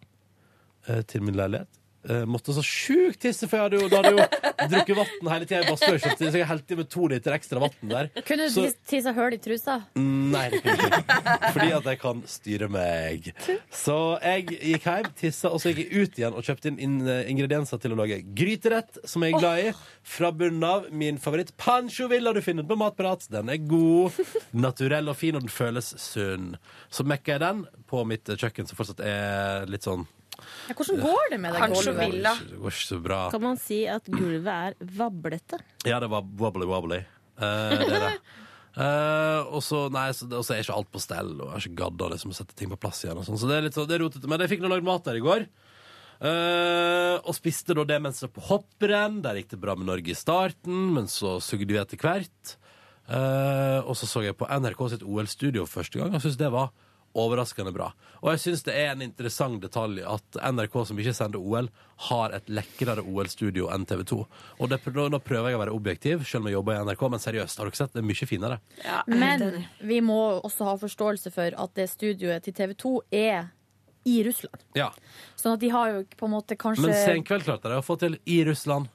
[SPEAKER 2] eh, til min leilighet. eh, måtte så sjukt tisse, for jeg hadde jo, da hadde jeg jo drukket vann hele tida i badstua. ikke sant? Så jeg helte i med to liter ekstra vann der.
[SPEAKER 4] Kunne du
[SPEAKER 2] Så- Mm.
[SPEAKER 4] tis- tisse hull i trusa?
[SPEAKER 2] Nei, det kunne jeg ikke. Fordi at jeg kan styre meg. Så jeg gikk hjem, tissa, og så gikk jeg ut igjen og kjøpte inn, inn eh, ingredienser til å lage gryterett, som jeg er glad i. Fra bunnen av min favoritt Pancho Villa du finner den på Matprat. Den er god, naturell og fin, og den føles sunn. Så mekka jeg den på mitt eh, kjøkken, som fortsatt er litt sånn
[SPEAKER 19] Ja, hvordan går det med det
[SPEAKER 2] Det går
[SPEAKER 19] gulvet?
[SPEAKER 2] ikke- det går ikke så bra.
[SPEAKER 7] Kan man si at gulvet er vablete?
[SPEAKER 2] Ja, det var wobbly wobbly. Eh, det
[SPEAKER 7] (laughs)
[SPEAKER 2] er det. Eh, og så nei, så- og så er ikke alt på stell, og jeg har ikke gadda liksom, å sette ting på plass igjen. Og sånn. så det er litt så, det er rotete. Men jeg fikk nå lagd mat der i går. Eh, og spiste da det mens jeg var på hopprenn. Der gikk det bra med Norge i starten, men så sugde vi etter hvert. Eh, og så så jeg på NRK sitt OL-studio for første gang, og syntes det var overraskende bra. Og jeg syns det er en interessant detalj at NRK, som ikke sender OL, har et lekrere OL-studio enn TV 2. Og det, nå nå prøver jeg å være objektiv, selv om jeg jobber i NRK, men seriøst, har dere sett? Det er mye finere.
[SPEAKER 4] Men vi må også ha forståelse for at det studioet til TV 2 er i Russland.
[SPEAKER 2] Ja.
[SPEAKER 4] Sånn at de har jo på en måte kanskje
[SPEAKER 2] Men Senkveld klarte de å få til i Russland.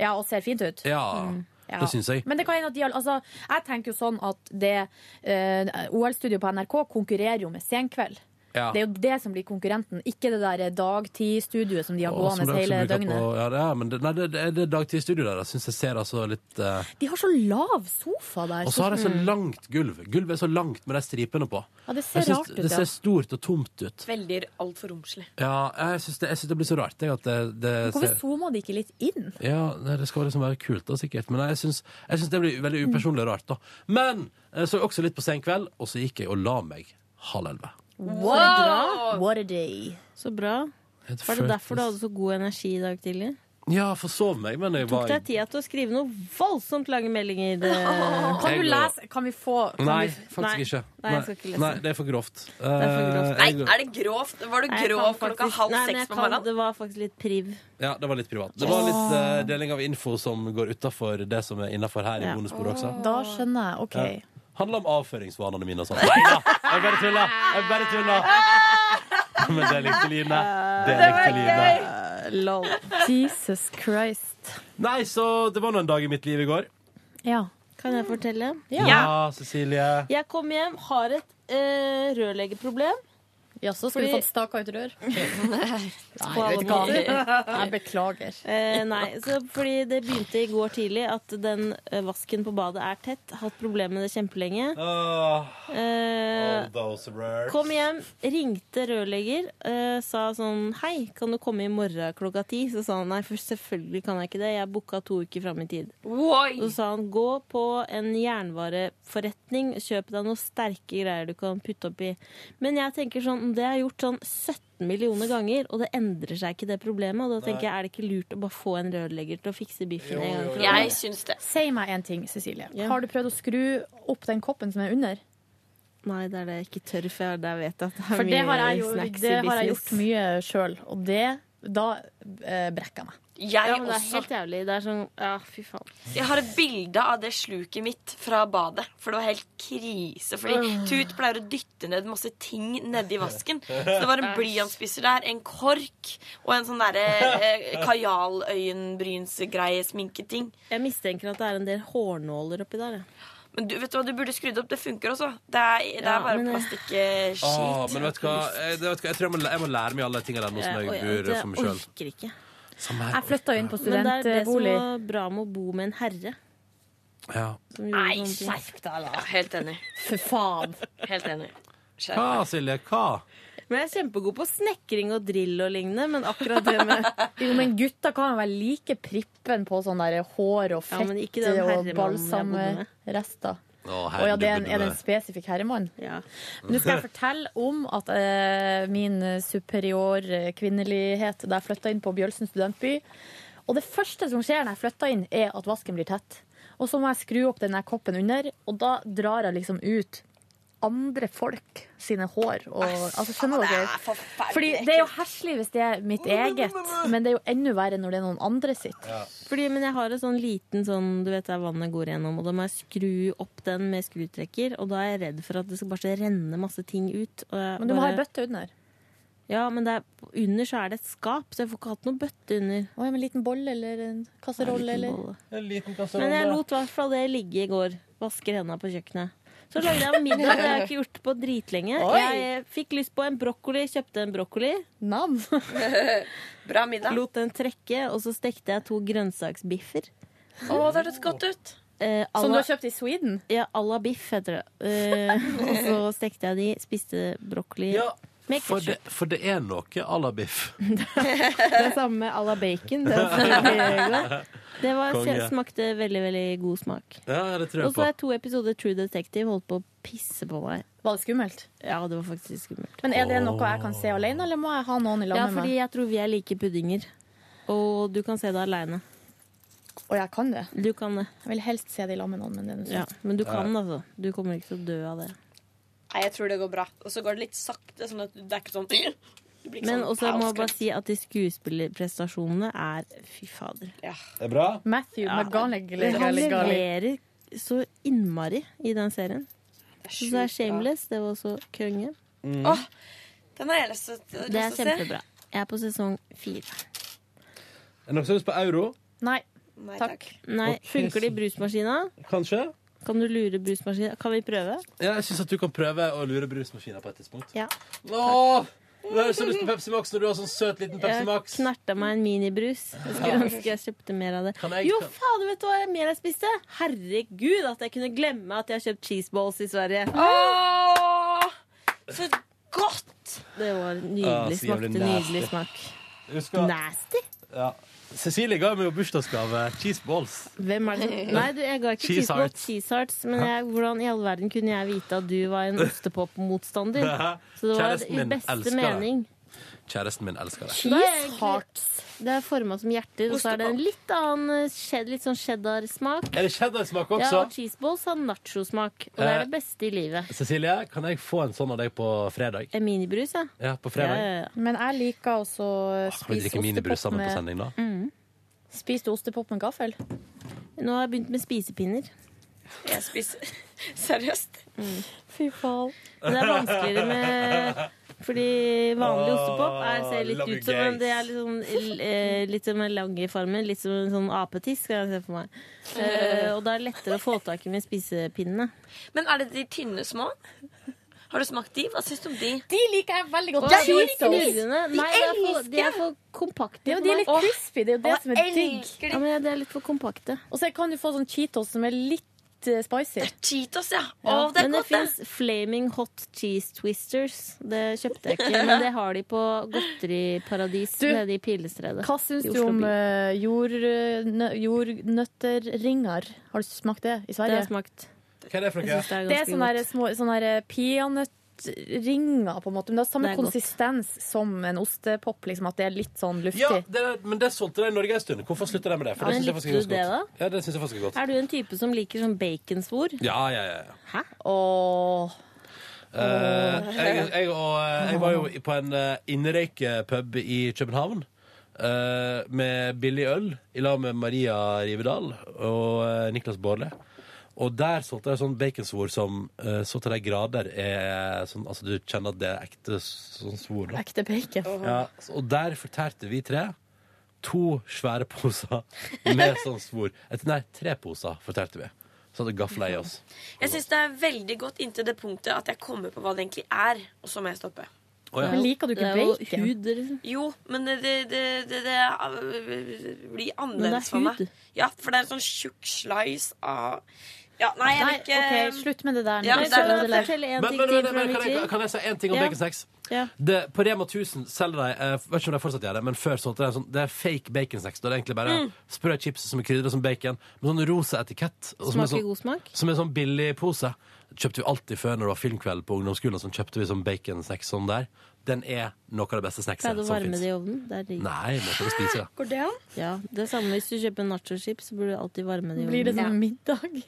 [SPEAKER 4] Ja, og ser fint ut.
[SPEAKER 2] Ja,
[SPEAKER 4] Mm, ja.
[SPEAKER 2] det syns jeg.
[SPEAKER 4] Men det kan hende at de har- altså, jeg tenker jo sånn at det eh, OL-studioet på NRK konkurrerer jo med Senkveld.
[SPEAKER 2] Ja.
[SPEAKER 4] Det er jo det som blir konkurrenten, ikke det der dagtid-studioet som de har
[SPEAKER 2] Og som
[SPEAKER 4] gående
[SPEAKER 2] de også
[SPEAKER 4] hele
[SPEAKER 2] bruker
[SPEAKER 4] døgnet.
[SPEAKER 2] på- ja, det er, men det, nei, det, det er det dagtidsstudio der. Jeg syns jeg ser altså litt eh,
[SPEAKER 4] De har så lav sofa der.
[SPEAKER 2] Og så har de så
[SPEAKER 4] Mm.
[SPEAKER 2] langt gulv. Gulvet er så langt med de stripene på.
[SPEAKER 4] Ja, det ser
[SPEAKER 2] Jeg syns
[SPEAKER 4] rart ut,
[SPEAKER 2] Det
[SPEAKER 4] ja.
[SPEAKER 2] ser stort og tomt ut.
[SPEAKER 20] Veldig altfor romslig.
[SPEAKER 2] Ja, jeg syns det, jeg synes det blir så rart. Jeg, at det, det
[SPEAKER 4] Hvorfor zooma de ikke litt inn?
[SPEAKER 2] ja, nei, Det skal liksom være kult, da, sikkert. Men jeg syns, jeg syns det blir veldig upersonlig rart. da. Men eh, så også litt på sen kveld, og så gikk jeg og la meg halv elleve.
[SPEAKER 7] Wow!
[SPEAKER 4] What a day.
[SPEAKER 7] Så bra.
[SPEAKER 2] Det
[SPEAKER 7] Var det
[SPEAKER 2] føltes-
[SPEAKER 7] derfor du hadde så god energi i dag tidlig?
[SPEAKER 2] Ja, forsov meg, men jeg
[SPEAKER 7] Tok
[SPEAKER 2] var
[SPEAKER 7] deg tida til å skrive noen voldsomt lange meldinger. Det...
[SPEAKER 2] Kan du Jeg går- lese-
[SPEAKER 4] Kan vi få
[SPEAKER 2] Nei, faktisk ikke.
[SPEAKER 7] Nei, jeg skal ikke lese.
[SPEAKER 2] Nei, det er for grovt.
[SPEAKER 10] Nei,
[SPEAKER 2] Eh, jeg-
[SPEAKER 10] er det grovt? Var du
[SPEAKER 7] Nei, jeg
[SPEAKER 10] grov
[SPEAKER 7] kan
[SPEAKER 10] klokka
[SPEAKER 7] faktisk-
[SPEAKER 10] halv
[SPEAKER 7] Nei, men
[SPEAKER 10] seks
[SPEAKER 7] jeg
[SPEAKER 10] på
[SPEAKER 7] kan-
[SPEAKER 10] morgenen?
[SPEAKER 7] Det var faktisk litt priv.
[SPEAKER 2] Ja, det var litt privat. Det var litt eh, deling av info som går utafor det som er innafor her i
[SPEAKER 7] Ja.
[SPEAKER 2] bonusbordet også.
[SPEAKER 4] Da skjønner jeg. OK.
[SPEAKER 2] Ja. Handler om avføringsvanene mine og sånn. Nei da! Jeg bare tulla! Jeg bare
[SPEAKER 7] (laughs)
[SPEAKER 2] tulla! Men det likte Line. Det likte Line.
[SPEAKER 7] Lol.
[SPEAKER 4] Jesus Christ.
[SPEAKER 2] Nei, så det var nå en dag i mitt liv i går.
[SPEAKER 4] Ja.
[SPEAKER 7] Kan jeg fortelle?
[SPEAKER 2] Cecilie.
[SPEAKER 7] Jeg kom hjem, har et eh, rørleggerproblem.
[SPEAKER 4] Jaså, skal du få staka ut rør?
[SPEAKER 7] På
[SPEAKER 4] vet
[SPEAKER 7] alle
[SPEAKER 4] du hva?
[SPEAKER 7] måter.
[SPEAKER 4] Jeg beklager.
[SPEAKER 7] Eh, nei, så fordi det begynte i går tidlig at den eh, vasken på badet er tett. Hatt problemer med det kjempelenge. Eh, Kom hjem, ringte rørlegger, eh, sa sånn Hei, kan du komme i morgen klokka ti? Så sa han nei, for selvfølgelig kan jeg ikke det. Jeg booka to uker fram i tid.
[SPEAKER 10] Oi!
[SPEAKER 7] Så sa han gå på en jernvareforretning, kjøp deg noen sterke greier du kan putte oppi. Men jeg tenker sånn, det har jeg gjort sånn 17 millioner ganger, og det endrer seg ikke det problemet. Og da tenker jeg, er det ikke lurt å bare få en rørlegger til å fikse biffen en gang for alle?
[SPEAKER 10] syns det.
[SPEAKER 4] Si meg en ting, Cecilie. Har du prøvd å skru opp den koppen som er under?
[SPEAKER 7] Nei, det er det jeg ikke tør, for jeg- der vet jeg at det er
[SPEAKER 4] For det
[SPEAKER 7] mye
[SPEAKER 4] har jeg, jo,
[SPEAKER 7] snacks
[SPEAKER 4] det
[SPEAKER 7] i
[SPEAKER 4] har jeg
[SPEAKER 7] business.
[SPEAKER 4] gjort mye sjøl, og det Da eh, brekker jeg meg.
[SPEAKER 10] Jeg
[SPEAKER 7] ja, men Det er
[SPEAKER 10] også.
[SPEAKER 7] helt jævlig. Det er sånn, ja, fy faen.
[SPEAKER 10] Jeg har et bilde av det sluket mitt fra badet. For det var helt krise. Fordi
[SPEAKER 7] Øh.
[SPEAKER 10] Tut pleier å dytte ned masse ting nedi vasken. Så det var en blyantspisser der, en kork og en sånn derre eh, kajaløyenbrynsgreie, sminketing.
[SPEAKER 7] Jeg mistenker at det er en del hårnåler oppi der.
[SPEAKER 10] Men du vet du hva, du burde skrudd opp. Det funker også. Det er, det
[SPEAKER 7] Ja,
[SPEAKER 10] er bare
[SPEAKER 7] men, eh,
[SPEAKER 10] plastikkskitt.
[SPEAKER 2] Åh, Ah, men vet du hva? Jeg, vet du hva? jeg tror jeg må, læ- jeg må lære meg alle de tingene der nå som
[SPEAKER 7] Eh,
[SPEAKER 2] jeg bor for meg sjøl.
[SPEAKER 7] orker ikke.
[SPEAKER 2] her. Jeg
[SPEAKER 4] flytta inn på
[SPEAKER 7] Men det er det som
[SPEAKER 4] studentbolig.
[SPEAKER 7] var bra med å bo med en herre.
[SPEAKER 2] Ja.
[SPEAKER 7] Nei,
[SPEAKER 10] skjerp deg, da! Helt enig.
[SPEAKER 7] For faen.
[SPEAKER 10] Helt enig.
[SPEAKER 2] Hva, Silje? Hva?
[SPEAKER 7] Men jeg er kjempegod på snekring og drill og lignende, men akkurat det med
[SPEAKER 4] (laughs) Jo, men gutta kan jo være like prippen på sånn der hår og
[SPEAKER 7] Ja,
[SPEAKER 4] fett
[SPEAKER 7] men ikke den
[SPEAKER 4] og
[SPEAKER 7] herremannen jeg bodde med.
[SPEAKER 4] balsamrester. Å ja, det er, en, er det en spesifikk herremann? Men Nå skal jeg fortelle om at eh, min superior eh, kvinnelighet da jeg flytta inn på Bjølsen studentby. Og det første som skjer når jeg flytter inn, er at vasken blir tett. Og så må jeg skru opp denne koppen under, og da drar jeg liksom ut andre folk sine hår. Og, altså, skjønner dere? Fordi det er jo heslig hvis det er mitt eget, men det er jo enda verre når det er noen andre sitt.
[SPEAKER 7] Fordi, men jeg har en sånn liten sånn, du vet der vannet går gjennom, og da må jeg skru opp den med skrutrekker, og da er jeg redd for at det skal bare renne masse ting ut. Og jeg
[SPEAKER 4] Men du må ha ei
[SPEAKER 7] bare...
[SPEAKER 4] bøtte under.
[SPEAKER 7] Ja, men det er, under så er det et skap, så jeg får ikke hatt noe bøtte under.
[SPEAKER 4] Å, ja, men en liten bolle eller en kasserolle eller
[SPEAKER 2] En liten
[SPEAKER 7] Men jeg lot i hvert fall det ligge i går. Vasker henda på kjøkkenet. Så lagde jeg middag, det har jeg ikke gjort på dritlenge.
[SPEAKER 10] (laughs) Oi.
[SPEAKER 7] Jeg eh, fikk lyst på en brokkoli, kjøpte en brokkoli.
[SPEAKER 4] Nam.
[SPEAKER 10] Bra middag.
[SPEAKER 7] Lot den trekke, og så stekte jeg to grønnsaksbiffer.
[SPEAKER 10] Å, det hørtes godt ut.
[SPEAKER 7] Eh,
[SPEAKER 4] Som du
[SPEAKER 7] alla-
[SPEAKER 4] har kjøpt i Sweden?
[SPEAKER 7] Ja, à la biff heter det.
[SPEAKER 10] (laughs)
[SPEAKER 7] Eh, og så stekte jeg de, spiste brokkoli med
[SPEAKER 2] For det,
[SPEAKER 7] ketchup.
[SPEAKER 2] for det er noe à la biff.
[SPEAKER 7] (laughs) Det er samme à la bacon. Det, var
[SPEAKER 2] (laughs)
[SPEAKER 7] selvfølgelig godt. det var,
[SPEAKER 2] Konge.
[SPEAKER 7] smakte veldig, veldig god smak.
[SPEAKER 2] Ja, det tror
[SPEAKER 7] Og
[SPEAKER 2] jeg
[SPEAKER 7] så
[SPEAKER 2] på.
[SPEAKER 7] er to episoder True Detective holdt på å pisse på meg.
[SPEAKER 4] Var det skummelt?
[SPEAKER 7] Ja, det var faktisk skummelt.
[SPEAKER 4] Men er det noe jeg kan se alene, eller må jeg ha noen i lag
[SPEAKER 7] Ja,
[SPEAKER 4] med
[SPEAKER 7] fordi
[SPEAKER 4] meg?
[SPEAKER 7] jeg tror vi er like puddinger. Og du kan se det aleine.
[SPEAKER 4] Og jeg kan det.
[SPEAKER 7] Du kan det.
[SPEAKER 4] Jeg vil helst se det i lag med noen, men det er noe
[SPEAKER 7] Ja,
[SPEAKER 4] sånt.
[SPEAKER 7] men du kan, altså. Du kommer ikke til å dø av det.
[SPEAKER 10] Nei, jeg tror det går bra. Og så går det litt sakte, sånn at det er ikke sånn (clears throat) Du blir ikke
[SPEAKER 7] Men
[SPEAKER 10] sånn
[SPEAKER 7] også må jeg bare
[SPEAKER 10] avskremt.
[SPEAKER 7] si at de skuespillerprestasjonene er Fy fader.
[SPEAKER 2] Det er bra.
[SPEAKER 4] Matthew
[SPEAKER 7] Ja,
[SPEAKER 4] McGonagall.
[SPEAKER 7] Han leverer så innmari i den serien. Så
[SPEAKER 10] sjukt
[SPEAKER 7] det er Shameless. Det var også konge.
[SPEAKER 10] Mm. Åh, Den har jeg lyst til lyst
[SPEAKER 7] Det
[SPEAKER 10] til
[SPEAKER 7] er
[SPEAKER 10] å se.
[SPEAKER 7] kjempebra. Jeg er på sesong fire.
[SPEAKER 2] Er det noen som har lyst på euro?
[SPEAKER 4] Nei.
[SPEAKER 10] Nei,
[SPEAKER 7] takk. Nei,
[SPEAKER 2] Ok,
[SPEAKER 7] Funker det i brusmaskina?
[SPEAKER 2] Kanskje?
[SPEAKER 7] Kan du lure brusmaskina? Kan vi prøve?
[SPEAKER 2] Ja, jeg syns at du kan prøve å lure brusmaskina på et tidspunkt.
[SPEAKER 7] Ja.
[SPEAKER 2] Åh, Du har så lyst på Pepsi Max når du har sånn søt liten Pepsi
[SPEAKER 7] Jeg
[SPEAKER 2] Max.
[SPEAKER 7] knerta meg en minibrus. Jeg skulle
[SPEAKER 2] Ja.
[SPEAKER 7] ønske jeg kjøpte mer av det.
[SPEAKER 2] Kan jeg-
[SPEAKER 7] Jo,
[SPEAKER 2] kan-
[SPEAKER 7] fader, vet du hva jeg mer jeg spiste? Herregud, at jeg kunne glemme at jeg har kjøpt cheeseballs i Sverige.
[SPEAKER 10] Åh, så godt!
[SPEAKER 7] Det var
[SPEAKER 2] Ah,
[SPEAKER 7] nydelig.
[SPEAKER 2] så jævlig
[SPEAKER 7] Smakte
[SPEAKER 2] nasty.
[SPEAKER 7] nydelig smak.
[SPEAKER 2] Husker-
[SPEAKER 7] Nasty?
[SPEAKER 2] Ja. Cecilie ga meg jo bursdagsgave cheese balls.
[SPEAKER 7] Hvem er det som Nei, du, jeg ga ikke
[SPEAKER 2] Cheese
[SPEAKER 7] cheeseballs,
[SPEAKER 2] hearts.
[SPEAKER 7] cheese hearts. Men jeg, hvordan i all verden kunne jeg vite at du var
[SPEAKER 2] (laughs)
[SPEAKER 7] en ostepop-motstander? Så det var
[SPEAKER 2] Kjæresten
[SPEAKER 7] i
[SPEAKER 2] min elsker
[SPEAKER 7] beste
[SPEAKER 2] det.
[SPEAKER 7] mening.
[SPEAKER 2] Kjæresten min elsker det.
[SPEAKER 7] Det er egentlig- Det er forma som hjerter, og så er det en litt annen eh, shed, litt sånn cheddar-smak.
[SPEAKER 2] Er det cheddar-smak
[SPEAKER 7] Ja,
[SPEAKER 2] også?
[SPEAKER 7] og cheeseballs har nachosmak, og det
[SPEAKER 2] Eh.
[SPEAKER 7] er det beste i livet.
[SPEAKER 2] Cecilie, kan jeg få en sånn av deg på fredag?
[SPEAKER 7] En minibrus, ja.
[SPEAKER 2] Ja, på fredag.
[SPEAKER 4] Men jeg liker også
[SPEAKER 7] Ah,
[SPEAKER 4] å
[SPEAKER 2] Kan vi
[SPEAKER 4] spise
[SPEAKER 2] drikke minibrus
[SPEAKER 4] ostepop
[SPEAKER 2] sammen på
[SPEAKER 4] med
[SPEAKER 2] sending, da?
[SPEAKER 4] Spiste ostepop med gaffel?
[SPEAKER 7] Nå har jeg begynt med spisepinner.
[SPEAKER 10] Jeg spiser (laughs) Seriøst.
[SPEAKER 7] Fy faen. Men det er vanskeligere med Fordi vanlig ostepop er, ser litt
[SPEAKER 10] Love
[SPEAKER 7] ut som en,
[SPEAKER 10] gays.
[SPEAKER 7] det er litt, sånn, l- eh, litt som en lang i formen. Litt som en sånn apetiss, kan jeg se for meg. Eh, og det er lettere å få tak i med spisepinnene.
[SPEAKER 10] Men er det de tynne små? Har du smakt de? Hva syns du om de?
[SPEAKER 4] De liker jeg veldig
[SPEAKER 7] Og
[SPEAKER 4] godt.
[SPEAKER 7] de
[SPEAKER 4] Cheese sauce.
[SPEAKER 7] knurrende
[SPEAKER 4] De
[SPEAKER 7] Nei, de er for,
[SPEAKER 4] elsker
[SPEAKER 7] de er for kompakte.
[SPEAKER 4] Ja, men
[SPEAKER 7] for
[SPEAKER 4] de er
[SPEAKER 7] meg.
[SPEAKER 4] litt crispy. Det er jo det
[SPEAKER 7] Åh,
[SPEAKER 4] som er
[SPEAKER 7] jeg
[SPEAKER 4] digg.
[SPEAKER 7] elsker de. Ja, men ja, de er litt for kompakte.
[SPEAKER 4] Og så kan du få sånn Cheetos som er litt eh, spicy.
[SPEAKER 10] Cheetos, ja.
[SPEAKER 7] Ja, men det fins Flaming Hot Cheese Twisters. Det kjøpte jeg ikke, men det har de på Godteriparadis
[SPEAKER 4] Du,
[SPEAKER 7] nede i
[SPEAKER 4] (laughs)
[SPEAKER 7] Pilestredet.
[SPEAKER 4] Hva syns
[SPEAKER 7] i
[SPEAKER 4] du
[SPEAKER 7] Oslo
[SPEAKER 4] om
[SPEAKER 7] by.
[SPEAKER 4] eh, jord, nø, jordnøtterringer? Har du smakt det i
[SPEAKER 7] Det
[SPEAKER 4] Sverige?
[SPEAKER 7] har jeg smakt.
[SPEAKER 2] Hva er det for
[SPEAKER 7] Jeg synes
[SPEAKER 2] noe?
[SPEAKER 7] er
[SPEAKER 4] Det er
[SPEAKER 7] ganske
[SPEAKER 4] sånne
[SPEAKER 7] godt.
[SPEAKER 4] der små sånne der peanøttringer, på en måte. Men det har samme
[SPEAKER 7] Det er godt.
[SPEAKER 4] konsistens som en ostepop, liksom, at det er litt sånn luftig.
[SPEAKER 2] Ja, det er, men det solgte de i Norge en stund. Hvorfor slutta de med det? For
[SPEAKER 7] Ja,
[SPEAKER 2] det
[SPEAKER 7] men
[SPEAKER 2] syns jeg faktisk er ganske
[SPEAKER 7] likte du
[SPEAKER 2] godt.
[SPEAKER 7] det
[SPEAKER 2] Ja, det synes jeg faktisk er godt.
[SPEAKER 7] Er du en type som liker sånn baconsvor?
[SPEAKER 2] Ja, ja, ja. ja.
[SPEAKER 7] Hæ?
[SPEAKER 2] Eh, jeg, jeg, og, eh, jeg var jo på en eh, innrøykepub i København eh, med billig øl i lag med Maria Rivedal og eh, Niklas Baarli. Og der solgte jeg sånn baconsvor som eh, så til de grader er sånn Altså, du kjenner at det er ekte sånn svor, da.
[SPEAKER 4] Ekte bacon.
[SPEAKER 2] Ja, så- og der fortærte vi tre to svære poser med (laughs) sånn svor. Et, nei, tre poser fortærte vi. Så hadde gafla i oss.
[SPEAKER 10] Jeg syns det er veldig godt inntil det punktet at jeg kommer på hva det egentlig er, og så må jeg stoppe.
[SPEAKER 2] Å, ja.
[SPEAKER 4] Men liker du ikke
[SPEAKER 7] Det er
[SPEAKER 4] bacon?
[SPEAKER 7] jo hud, liksom.
[SPEAKER 10] Jo, men det, det, det, det, det øh, blir
[SPEAKER 7] Men det
[SPEAKER 10] annerledes
[SPEAKER 7] er
[SPEAKER 10] for meg.
[SPEAKER 7] hud.
[SPEAKER 10] Ja, for det er en sånn tjukk slice av Ja, nei, jeg vil ikke
[SPEAKER 4] Nei, OK, slutt med det der. nå.
[SPEAKER 10] Ja,
[SPEAKER 4] Slutt
[SPEAKER 10] det er-
[SPEAKER 4] å ødelegge.
[SPEAKER 2] Men, men, men, men, kan, jeg, kan jeg si en ting om
[SPEAKER 4] Ja.
[SPEAKER 2] baconsex? Det, på Rema 1000 selger de eh, vet ikke om de fortsatt gjør det, men før solgte de en sånn Det er fake baconsex. Da er det egentlig bare
[SPEAKER 7] Mm.
[SPEAKER 2] sprø chips som er krydret som bacon, med sånn rosa etikett. og som er
[SPEAKER 7] Smaker
[SPEAKER 2] sånn-
[SPEAKER 7] god smak.
[SPEAKER 2] Som er sånn billig pose. Kjøpte vi alltid før når det var filmkveld på ungdomsskolen. Sånn kjøpte vi sånn baconsnacks sånn der. Den er noe av det beste snackset
[SPEAKER 7] Pleide å
[SPEAKER 2] som
[SPEAKER 7] varme
[SPEAKER 2] fins.
[SPEAKER 7] det i ovnen. Det er digg.
[SPEAKER 2] Nei, må ikke spise det.
[SPEAKER 10] Går det an?
[SPEAKER 7] Ja, det er samme hvis du kjøper nachochips, så burde du alltid varme det i ovnen.
[SPEAKER 4] Blir det sånn middag?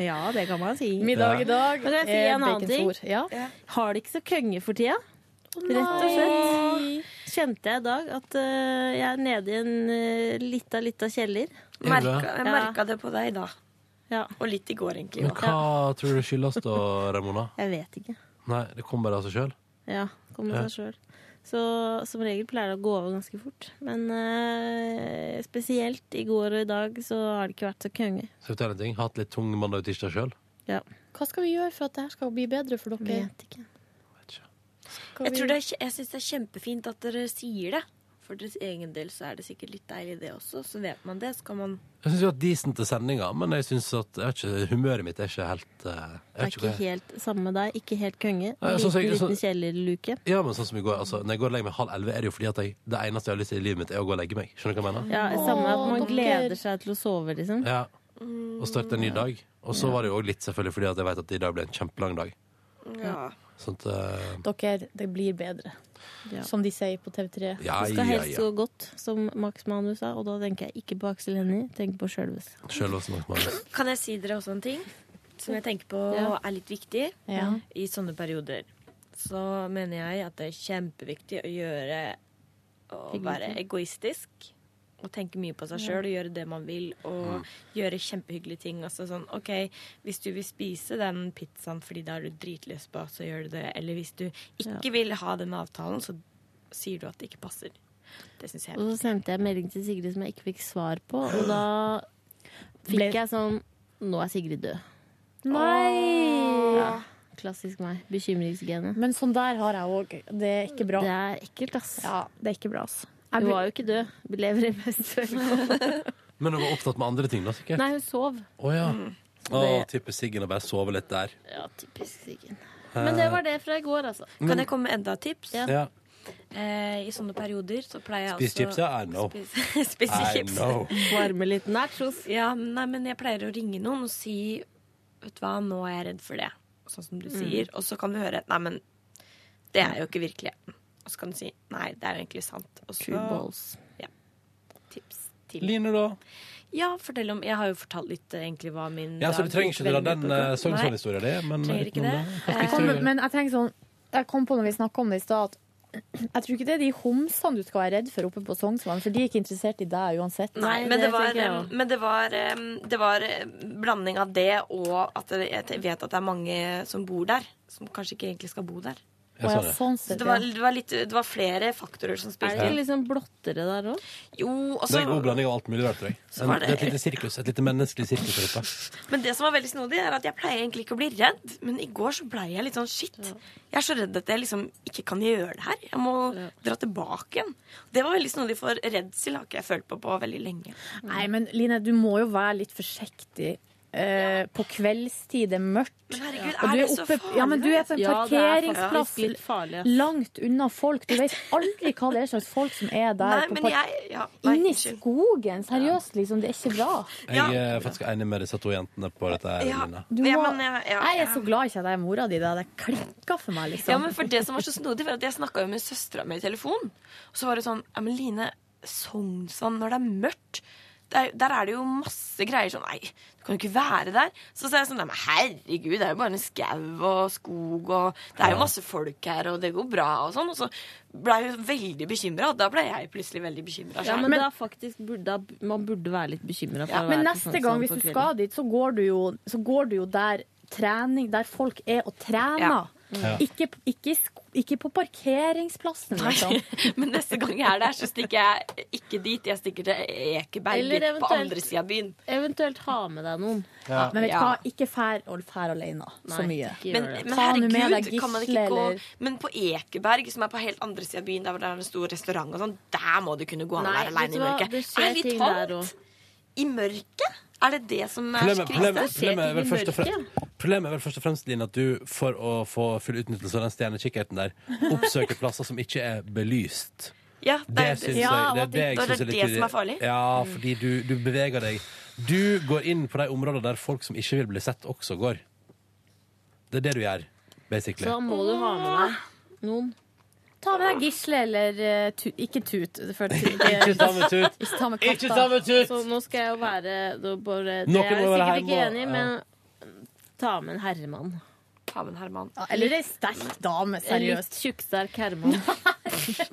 [SPEAKER 7] Ja, det kan man si.
[SPEAKER 4] Middag i dag
[SPEAKER 7] Men kan jeg si
[SPEAKER 4] er
[SPEAKER 7] en annen ting?
[SPEAKER 4] baconsvor. Ja.
[SPEAKER 7] Har det ikke så kønge for tida? Rett og
[SPEAKER 4] nei.
[SPEAKER 7] slett. Kjente jeg i dag at øh, jeg er nede i en øh, lita, lita kjeller.
[SPEAKER 2] Er du det? Merka-
[SPEAKER 10] jeg merka det på deg da. Og litt i går, egentlig.
[SPEAKER 2] Men
[SPEAKER 10] også.
[SPEAKER 2] hva tror du skyldes da, Ramona?
[SPEAKER 7] Jeg vet ikke.
[SPEAKER 2] Nei, det kommer bare av seg sjøl?
[SPEAKER 21] Ja, kommer
[SPEAKER 2] Ja.
[SPEAKER 21] av seg sjøl. Så som regel pleier det å gå over ganske fort. Men eh, spesielt i går og i dag så har det ikke vært så konge.
[SPEAKER 2] Skal vi ta en ting? Hatt litt tung mandag og tirsdag sjøl?
[SPEAKER 4] Hva skal vi gjøre for at det her skal bli bedre for dere?
[SPEAKER 21] Vet
[SPEAKER 4] ikke.
[SPEAKER 10] Jeg, tror det er, kje- jeg syns det er kjempefint at dere sier det. For deres egen del så er det sikkert litt deilig, det også. Så vet man det, så kan man
[SPEAKER 2] Jeg syns vi har hatt decente sendinger, men jeg synes at jeg vet ikke, humøret mitt er ikke helt eh,
[SPEAKER 21] Det er
[SPEAKER 2] jeg vet ikke
[SPEAKER 21] ikke
[SPEAKER 2] hva jeg-
[SPEAKER 21] helt samme med deg. Ikke helt konge.
[SPEAKER 2] Nei,
[SPEAKER 21] En
[SPEAKER 2] sånn som
[SPEAKER 21] liten,
[SPEAKER 2] jeg- sånn-
[SPEAKER 21] liten kjellerluke.
[SPEAKER 2] Ja, men sånn som i går, altså, Når jeg går og legger meg halv elleve, er det jo fordi at jeg, det eneste jeg har lyst til i livet mitt, er å gå og legge meg. Skjønner du hva jeg mener?
[SPEAKER 21] Ja, samme at man
[SPEAKER 4] dere.
[SPEAKER 21] gleder seg til å sove, liksom.
[SPEAKER 2] Ja. Og starte en ny dag. Og
[SPEAKER 21] Mm.
[SPEAKER 2] så var det jo òg litt selvfølgelig fordi at jeg vet at i dag ble en kjempelang dag.
[SPEAKER 21] Ja.
[SPEAKER 2] Sånn at, eh,
[SPEAKER 4] Dere, det blir bedre. Som de sier på TV3.
[SPEAKER 2] Ja,
[SPEAKER 21] det skal
[SPEAKER 2] ja,
[SPEAKER 21] helst
[SPEAKER 2] ja.
[SPEAKER 21] gå godt, som Max Manu sa, og da tenker jeg ikke på Aksel Hennie, tenk på sjølves.
[SPEAKER 2] Sjøl også nok mange.
[SPEAKER 10] Kan jeg si dere også en ting som jeg tenker på
[SPEAKER 21] Ja.
[SPEAKER 10] er litt viktig
[SPEAKER 21] Ja.
[SPEAKER 10] i sånne perioder? Så mener jeg at det er kjempeviktig å gjøre Å
[SPEAKER 21] Hyggelig.
[SPEAKER 10] være egoistisk og tenke mye på seg sjøl og gjøre det man vil og
[SPEAKER 21] Mm.
[SPEAKER 10] gjøre kjempehyggelige ting. Altså sånn OK, hvis du vil spise den pizzaen fordi det har du dritlyst på, så gjør du det. Eller hvis du ikke vil ha den avtalen, så sier du at det ikke passer. Det syns jeg er
[SPEAKER 21] Og så sendte jeg melding til Sigrid som jeg ikke fikk svar på, og (gasps) da fikk jeg sånn Nå er Sigrid død.
[SPEAKER 4] Nei!
[SPEAKER 21] Ja, klassisk meg. Bekymringsgenet.
[SPEAKER 4] Men sånn der har jeg òg. Det er ikke bra.
[SPEAKER 21] Det er ekkelt, ass.
[SPEAKER 4] Ja, det er ikke bra, altså. ass.
[SPEAKER 21] Hun var jo ikke død. Vi lever i beste velgående.
[SPEAKER 2] Men hun var opptatt med andre ting, da, sikkert?
[SPEAKER 21] (laughs) Nei, hun sov.
[SPEAKER 2] Å ja.
[SPEAKER 10] Mm.
[SPEAKER 2] Å,
[SPEAKER 21] Det-
[SPEAKER 2] typisk Siggen å bare sove litt der.
[SPEAKER 21] Ja, typisk Siggen. Men det var det fra i går, altså.
[SPEAKER 2] Men- Kan jeg
[SPEAKER 10] komme med enda et tips?
[SPEAKER 2] Ja.
[SPEAKER 10] Eh, I sånne perioder så pleier jeg
[SPEAKER 2] Spis
[SPEAKER 10] også
[SPEAKER 2] chips, ja, I know.
[SPEAKER 10] Spise, (laughs) spise
[SPEAKER 2] I
[SPEAKER 10] chips.
[SPEAKER 2] know.
[SPEAKER 21] Varme litt nachos.
[SPEAKER 10] Ja, men nei, men jeg pleier å ringe noen og si Vet du hva, nå er jeg redd for det. Sånn som du
[SPEAKER 21] Mm.
[SPEAKER 10] sier. Og så kan du høre Nei, men det er jo ikke virkeligheten. Og så kan du si Nei, det er jo egentlig sant. Og så
[SPEAKER 21] True balls.
[SPEAKER 10] Ja. Tips til
[SPEAKER 2] Line, da?
[SPEAKER 10] Ja, fortell om Jeg har jo fortalt litt eh, egentlig hva min
[SPEAKER 2] Ja, så du
[SPEAKER 10] dag
[SPEAKER 2] trenger ikke dra
[SPEAKER 10] veldig
[SPEAKER 2] den
[SPEAKER 10] mye på
[SPEAKER 2] uh,
[SPEAKER 10] gang. Nei.
[SPEAKER 2] Sognsvann-historia di? men
[SPEAKER 10] Trenger
[SPEAKER 2] litt
[SPEAKER 10] ikke
[SPEAKER 2] om
[SPEAKER 10] det.
[SPEAKER 2] Hva skal
[SPEAKER 4] Jeg kom,
[SPEAKER 2] vi gjøre?
[SPEAKER 4] men jeg tenker sånn jeg kom på når vi snakka om det i stad, at (clears throat) jeg tror ikke det er de homsene du skal være redd for oppe på Sognsvann, for de er ikke interessert i deg uansett.
[SPEAKER 10] Nei, men det, var, em, men det var em, Det var em, blanding av det og at det- jeg vet at det er mange som bor der, som kanskje ikke egentlig skal bo der.
[SPEAKER 21] Ja, sånn, ja. Sånn
[SPEAKER 10] Så
[SPEAKER 21] sett,
[SPEAKER 10] det var,
[SPEAKER 21] ja.
[SPEAKER 10] det var, litt, det var flere faktorer som
[SPEAKER 21] Er
[SPEAKER 10] spilte
[SPEAKER 21] det ikke liksom blottere der òg?
[SPEAKER 10] Jo, altså, og
[SPEAKER 2] Det er en god
[SPEAKER 10] så-
[SPEAKER 2] blanding av alt mulig rart, tror jeg.
[SPEAKER 10] Så
[SPEAKER 2] En,
[SPEAKER 10] var
[SPEAKER 2] det
[SPEAKER 10] det-
[SPEAKER 2] er et lite sirkus, et lite menneskelig sirkus der oppe.
[SPEAKER 10] Men det som var veldig snodig, er at jeg pleier egentlig ikke å bli redd. Men i går så blei jeg litt sånn shit. Jeg er så redd at jeg liksom ikke kan gjøre det her. Jeg må dra tilbake igjen. Det var veldig snodig, for redsel har ikke jeg følt på på veldig lenge.
[SPEAKER 4] Nei, men Line, du må jo være litt forsiktig. eh, På kveldstid, det er mørkt.
[SPEAKER 10] Men herregud,
[SPEAKER 4] Og
[SPEAKER 10] er
[SPEAKER 4] du
[SPEAKER 10] det så farlig?
[SPEAKER 4] Ja, men du er på en
[SPEAKER 21] Ja, det er faktisk
[SPEAKER 4] parkeringsplass
[SPEAKER 21] litt farlig, ass.
[SPEAKER 4] langt unna folk. Du vet aldri hva det er slags folk som er der.
[SPEAKER 10] Nei,
[SPEAKER 4] på
[SPEAKER 10] men
[SPEAKER 4] par-
[SPEAKER 10] jeg ja,
[SPEAKER 4] Inni skogen, seriøst, liksom. Det er ikke bra.
[SPEAKER 2] Jeg er faktisk enig med disse to jentene på dette. her, Line.
[SPEAKER 4] Du må, jeg er så glad ikke at jeg er mora di. da. Det klikka for meg, liksom.
[SPEAKER 10] Ja, men for det som var så snodig, var at jeg snakka jo med søstera mi i telefon. Og så var det sånn Ja, men Line, Sognsvann, når det er mørkt der, der er det jo masse greier sånn Nei, du kan jo ikke være der. Så sa jeg sånn Nei, men herregud, det er jo bare en skau og skog, og det er jo masse folk her, og det går bra, og sånn. Og så ble jeg jo veldig bekymra, og da ble jeg plutselig veldig bekymra.
[SPEAKER 21] Ja, men, da faktisk burde, da, man burde være litt bekymra.
[SPEAKER 4] Ja, men
[SPEAKER 10] sånn
[SPEAKER 4] neste gang hvis du skal dit, så går du jo, så går du jo der trening, der folk er og trener.
[SPEAKER 10] Ja. Ja.
[SPEAKER 4] Ikke, ikke, i sk- ikke på parkeringsplassen, liksom.
[SPEAKER 21] sånn.
[SPEAKER 10] Men neste gang jeg er der, så stikker jeg ikke dit. Jeg stikker til
[SPEAKER 21] Eller
[SPEAKER 10] Ekeberg på
[SPEAKER 21] eventuelt-
[SPEAKER 10] andre sida av byen.
[SPEAKER 21] Eventuelt ha med deg noen.
[SPEAKER 10] (laughs) Ja.
[SPEAKER 4] Men vet du
[SPEAKER 10] Ja.
[SPEAKER 4] hva, ikke fær, og fær alene så
[SPEAKER 21] Nei,
[SPEAKER 4] mye.
[SPEAKER 21] ikke gjør
[SPEAKER 10] Men,
[SPEAKER 21] det.
[SPEAKER 10] men
[SPEAKER 4] Ta nå med
[SPEAKER 10] herregud,
[SPEAKER 4] deg
[SPEAKER 10] kan man
[SPEAKER 4] gisle,
[SPEAKER 10] ikke gå
[SPEAKER 4] eller-
[SPEAKER 10] Men på Ekeberg, som er på helt andre siden av byen, der hvor det er en stor restaurant og sånn, der må du kunne gå an å
[SPEAKER 21] Nei,
[SPEAKER 10] være
[SPEAKER 21] vet du
[SPEAKER 10] aleine i
[SPEAKER 21] hva?
[SPEAKER 10] mørket.
[SPEAKER 21] Det skjer
[SPEAKER 10] Er vi
[SPEAKER 21] ting der
[SPEAKER 10] tatt? I mørket? Er det det som er
[SPEAKER 2] Problemet, problemet, problemet, er vel først og fremst, problemet er vel først og fremst, Line, at du for å få full utnyttelse av den stjernekikkerten der, oppsøker plasser som ikke er belyst.
[SPEAKER 10] Ja,
[SPEAKER 2] Det syns jeg, det, er det, jeg
[SPEAKER 10] det,
[SPEAKER 2] synes
[SPEAKER 10] er
[SPEAKER 2] litt
[SPEAKER 10] det som
[SPEAKER 2] irri-
[SPEAKER 10] er farlig.
[SPEAKER 2] Ja, fordi du, du beveger deg. Du går inn på de områdene der folk som ikke vil bli sett, også går. Det er det du gjør, basically.
[SPEAKER 21] Så må du ha med deg noen.
[SPEAKER 4] Ta med deg Gisle eller eh, tu, Ikke Tut. For,
[SPEAKER 2] Ikke ta med Tut.
[SPEAKER 4] Ikke ta med,
[SPEAKER 2] Ikke
[SPEAKER 4] katta.
[SPEAKER 2] ta med Tut.
[SPEAKER 21] Så nå skal jeg jo være da bare,
[SPEAKER 4] Noen
[SPEAKER 21] Det er
[SPEAKER 4] må
[SPEAKER 21] jeg
[SPEAKER 4] være
[SPEAKER 21] sikkert ikke
[SPEAKER 4] hjemme,
[SPEAKER 21] enig i,
[SPEAKER 4] ja.
[SPEAKER 21] men ta med en herremann.
[SPEAKER 10] Ta med en herremann.
[SPEAKER 4] Eller ei sterk dame,
[SPEAKER 21] En
[SPEAKER 4] seriøst.
[SPEAKER 21] litt tjukksterk herremann.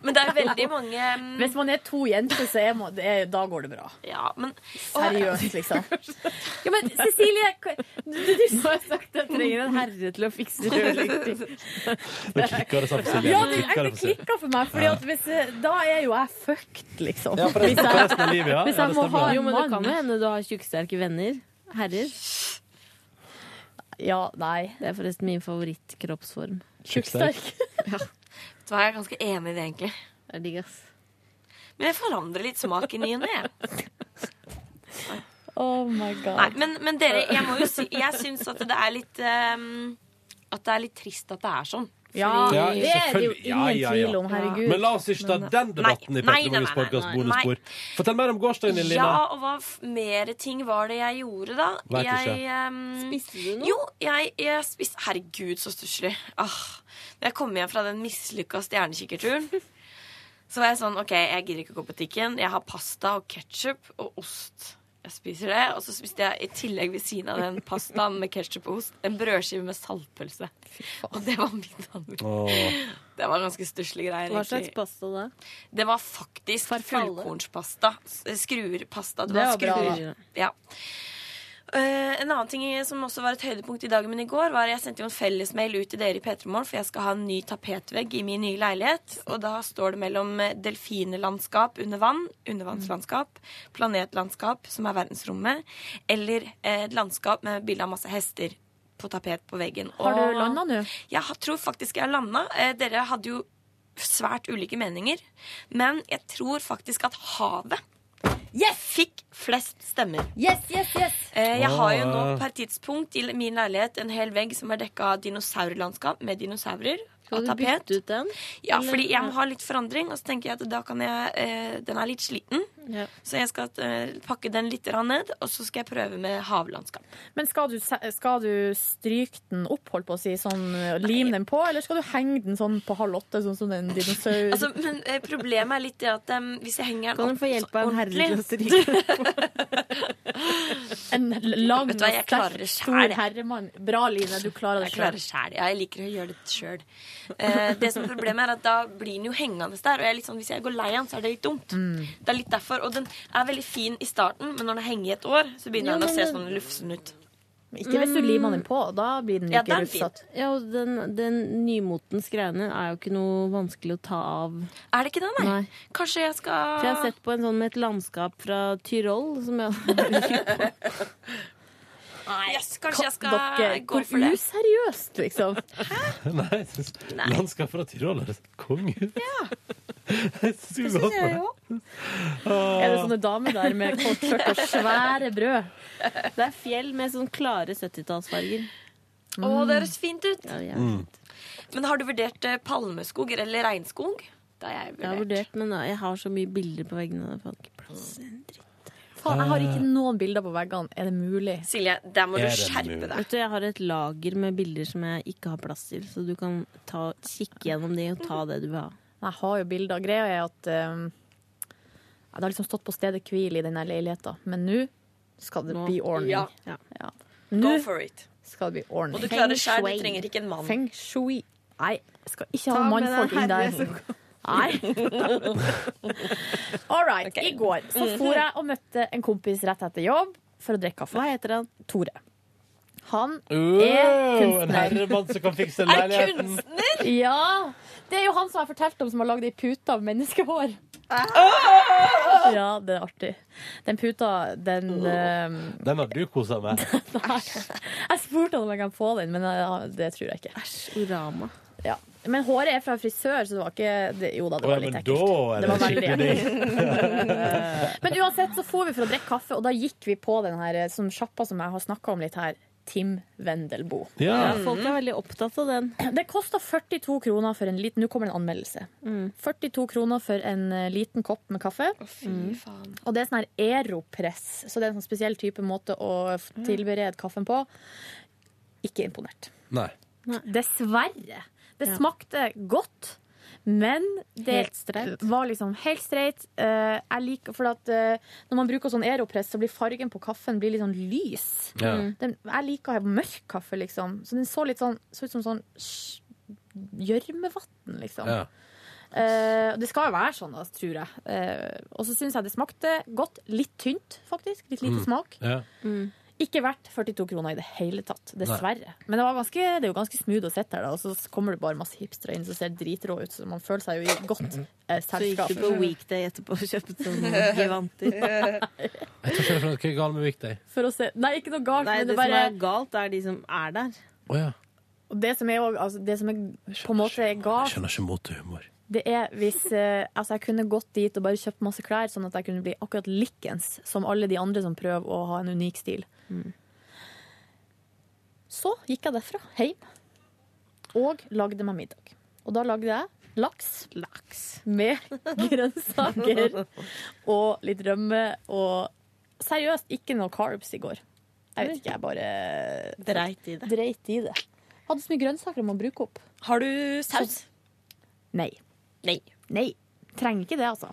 [SPEAKER 10] Men det er veldig mange
[SPEAKER 21] (laughs)
[SPEAKER 4] Hvis man er to jenter, så er man, det er, da går det bra.
[SPEAKER 10] Ja, men
[SPEAKER 4] Seriøst, (laughs) liksom. Ja, men Cecilie, hva- du, du, du sa jeg sagt at jeg trenger en herre til å fikse rødlykter.
[SPEAKER 2] Det klikker det samme Silje.
[SPEAKER 4] Ja,
[SPEAKER 2] Nå
[SPEAKER 4] det,
[SPEAKER 2] klikker
[SPEAKER 4] det
[SPEAKER 2] for Silje.
[SPEAKER 4] klikker for meg, Fordi at hvis, eh, da er jo jeg fucked, liksom.
[SPEAKER 2] Ja, for resten-
[SPEAKER 4] Hvis jeg-
[SPEAKER 2] for resten av livet, ja.
[SPEAKER 4] Hvis
[SPEAKER 2] Ja,
[SPEAKER 4] jeg
[SPEAKER 2] det
[SPEAKER 4] må
[SPEAKER 2] stemmer.
[SPEAKER 4] ha
[SPEAKER 21] Jo,
[SPEAKER 4] en
[SPEAKER 21] men det
[SPEAKER 4] mann.
[SPEAKER 21] kan jo hende du har tjukksterke venner. Herrer.
[SPEAKER 4] Ja, nei.
[SPEAKER 21] Det er forresten min favorittkroppsform.
[SPEAKER 10] Tjukksterk? Vet du hva, jeg er ganske enig i det, egentlig.
[SPEAKER 21] Det er digg, ass.
[SPEAKER 10] Men jeg forandrer litt smak i ny og ne. jeg.
[SPEAKER 4] (laughs) Oh my god.
[SPEAKER 10] Nei, Men, men dere, jeg må jo si Jeg syns at det er litt ehm, At det er litt trist at det er sånn.
[SPEAKER 4] Ja,
[SPEAKER 10] Fordi-
[SPEAKER 2] Ja, selvfølgelig. Ja, ja, ja. Men la oss ikke ta den debatten i
[SPEAKER 10] Nei,
[SPEAKER 2] Petter
[SPEAKER 10] nei, nei,
[SPEAKER 2] Morgens
[SPEAKER 10] nei,
[SPEAKER 2] podkast
[SPEAKER 10] nei,
[SPEAKER 2] Bonusspor. Fortell mer om gårsdagen din, Lina. (laughs)
[SPEAKER 10] Ja, og hva f- mere ting var det jeg gjorde, da?
[SPEAKER 2] Vet ikke.
[SPEAKER 10] spiste du noe? Jo, jeg, jeg spiste Herregud, så stusslig. Ah, da jeg kom hjem fra den mislykka stjernekikkerturen, (laughs) så var jeg sånn OK, jeg gidder ikke å gå på butikken. Jeg har pasta og ketsjup og ost. Jeg spiser det. Og så spiste jeg i tillegg ved siden av
[SPEAKER 2] (laughs)
[SPEAKER 10] den pastaen med ketsjup og ost, en brødskive med saltpølse. Og det var middagen min.
[SPEAKER 2] Åh.
[SPEAKER 10] Det var ganske stusslige greier.
[SPEAKER 21] Hva slags
[SPEAKER 10] egentlig.
[SPEAKER 21] pasta da?
[SPEAKER 10] Det var faktisk fullkornspasta. S- Skruerpasta.
[SPEAKER 21] Det
[SPEAKER 10] var
[SPEAKER 21] var bra,
[SPEAKER 10] skruer.
[SPEAKER 21] da.
[SPEAKER 10] Ja. Eh, en annen ting som også var et høydepunkt i dagen min i går, var at jeg sendte jo en fellesmail ut til dere i P3morgen, for jeg skal ha en ny tapetvegg i min nye leilighet. Og da står det mellom eh, delfinelandskap under vann, undervannslandskap, planetlandskap, som er verdensrommet, eller eh, et landskap med bilde av masse hester på tapet på veggen.
[SPEAKER 4] Har du
[SPEAKER 10] Og-
[SPEAKER 4] landa nå?
[SPEAKER 10] jeg ha- tror faktisk jeg har landa. Eh, Dere hadde jo svært ulike meninger. Men jeg tror faktisk at havet fikk flest stemmer.
[SPEAKER 4] Yes, yes, yes.
[SPEAKER 10] Eh, Jeg har jo nå
[SPEAKER 4] Åh.
[SPEAKER 10] per tidspunkt i min leilighet en hel vegg som er dekka av dinosaurlandskap med dinosaurer.
[SPEAKER 21] Kan
[SPEAKER 10] og
[SPEAKER 21] du
[SPEAKER 10] tapet.
[SPEAKER 21] bytte ut den?
[SPEAKER 10] Ja,
[SPEAKER 21] Eller-
[SPEAKER 10] fordi jeg må ha litt forandring. Og så tenker jeg at da kan jeg eh, Den er litt sliten.
[SPEAKER 21] Ja.
[SPEAKER 10] Så jeg skal eh, pakke den litt grann ned, og så skal jeg prøve med havlandskap.
[SPEAKER 4] Men skal du, se- skal du stryke den opp, holdt på å si, sånn, lim den på, eller skal du henge den sånn på halv åtte, sånn som en dinosaur?
[SPEAKER 10] Altså, men eh, problemet er litt det at em, hvis jeg henger den
[SPEAKER 4] Kan du få hjelp av en herre til å (laughs) en lang
[SPEAKER 10] Vet du hva, jeg
[SPEAKER 4] sterk,
[SPEAKER 10] klarer det selv,
[SPEAKER 4] stor
[SPEAKER 10] jeg.
[SPEAKER 4] herremann. Bra, Line, du klarer det
[SPEAKER 10] Jeg klarer det sjæl. Ja, jeg liker å gjøre det sjøl. Eh, det som er problemet er at da blir den jo hengende der. Og jeg er litt sånn, hvis jeg går lei av den, så er det litt dumt.
[SPEAKER 21] Mm.
[SPEAKER 10] Det er litt derfor. Og den er veldig fin i starten, men når den henger i et år, så begynner
[SPEAKER 21] Jo,
[SPEAKER 10] den å
[SPEAKER 21] men
[SPEAKER 10] se
[SPEAKER 21] den-
[SPEAKER 10] sånn lufsen ut.
[SPEAKER 4] Ikke hvis du limer den på, da blir den jo
[SPEAKER 21] Ja,
[SPEAKER 4] ikke
[SPEAKER 21] den,
[SPEAKER 4] rufsete.
[SPEAKER 21] ja, og den, den nymotens greiene er jo ikke noe vanskelig å ta av.
[SPEAKER 10] Er det ikke det, nei? Kanskje jeg skal
[SPEAKER 21] For jeg har sett på en sånn med et landskap fra Tyrol som (laughs) jeg
[SPEAKER 10] Nei, yes, kanskje jeg skal
[SPEAKER 4] Dere,
[SPEAKER 10] gå
[SPEAKER 4] hvor
[SPEAKER 10] for det.
[SPEAKER 4] useriøst, liksom.
[SPEAKER 2] Nei, jeg synes
[SPEAKER 10] Nei.
[SPEAKER 2] landskap fra Tyrol er et konge. Ja. (laughs) jeg synes vi
[SPEAKER 4] Det
[SPEAKER 2] går
[SPEAKER 4] synes jeg
[SPEAKER 2] for det.
[SPEAKER 4] Er det sånne damer der med kort skjørt og svære brød?
[SPEAKER 21] Det er fjell med sånn klare 70-tallsfarger.
[SPEAKER 10] Å, det høres fint ut.
[SPEAKER 21] ja.
[SPEAKER 10] Men har du vurdert eh, palmeskog eller regnskog? Det har jeg
[SPEAKER 21] Jeg har
[SPEAKER 10] vurdert.
[SPEAKER 21] vurdert, men jeg har så mye bilder på veggene. Jeg får ikke plass.
[SPEAKER 4] Faen, jeg har ikke noen bilder på veggene. Er det mulig?
[SPEAKER 10] Silje, der
[SPEAKER 21] Er det mulig? Vet du, jeg har et lager med bilder som jeg ikke har plass til, så du kan ta, kikke gjennom de og ta det du vil ha.
[SPEAKER 4] Jeg har jo bilder. Greia er at um, ja, det har liksom stått på stedet hvil i denne leiligheten, men nå skal det bli ordning.
[SPEAKER 10] Ja.
[SPEAKER 4] Ja.
[SPEAKER 10] Go
[SPEAKER 4] Nå
[SPEAKER 10] for it.
[SPEAKER 4] skal det bli ordning.
[SPEAKER 10] Og du klarer det
[SPEAKER 4] Feng
[SPEAKER 10] selv, du
[SPEAKER 4] shui.
[SPEAKER 10] trenger ikke en mann.
[SPEAKER 4] Feng shui. Nei, jeg skal ikke
[SPEAKER 10] Ta
[SPEAKER 4] ha
[SPEAKER 10] med
[SPEAKER 4] mannfolk
[SPEAKER 10] den
[SPEAKER 4] inn
[SPEAKER 10] herre
[SPEAKER 4] der.
[SPEAKER 10] som
[SPEAKER 4] (laughs) Nei. All right. I går så for jeg og møtte en kompis rett etter jobb for å drikke kaffe. Hva heter han? Tore. Han er
[SPEAKER 2] Wow, en
[SPEAKER 4] kunstner.
[SPEAKER 2] herremann som kan
[SPEAKER 4] (laughs)
[SPEAKER 2] fikse leiligheten.
[SPEAKER 4] Ja. Det er jo han som jeg fortalte om, som har lagd ei pute av menneskehår. Ja, det er artig. Den puta, den eh,
[SPEAKER 2] Den har du kosa med.
[SPEAKER 4] (laughs) Jeg spurte han om jeg kan få den, men jeg, det tror jeg ikke.
[SPEAKER 21] orama.
[SPEAKER 4] Ja. Men håret er fra frisør, så det var ikke det, Jo da, det
[SPEAKER 2] Å, ja,
[SPEAKER 4] var litt
[SPEAKER 2] men
[SPEAKER 4] ekkelt.
[SPEAKER 2] da er
[SPEAKER 4] Det
[SPEAKER 2] det
[SPEAKER 4] var veldig
[SPEAKER 2] skikkelig
[SPEAKER 4] (laughs) Men uansett så for vi for å drikke kaffe, og da gikk vi på den her eh, som sjappa som jeg har snakka om litt her. Tim Wendelbo.
[SPEAKER 21] Ja. Ja, folk er veldig opptatt av den.
[SPEAKER 4] (clears throat) Det kosta 42 kroner for en liten Nå kommer det en anmeldelse. 42 kroner for en eh, liten kopp med kaffe.
[SPEAKER 10] Fy faen.
[SPEAKER 4] Og det er sånn her aeropress, så det er en sånn spesiell type måte å f- tilberede kaffen på. Ikke imponert.
[SPEAKER 2] Nei.
[SPEAKER 4] Dessverre. Det smakte godt, men det
[SPEAKER 21] Helt streit.
[SPEAKER 4] var liksom helt streit. Eh, jeg liker, for at eh, Når man bruker sånn aeropress, så blir fargen på kaffen blir litt sånn lys.
[SPEAKER 2] Ja. Mm.
[SPEAKER 4] Den, jeg liker mørk kaffe, liksom. Så den så litt sånn så ut som sånn sj- gjørmevann, liksom.
[SPEAKER 2] Ja.
[SPEAKER 4] Eh, og det skal jo være sånn, altså, tror jeg. Eh, og så syns jeg det smakte godt. Litt tynt, faktisk. Litt lite
[SPEAKER 2] Mm.
[SPEAKER 4] smak.
[SPEAKER 2] Ja.
[SPEAKER 4] Ikke verdt 42 kroner i det hele tatt, dessverre. Men det, var ganske, det er jo ganske smooth å sitte her, da, og så kommer det bare masse hipstere inn som ser dritrå ut, så man føler seg jo i godt eh,
[SPEAKER 21] Så gikk
[SPEAKER 4] selskap.
[SPEAKER 21] du på weekday etterpå og kjøpte sånne giganter.
[SPEAKER 2] Jeg tror ikke det er noe galt med Weekday.
[SPEAKER 4] For å se Nei, ikke noe galt,
[SPEAKER 21] Nei,
[SPEAKER 4] men
[SPEAKER 21] det,
[SPEAKER 4] det bare
[SPEAKER 21] som er galt, er de som er der.
[SPEAKER 2] Å ja.
[SPEAKER 4] Og det som er, jo- altså, det som er på en måte er
[SPEAKER 2] Jeg
[SPEAKER 4] galt,
[SPEAKER 2] skjønner ikke motehumor.
[SPEAKER 4] det er hvis eh, altså, jeg kunne gått dit og bare kjøpt masse klær, sånn at jeg kunne bli akkurat likens som alle de andre som prøver å ha en unik stil. Så gikk jeg derfra hjem og lagde meg middag. Og da lagde jeg laks, med grønnsaker og litt rømme og Seriøst, ikke noe carbs i går. Jeg vet ikke, jeg bare
[SPEAKER 21] Dreit i det.
[SPEAKER 4] Dreit i det. Hadde så mye grønnsaker jeg må bruke opp.
[SPEAKER 21] Har du saus?
[SPEAKER 4] Nei.
[SPEAKER 21] Nei.
[SPEAKER 4] Nei. Trenger ikke det, altså.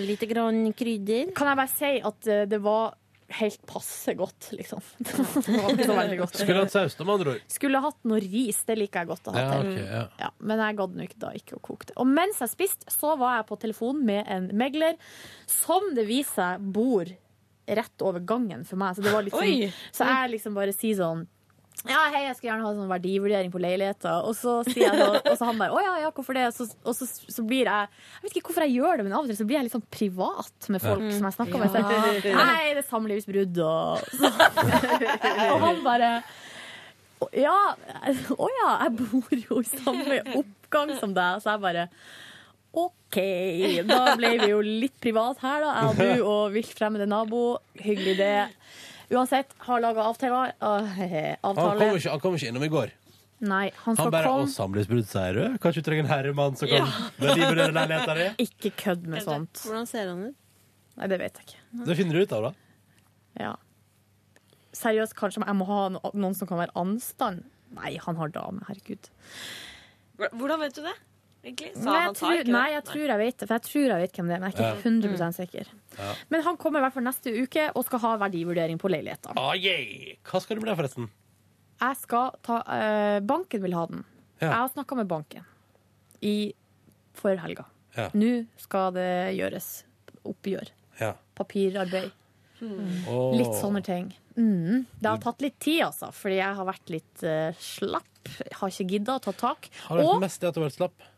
[SPEAKER 21] Lite grann krydder.
[SPEAKER 4] Kan jeg bare si at eh, det var helt passe godt, liksom. (laughs) Det var ikke så veldig godt.
[SPEAKER 2] Skulle hatt saus, da, med andre ord.
[SPEAKER 4] Skulle hatt noe ris, det liker jeg godt å ha
[SPEAKER 2] Ja,
[SPEAKER 4] til.
[SPEAKER 2] ok, ja.
[SPEAKER 4] Ja, men jeg gadd nå ikke da ikke å koke det. Og mens jeg spiste, så var jeg på telefon med en megler som det viser seg bor rett over gangen for meg. Så, det var litt sånn,
[SPEAKER 21] Oi.
[SPEAKER 4] så jeg liksom bare sier sånn ja, hei, jeg skulle gjerne ha sånn verdivurdering på leiligheter. Og så sier
[SPEAKER 21] (laughs)
[SPEAKER 4] jeg sånn, og så han bare, å ja, ja, hvorfor det? Og så, og så, så blir jeg, jeg vet ikke hvorfor jeg gjør det, men av og til så blir jeg litt sånn privat med folk
[SPEAKER 21] Ja.
[SPEAKER 4] som jeg snakker
[SPEAKER 21] Ja.
[SPEAKER 4] med. Så, jeg, nei, det er samlivsbrudd og så.
[SPEAKER 21] (laughs)
[SPEAKER 4] Og han bare, «Å, ja, å ja, jeg bor jo i samme oppgang som deg. Så jeg bare, OK. Da ble vi jo litt privat her, da. Jeg og
[SPEAKER 2] (laughs)
[SPEAKER 4] du og vilt fremmede nabo. Hyggelig det. Uansett, har laga avtale. Åh, hehe,
[SPEAKER 2] Han kom,
[SPEAKER 4] avtale.
[SPEAKER 2] ikke, han kom ikke innom i går.
[SPEAKER 4] Nei, han
[SPEAKER 2] Han
[SPEAKER 4] skal
[SPEAKER 2] bare
[SPEAKER 4] komme.
[SPEAKER 2] 'Å, samlivsbrudd, sier du? Kanskje du trenger en herremann som kan
[SPEAKER 4] Ja.
[SPEAKER 2] (laughs) verdivurdere leiligheta
[SPEAKER 4] (laughs)
[SPEAKER 2] di?'
[SPEAKER 4] Ikke kødd med sånt.
[SPEAKER 21] Hvordan ser han ut?
[SPEAKER 4] Nei, det vet jeg ikke.
[SPEAKER 2] Det finner du ut av, da.
[SPEAKER 4] Ja. Seriøst, kanskje jeg må ha no- noen som kan være anstand? Nei, han har dame, herregud.
[SPEAKER 10] Hvordan vet du det? Egentlig? Sa
[SPEAKER 4] Nei,
[SPEAKER 10] han
[SPEAKER 4] jeg,
[SPEAKER 10] sa
[SPEAKER 4] tror,
[SPEAKER 10] ikke det?
[SPEAKER 4] nei, jeg tror jeg vet det, for jeg tror jeg vet hvem det er, men jeg er ikke 100 sikker.
[SPEAKER 2] Ja.
[SPEAKER 4] Men han kommer i hvert fall neste uke og skal ha verdivurdering på leiligheta.
[SPEAKER 2] Ah, yeah. Hva skal du bli, forresten?
[SPEAKER 4] Jeg skal ta eh, Banken vil ha den.
[SPEAKER 2] Ja.
[SPEAKER 4] Jeg har snakka med banken i før helga.
[SPEAKER 2] Ja.
[SPEAKER 4] Nå skal det gjøres oppgjør.
[SPEAKER 2] Ja.
[SPEAKER 4] Papirarbeid.
[SPEAKER 2] Åh.
[SPEAKER 4] Litt sånn sånne ting. Mm. Det har tatt litt tid, altså, fordi jeg har vært litt eh, slapp. Har ikke gidda å ta tak.
[SPEAKER 2] Har du
[SPEAKER 4] Og-
[SPEAKER 2] hørt mest det at du har vært slapp?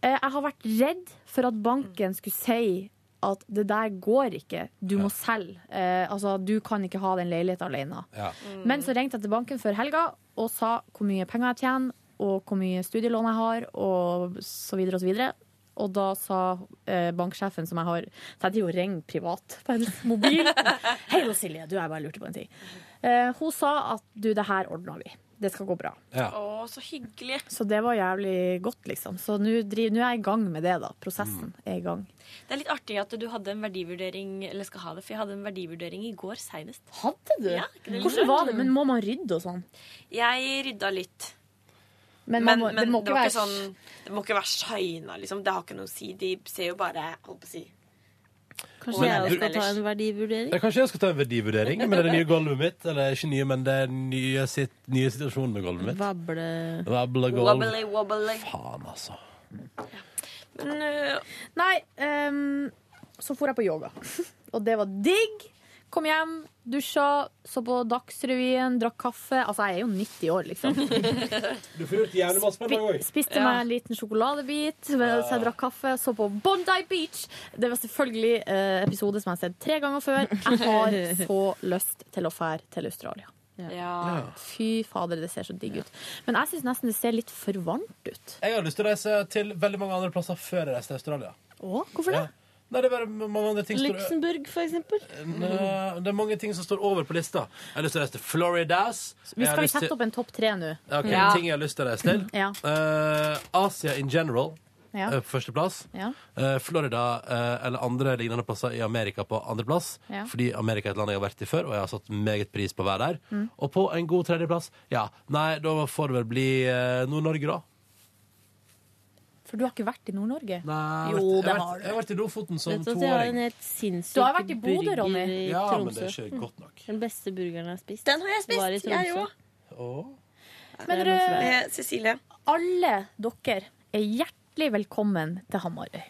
[SPEAKER 4] Eh, Jeg har vært redd for at banken skulle si at det der går ikke, du må selge. Eh, altså, du kan ikke ha den leiligheten alene.
[SPEAKER 2] Ja.
[SPEAKER 4] Men så ringte jeg til banken før helga og sa hvor mye penger jeg tjener, og hvor mye studielån jeg har, og så videre og så videre. Og da sa eh, banksjefen som jeg har Så jeg driver og ringer privat på hennes mobil. (laughs) Hei, nå, Silje, du, jeg bare lurte på en ting. Eh, hun sa at du, det her ordner vi. Det skal gå bra.
[SPEAKER 10] Å, så hyggelig.
[SPEAKER 4] Så det var jævlig godt, liksom. Så nå driv- nå er jeg i gang med det, da. Prosessen er i gang.
[SPEAKER 10] Det er litt artig at du hadde en verdivurdering Eller skal ha det, for jeg hadde en verdivurdering i går seinest.
[SPEAKER 4] Hadde du?
[SPEAKER 10] Ja, ikke det
[SPEAKER 4] Hvordan
[SPEAKER 10] litt
[SPEAKER 4] var
[SPEAKER 10] rart?
[SPEAKER 4] det? Men må man rydde og sånn?
[SPEAKER 10] Jeg rydda litt.
[SPEAKER 4] Men,
[SPEAKER 10] Men,
[SPEAKER 4] man må,
[SPEAKER 10] men
[SPEAKER 4] det må ikke
[SPEAKER 10] var
[SPEAKER 4] være
[SPEAKER 10] ikke sånn, det må ikke være shina, liksom. Det har ikke noe å si. De ser jo bare holdt på å si
[SPEAKER 21] Kanskje
[SPEAKER 2] Men
[SPEAKER 21] jeg
[SPEAKER 2] du-
[SPEAKER 21] skal ta en verdivurdering?
[SPEAKER 2] Jeg, kanskje jeg skal ta en verdivurdering med det nye gulvet mitt. Eller ikke nye, men det nye, sit, nye situasjonen med gulvet mitt.
[SPEAKER 21] Vable...
[SPEAKER 2] Vabla gulv.
[SPEAKER 10] wobbly, wobbly. øh,
[SPEAKER 2] Faen, altså.
[SPEAKER 4] (laughs) Nei, ehm, så for jeg på yoga. (laughs) Og det var digg. Kom hjem, dusja, så på Dagsrevyen, drakk kaffe. Altså, jeg er jo 90 år, liksom.
[SPEAKER 2] Du får gjort gjerne masse på en dag òg.
[SPEAKER 4] Spiste meg en liten sjokoladebit, mens jeg drakk kaffe, så på Bondi Beach. Det var selvfølgelig eh, episode som jeg har sett tre ganger før. Jeg har
[SPEAKER 10] (laughs)
[SPEAKER 4] så lyst til å fære til Australia.
[SPEAKER 10] Ja.
[SPEAKER 4] Fy fader, det ser så digg ut. Men jeg syns nesten det ser litt for varmt ut.
[SPEAKER 2] Jeg har lyst til å reise til veldig mange andre plasser før jeg reiser til Australia.
[SPEAKER 4] Å, hvorfor det?
[SPEAKER 2] Ja. Nei, det er bare mange andre ting som står-
[SPEAKER 21] Luxembourg, for eksempel.
[SPEAKER 2] Nei, Det er mange ting som står over på lista. Jeg har lyst til å reise til Floridas.
[SPEAKER 4] Vi skal jo sette opp en topp tre nå.
[SPEAKER 2] Ok, ting jeg har lyst til å reise til.
[SPEAKER 4] Ja.
[SPEAKER 2] Eh, Asia in general
[SPEAKER 4] Ja.
[SPEAKER 2] eh, på førsteplass.
[SPEAKER 4] Ja.
[SPEAKER 2] Eh, Florida eh, eller andre lignende plasser i Amerika på andreplass.
[SPEAKER 4] Ja.
[SPEAKER 2] Fordi Amerika er et land jeg har vært i før, og jeg har satt meget pris på å være der.
[SPEAKER 4] Mm.
[SPEAKER 2] Og på en god tredjeplass, ja, nei, da får det vel bli eh, Nord-Norge, da.
[SPEAKER 4] For du har ikke vært i Nord-Norge?
[SPEAKER 2] Jeg
[SPEAKER 4] Jo,
[SPEAKER 2] har vært-
[SPEAKER 4] det
[SPEAKER 2] jeg
[SPEAKER 4] har
[SPEAKER 2] Jeg har vært i Lofoten som
[SPEAKER 21] Vet du at jeg har en
[SPEAKER 2] toåring.
[SPEAKER 21] helt sinnssyk
[SPEAKER 4] Du har vært i Bodø,
[SPEAKER 21] burger
[SPEAKER 4] Ronny.
[SPEAKER 21] i
[SPEAKER 2] Ja, men det er
[SPEAKER 21] Tromsø.
[SPEAKER 2] ikke godt nok.
[SPEAKER 21] Den beste burgeren jeg har spist.
[SPEAKER 10] Den har jeg spist,
[SPEAKER 21] var i Tromsø.
[SPEAKER 10] jeg også. Eh,
[SPEAKER 2] Åh.
[SPEAKER 4] Men
[SPEAKER 21] Det er noe
[SPEAKER 4] dere-
[SPEAKER 21] for deg.
[SPEAKER 10] Cecilie.
[SPEAKER 4] Alle eh, dere er hjertelig hjertelig velkommen til Hamarøy.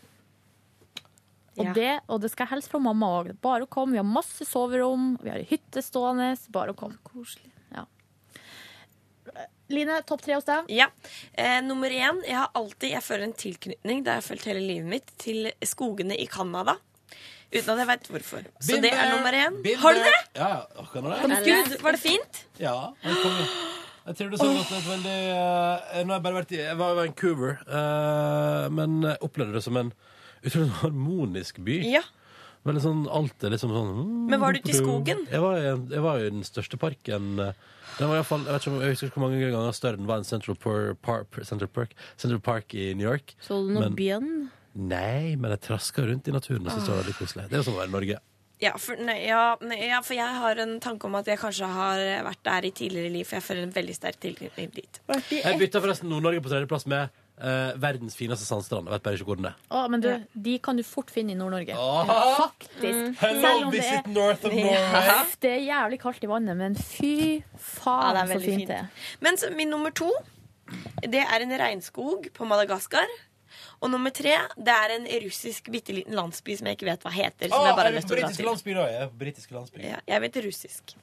[SPEAKER 4] Og,
[SPEAKER 5] Ja.
[SPEAKER 4] det, og det skal jeg hilse fra mamma òg. Bare å komme. Vi har masse soverom, vi har ei hytte stående. Bare å komme. Koselig. Ja. Line, topp tre hos deg?
[SPEAKER 10] Ja. Eh, nummer én, jeg har alltid Jeg føler en tilknytning, det har jeg følt hele livet mitt, til skogene i Canada. Uten at jeg veit hvorfor. Så
[SPEAKER 2] Been
[SPEAKER 10] det er
[SPEAKER 2] there,
[SPEAKER 10] nummer én.
[SPEAKER 2] been
[SPEAKER 10] Har du
[SPEAKER 2] there.
[SPEAKER 10] det?
[SPEAKER 2] Ja, ja. Kan du det?
[SPEAKER 10] Å, Gud, var det fint?
[SPEAKER 2] Ja. men kom igjen. Jeg tror det så godt ut, men det eh, Nå har jeg bare vært i Jeg var i Vancouver, eh, men jeg opplevde det som en utrolig harmonisk by.
[SPEAKER 10] Ja.
[SPEAKER 2] Veldig sånn Alt er liksom sånn mm,
[SPEAKER 10] Men var du ute i skogen?
[SPEAKER 2] Jeg var, i en- jeg var jo i den største parken. eh, Den var i hvert fall, jeg, vet ikke, om- jeg husker ikke hvor mange ganger større den var enn Central, Par- Par- Central, Park, Central Park i New York.
[SPEAKER 21] Så du noe
[SPEAKER 2] Men-
[SPEAKER 21] bjørn?
[SPEAKER 2] Nei, men jeg traska rundt i naturen og syntes det var veldig koselig. Det er jo sånn å være i Norge.
[SPEAKER 10] Ja for, nei, ja, nei, ja, for jeg har en tanke om at jeg kanskje har vært der i tidligere liv, for jeg føler en veldig sterk tilknytning dit. Eh.
[SPEAKER 2] Jeg bytta forresten Nord-Norge på tredjeplass med eh, verdens fineste sandstrand. Jeg vet bare ikke hvor den er.
[SPEAKER 4] Å, men du, de kan du fort finne i Nord-Norge.
[SPEAKER 2] Åh!
[SPEAKER 4] Faktisk.
[SPEAKER 2] Mm. Hello,
[SPEAKER 4] Selv om det
[SPEAKER 2] visit
[SPEAKER 4] er-
[SPEAKER 2] north of Norway.
[SPEAKER 4] Ja, Det er jævlig kaldt i vannet, men fy faen
[SPEAKER 10] Ja, det er
[SPEAKER 4] så
[SPEAKER 10] veldig
[SPEAKER 4] fint
[SPEAKER 10] fint.
[SPEAKER 4] det er.
[SPEAKER 10] Men så, min nummer to, det er en regnskog på Madagaskar. Og nummer tre, det er en russisk bitte liten landsby som jeg ikke vet hva heter. Som jeg
[SPEAKER 2] Ah,
[SPEAKER 10] bare vet ordet til.
[SPEAKER 2] britiske landsby.
[SPEAKER 10] Ja, jeg vet russisk.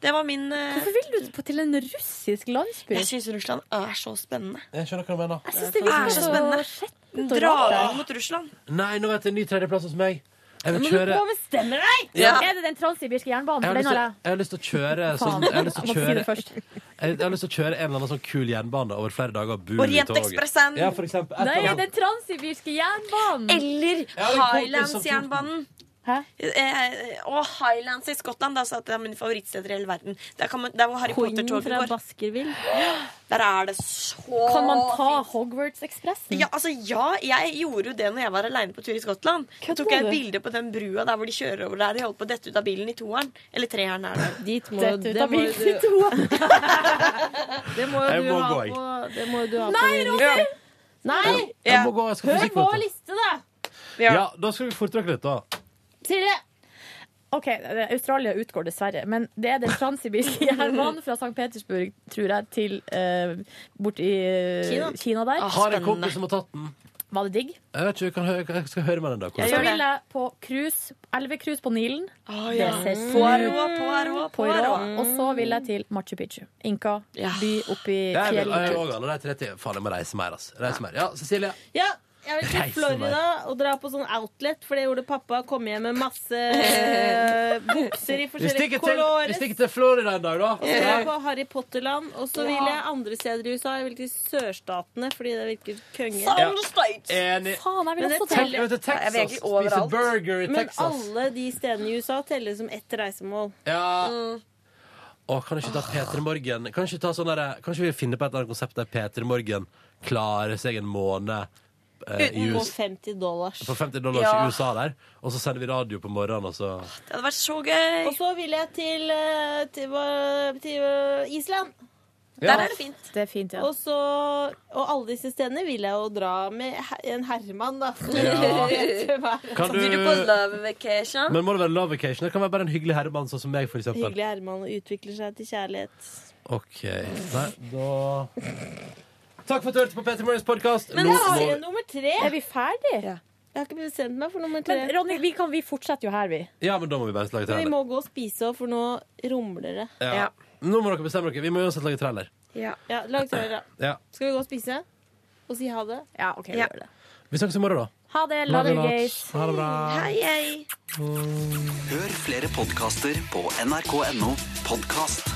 [SPEAKER 10] Det var min eh,
[SPEAKER 4] Hvorfor vil du på- til en russisk landsby?
[SPEAKER 10] Jeg syns Russland er så spennende.
[SPEAKER 2] Jeg skjønner hva du mener.
[SPEAKER 4] Jeg synes det virker så skjettent og rart
[SPEAKER 10] Dra
[SPEAKER 4] der.
[SPEAKER 10] mot Russland.
[SPEAKER 2] Nei, nå vet jeg en ny tredjeplass hos meg. Jeg vil
[SPEAKER 4] Men du
[SPEAKER 2] kjøre
[SPEAKER 4] må bestemme deg!
[SPEAKER 2] Ja.
[SPEAKER 4] Er det den transsibirske jernbanen?
[SPEAKER 2] jeg har, lyst
[SPEAKER 4] For den har
[SPEAKER 2] til,
[SPEAKER 4] jeg.
[SPEAKER 2] jeg har lyst til å kjøre
[SPEAKER 4] Faen.
[SPEAKER 2] sånn, jeg, har lyst til å
[SPEAKER 4] Jeg må si
[SPEAKER 2] kjøre,
[SPEAKER 4] det først.
[SPEAKER 2] jeg, jeg har lyst til å kjøre en eller annen sånn kul jernbane over flere dager og bo i toget.
[SPEAKER 10] Orientekspressen.
[SPEAKER 2] Ja, for eksempel. Et
[SPEAKER 4] Nei,
[SPEAKER 2] eller
[SPEAKER 4] den
[SPEAKER 2] annet.
[SPEAKER 4] transsibirske jernbanen!
[SPEAKER 10] Eller
[SPEAKER 2] Ja, det er sånn kompis som tror-
[SPEAKER 10] Highlands-jernbanen. Eh, og Highlands i Skottland. Det er, det er mine favorittsteder i hele verden. Der, kan man, der hvor Harry
[SPEAKER 21] Hunden
[SPEAKER 10] Potter-toget
[SPEAKER 21] fra
[SPEAKER 10] går.
[SPEAKER 21] Baskerville.
[SPEAKER 10] Der er det så
[SPEAKER 4] Kan man ta Hogwarts-ekspressen?
[SPEAKER 10] Ja, altså, ja, jeg gjorde jo det når jeg var aleine på tur i Skottland. Da tok jeg
[SPEAKER 4] du?
[SPEAKER 10] et bilde på den brua der hvor de kjører over der. Jeg holdt på å dette ut av bilen i toeren. Eller treeren. Er det.
[SPEAKER 21] Dit må,
[SPEAKER 10] Dette ut
[SPEAKER 21] det
[SPEAKER 10] av
[SPEAKER 21] må jo
[SPEAKER 10] bilen
[SPEAKER 21] du-
[SPEAKER 10] i
[SPEAKER 21] Det må jo
[SPEAKER 10] Jeg
[SPEAKER 21] du
[SPEAKER 10] må
[SPEAKER 21] ha
[SPEAKER 10] gå, jeg.
[SPEAKER 21] på Det må jo du ha
[SPEAKER 4] Nei,
[SPEAKER 21] på din
[SPEAKER 4] Ronny!
[SPEAKER 21] liste. Nei!
[SPEAKER 2] Jeg- jeg må gå, jeg skal på
[SPEAKER 21] Hør på
[SPEAKER 2] musikkmøte.
[SPEAKER 21] liste, da!
[SPEAKER 2] Ja, da skal vi fortrekke litt, da.
[SPEAKER 4] Silje! OK, det- Australia utgår dessverre, men det er den transsibirske jernbanen fra St. Petersburg, tror jeg, til eh, bort i eh,
[SPEAKER 2] Kina.
[SPEAKER 4] Kina der.
[SPEAKER 2] Har en kompis som har tatt den.
[SPEAKER 4] Var det digg?
[SPEAKER 2] Jeg vet ikke, jeg, kan høre, jeg skal høre med den da. hvordan
[SPEAKER 4] Jeg
[SPEAKER 2] det er.
[SPEAKER 4] vil jeg på cruise, elvecruise på Nilen.
[SPEAKER 10] ja.
[SPEAKER 4] Det ser
[SPEAKER 10] Poirot,
[SPEAKER 4] sykt-
[SPEAKER 10] Poirot, Poirot.
[SPEAKER 4] Poirot. Og så vil jeg til Machu Picchu. Inka by oppi
[SPEAKER 2] Det er vel, jeg er også
[SPEAKER 4] fjellet.
[SPEAKER 2] alle de 30. Faen, jeg må reise mer, ass. Reise mer. Ja, Cecilie.
[SPEAKER 21] Ja, jeg vil til
[SPEAKER 2] Reisen
[SPEAKER 21] Florida og dra på sånn outlet, for det gjorde pappa. Kom hjem med (laughs) masse eh, bukser i
[SPEAKER 2] Vi stikker
[SPEAKER 21] forskjellige
[SPEAKER 2] til, vi
[SPEAKER 21] colores.
[SPEAKER 2] stikker til Florida en dag, da.
[SPEAKER 21] Og så på Harry Potter-land. Og så vil
[SPEAKER 2] Ja.
[SPEAKER 21] jeg andre steder i USA. Jeg vil til sørstatene, fordi det virker konge.
[SPEAKER 2] Ja. Enig.
[SPEAKER 21] Faen, jeg vil
[SPEAKER 2] Men
[SPEAKER 21] også
[SPEAKER 2] det
[SPEAKER 21] til-
[SPEAKER 2] tenk- jeg vil til
[SPEAKER 21] Nei, jeg vil egentlig
[SPEAKER 2] Texas. Spise
[SPEAKER 21] overalt.
[SPEAKER 2] burger i
[SPEAKER 21] Men
[SPEAKER 2] Texas.
[SPEAKER 21] alle de stedene i USA teller som ett reisemål.
[SPEAKER 2] Ja.
[SPEAKER 21] Mm.
[SPEAKER 2] Å, kan ikke ta Peter Morgen Kan ikke, ta sånn der, kan ikke vi finne på et eller annet konsept der Peter Morgen klarer seg en måned eh, i
[SPEAKER 21] Uten på
[SPEAKER 2] US,
[SPEAKER 21] 50 dollars.
[SPEAKER 2] for 50 dollar
[SPEAKER 21] Ja.
[SPEAKER 2] i USA der, og så sender vi radio på morgenen, og så
[SPEAKER 10] Det hadde vært så gøy.
[SPEAKER 21] Og så vil jeg til, eh, til, eh, til eh, Island.
[SPEAKER 2] Ja. Der er det
[SPEAKER 10] fint.
[SPEAKER 4] Det er fint, ja.
[SPEAKER 21] Og, så, og alle disse stedene vil jeg jo dra med he- en Herman, da.
[SPEAKER 2] Ja.
[SPEAKER 21] Til hver-
[SPEAKER 2] Kan du- Vil du på love
[SPEAKER 10] vacation?
[SPEAKER 2] Men må det være love vacation? Det kan være bare en hyggelig herremann, sånn som meg, for eksempel.
[SPEAKER 21] Hyggelig Herman og utvikler seg til kjærlighet.
[SPEAKER 2] OK. Nei, da Takk for at du hørte på Peter Morgens podkast.
[SPEAKER 21] Men jeg har jo nummer tre.
[SPEAKER 4] Er vi ferdige?
[SPEAKER 21] Jeg har ikke bestemt meg for nummer tre.
[SPEAKER 4] Men Ronny, vi, kan, vi fortsetter jo her, vi.
[SPEAKER 2] Ja, men da må vi bare
[SPEAKER 21] Men
[SPEAKER 2] lage
[SPEAKER 21] vi
[SPEAKER 2] trailer.
[SPEAKER 21] må gå og spise òg, for nå rumler det.
[SPEAKER 2] Ja. Nå må dere bestemme dere. Vi må uansett lage trailer.
[SPEAKER 21] Ja. Ja, lag trailer, da.
[SPEAKER 2] Ja.
[SPEAKER 21] Skal vi gå og spise? Og si ha det?
[SPEAKER 4] Ja, ok, vi gjør det.
[SPEAKER 2] Vi snakkes i morgen, da.
[SPEAKER 4] Ha det,
[SPEAKER 2] Love you
[SPEAKER 4] Lager
[SPEAKER 2] lots.
[SPEAKER 4] Gates.
[SPEAKER 2] Ha det bra.
[SPEAKER 10] hei.
[SPEAKER 6] Hør flere podkaster på nrk.no podkast.